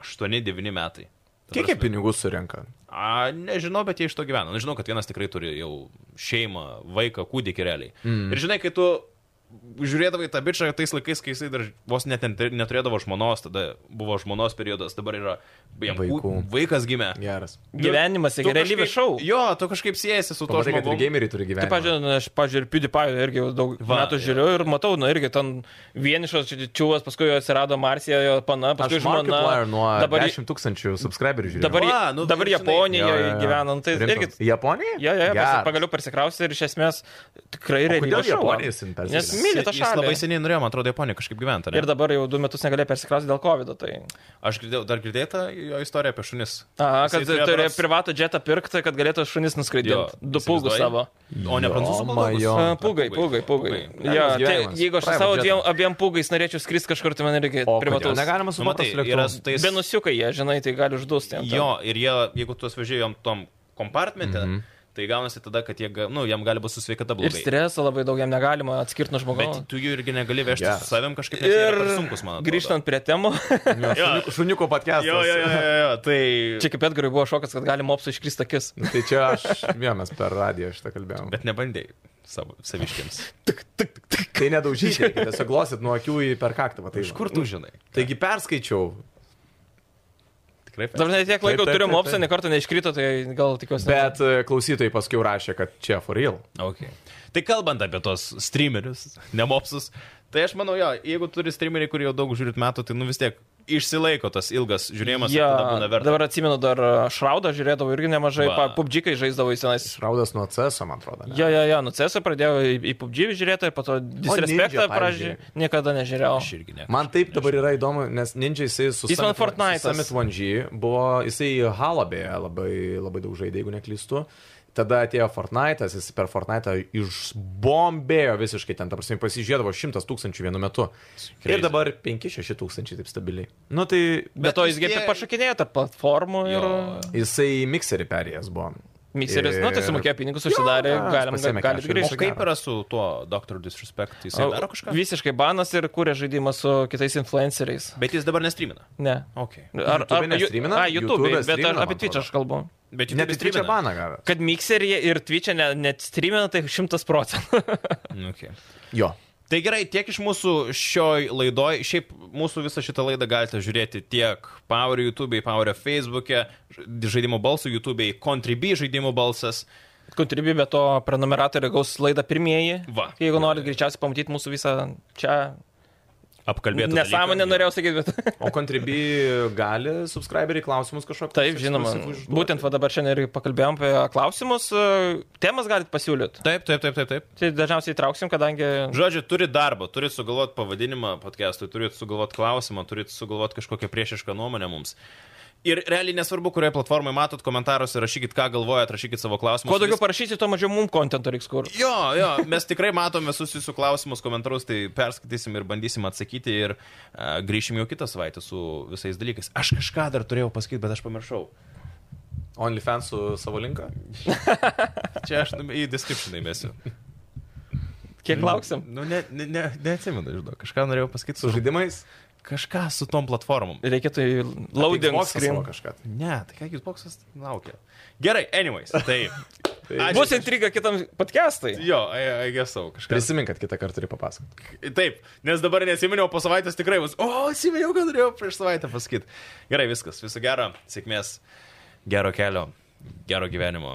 Speaker 1: 8-9 metai. Ta
Speaker 3: Kiek jie
Speaker 1: prasme,
Speaker 3: pinigų surenka?
Speaker 1: A, nežinau, bet jie iš to gyvena. Na, Žinau, kad vienas tikrai turi jau šeimą, vaiką, kūdikį realiai. Mm. Ir žinai, kai tu žiūrėdavai tą bičią tais laikais, kai jisai dar vos net net- neturėdavo žmonos, tada buvo žmonos periodas, dabar yra jam
Speaker 3: Vaikų.
Speaker 1: kū- vaikas gimė.
Speaker 3: Geras.
Speaker 1: Nu,
Speaker 2: Gyvenimas,
Speaker 1: tu
Speaker 2: taigi realybė
Speaker 1: kažkaip-
Speaker 2: šau.
Speaker 1: Jo, tu kažkaip siejasi su to
Speaker 3: Pamatai, kad ir
Speaker 1: žmogumi.
Speaker 3: gameriai
Speaker 2: Tai,
Speaker 3: turi gyventi.
Speaker 2: pažiūrėjau, aš, pažiūrėjau, ir PewDiePie irgi jau daug
Speaker 1: Va,
Speaker 2: Va,
Speaker 1: jo.
Speaker 2: metų žiūriu ir matau, nu irgi ten vienišas čia čiūvas, paskui jo atsirado Marsija, jo pana, paskui
Speaker 3: Aš Markiplier
Speaker 2: žmona.
Speaker 3: nuo
Speaker 2: Dabar,
Speaker 3: 10 tūkstančių subscriberių E, žiūriu.
Speaker 2: dabar,
Speaker 1: Va, nu,
Speaker 2: nu, dabar
Speaker 1: žinai,
Speaker 2: Japonijoje gyvenant, tai irgi...
Speaker 3: Japonija?
Speaker 2: Jo, jo, jo, pasi- pagaliau persikrausti ir iš esmės tikrai
Speaker 3: O kodėl
Speaker 2: realybė šou.
Speaker 3: Japonija jis persikėlė?
Speaker 2: Nes myli tą
Speaker 1: Jis
Speaker 2: šalį.
Speaker 1: labai seniai norėjo, man atrodo, Japoniją kažkaip gyventi.
Speaker 2: Ir dabar jau du metus negalėjo persikrausti dėl COVID. Tai...
Speaker 1: Aš girdėjau, dar girdėta jo istorija apie šunis.
Speaker 2: Aha,
Speaker 1: Jisai
Speaker 2: kad
Speaker 1: turėjo
Speaker 2: turi
Speaker 1: berods-
Speaker 2: privatų džetą pirkti, kad galėtų šunis nuskraidinti. Du pūgus
Speaker 1: įsivaizduoji?
Speaker 2: savo.
Speaker 1: O ne prancūzų
Speaker 3: Jomajo.
Speaker 1: balonus?
Speaker 2: A, Pūgai, pūgai, pūgai.
Speaker 3: Pūgai.
Speaker 2: Ja,
Speaker 3: Geras
Speaker 2: tai,
Speaker 3: gyvenimas.
Speaker 2: jeigu aš su
Speaker 3: Private
Speaker 2: savo
Speaker 3: jetas.
Speaker 2: dviem, abiem pūgais norėčiau skristi kažkur, tai man reikia
Speaker 3: O kodėl
Speaker 2: privataus.
Speaker 3: negalima su
Speaker 1: Nu, matai,
Speaker 3: paprastu
Speaker 1: yra su
Speaker 3: lėktuvu?
Speaker 1: tais...
Speaker 2: Benusiukai jie, žinai, tai gali uždūsti. ant
Speaker 1: Jo, ir jie, jeigu tu svežėjom tom kompartmente,
Speaker 3: Mhm.
Speaker 1: mm -hmm. tai gaunasi tada, kad jie, ga- nu, jam gali būti su sveikata
Speaker 2: to. Ir
Speaker 1: blogai.
Speaker 2: streso labai daug jam negalima atskirti nuo žmogaus.
Speaker 1: Bet tu jų irgi negali vežti yes.
Speaker 3: Geras.
Speaker 1: su savim kažkaip. nes jie
Speaker 2: Ir
Speaker 1: yra per sunkus, man atrodo.
Speaker 2: grįžtant prie temų,
Speaker 1: Jo.
Speaker 3: Šuniuko podcastas.
Speaker 1: Jo, jo, jo, jo, jo, tai...
Speaker 2: čia kaip Edgarui buvo šokas, kad gali mopsų iškristi akis.
Speaker 3: Nu, Tai čia aš vienas per radiją šitą kalbėjau.
Speaker 1: Bet nebandėjai savo saviškiams.
Speaker 3: Tai nedaužykite, reikia tiesiog glosit nuo akių į per kaktą. Tai
Speaker 1: Iš kur tu žinai?
Speaker 3: Taigi perskaičiau.
Speaker 1: Tikrai.
Speaker 2: Dar ne tiek laiko
Speaker 3: Taip, taip,
Speaker 2: turiu
Speaker 3: taip,
Speaker 2: mopsą,
Speaker 3: taip.
Speaker 2: ne kartą neiškrito, tai gal tikiuosi.
Speaker 3: Bet e, klausytojai paskui rašė, kad čia for real.
Speaker 1: Okay. Tai kalbant apie tos streamerius, nemopsus, tai aš manau, jo, jeigu turi streamerį, kurį jau daug žiūrit metų, tai nu vis tiek išsilaiko tas ilgas žiūrėjimas,
Speaker 2: Ja,
Speaker 1: ir tada būna verta.
Speaker 2: dabar atsimenu, dar e, Šraudą žiūrėdavau irgi nemažai,
Speaker 1: Va.
Speaker 2: pubdžikai žaisdavau į senais.
Speaker 3: Raudas nuo CS, man atrodo. ne?
Speaker 2: Jo, jo, jo, nu CESą pradėjau į, į PUBG žiūrėti, po to Disrespectą
Speaker 3: Ninja,
Speaker 2: pradžiai
Speaker 3: pavyzdžiui.
Speaker 2: niekada nežiūrėjau.
Speaker 1: Aš irgi ne.
Speaker 3: Man taip dabar yra įdomu, nes Ninja jisai su
Speaker 2: Jis man
Speaker 3: Summit-
Speaker 2: Fortnite'as.
Speaker 3: su Summit 1G buvo, jisai Halabėje labai, labai daug žaidė, jeigu neklystu. Tada atėjo Fortnite'as, jis per Fortnite'ą išbombėjo visiškai ten, ta prasme, pasižiūrėdavo 100 tūkstančių vienu metu.
Speaker 1: Crazy.
Speaker 3: Ir dabar 5-6 tūkstančiai taip stabiliai. Nu tai
Speaker 2: Bet to
Speaker 1: Bet
Speaker 2: jis kaip
Speaker 1: jie-
Speaker 2: ir pašakinėjo tarp platformų ir
Speaker 1: Jo.
Speaker 3: jisai į mikserį perėjęs buvo.
Speaker 2: mikseris. Na, tai
Speaker 3: Ir-
Speaker 2: sumokėjo pinigus, užsidarė,
Speaker 3: jo,
Speaker 2: galim,
Speaker 3: pasiėmė
Speaker 2: galit
Speaker 3: cash ir
Speaker 1: O
Speaker 2: grįžti.
Speaker 3: išėjo.
Speaker 1: kaip yra su tuo Dr. Disrespect? Jis daro kažką?
Speaker 2: Visiškai banas ir kūrė žaidimą su kitais influenceriais.
Speaker 1: Bet jis dabar nestreamina.
Speaker 2: Ne.
Speaker 1: Okay.
Speaker 2: Ar,
Speaker 3: YouTube'e nestreamina?
Speaker 2: A, YouTube, bet
Speaker 3: YouTube'e streamina,
Speaker 2: ar
Speaker 3: man
Speaker 2: apie Twitch aš
Speaker 3: atrodo.
Speaker 2: kalbu.
Speaker 1: Bet
Speaker 2: tai
Speaker 3: Net į Twitch'ą baną gavę.
Speaker 2: Kad mikserį ir Twitch'ą ne, net streamina, tai 100 procentų.
Speaker 1: Okay.
Speaker 3: Jo.
Speaker 1: Tai gerai, tiek iš mūsų šioj laidoj. Šiaip mūsų visą šitą laidą galite žiūrėti tiek Power YouTube, Power Facebook'e, ž- žaidimų balsų YouTube, Contribui žaidimų balsas.
Speaker 2: Kontribui be to prenumeratoriai gaus laidą pirmieji.
Speaker 1: Va.
Speaker 2: Jeigu norit greičiausiai pamatyti mūsų visą čia.
Speaker 1: Apkalbėti.
Speaker 2: Nesąmonę norėjau sakyti, bet...
Speaker 3: O Contribui gali subscriberiai klausimus kažkokius.
Speaker 2: Taip, žinoma. Būtent va dabar šiandien ir pakalbėjom apie klausimus. e, Temas galit pasiūlyti.
Speaker 1: Taip, taip, taip, taip, taip.
Speaker 2: Tai dažniausiai įtrauksim, kadangi...
Speaker 1: Žodžiu, turi darbą, turi sugalvoti pavadinimą podcast'ui, turi sugalvoti klausimą, turi sugalvoti kažkokią priešišką nuomonę mums. Ir realiai nesvarbu, kurioje platformoje matot komentaruose, rašykit, ką galvojat, rašykit savo klausimus.
Speaker 2: Kuo daugiau parašyti, tuo mažiau mums kontento reiks kur.
Speaker 1: Jo, jo, mes tikrai matom visus jūsų klausimus, komentarus, tai perskaitysim ir bandysim atsakyti ir uh, grįšim jau kitą savaitę su visais dalykais. Aš kažką dar turėjau pasakyti, bet aš pamiršau.
Speaker 3: OnlyFans su savo linką?
Speaker 1: Čia aš num- į description įmėsiu.
Speaker 2: Kiek lauksim?
Speaker 1: Nu, ne, ne, ne, neatsimenu, žinau, kažką norėjau pasakyti
Speaker 3: Su
Speaker 1: su žaidimu.
Speaker 3: žaidimais?
Speaker 1: Kažką su tom platformom.
Speaker 2: Reikėtų į tai loading
Speaker 3: Xboxą savo
Speaker 2: screen.
Speaker 3: Kažką.
Speaker 1: Ne, tai ką Xbox'as laukia. Gerai, anyways, tai.
Speaker 3: Tai-
Speaker 1: Ačiū.
Speaker 2: Bus intriga kitam podcastui.
Speaker 1: Jo, I, I guess so, kažkas.
Speaker 3: Prisimink, kad kitą kartą turi papasakoti.
Speaker 1: Taip, nes dabar nesiminiau, po savaitės tikrai bus. O, atsiminiau, kad norėjau prieš savaitę pasakyti. Gerai, viskas, viso gero, sėkmės, gero kelio, gero gyvenimo,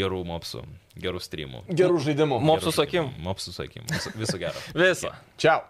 Speaker 1: gerų mopsų, gerų streamų.
Speaker 3: Gerų žaidimų.
Speaker 2: Mopsų sakim.
Speaker 1: Mopsų sakim, viso gero.
Speaker 2: Visą.
Speaker 3: Čiau.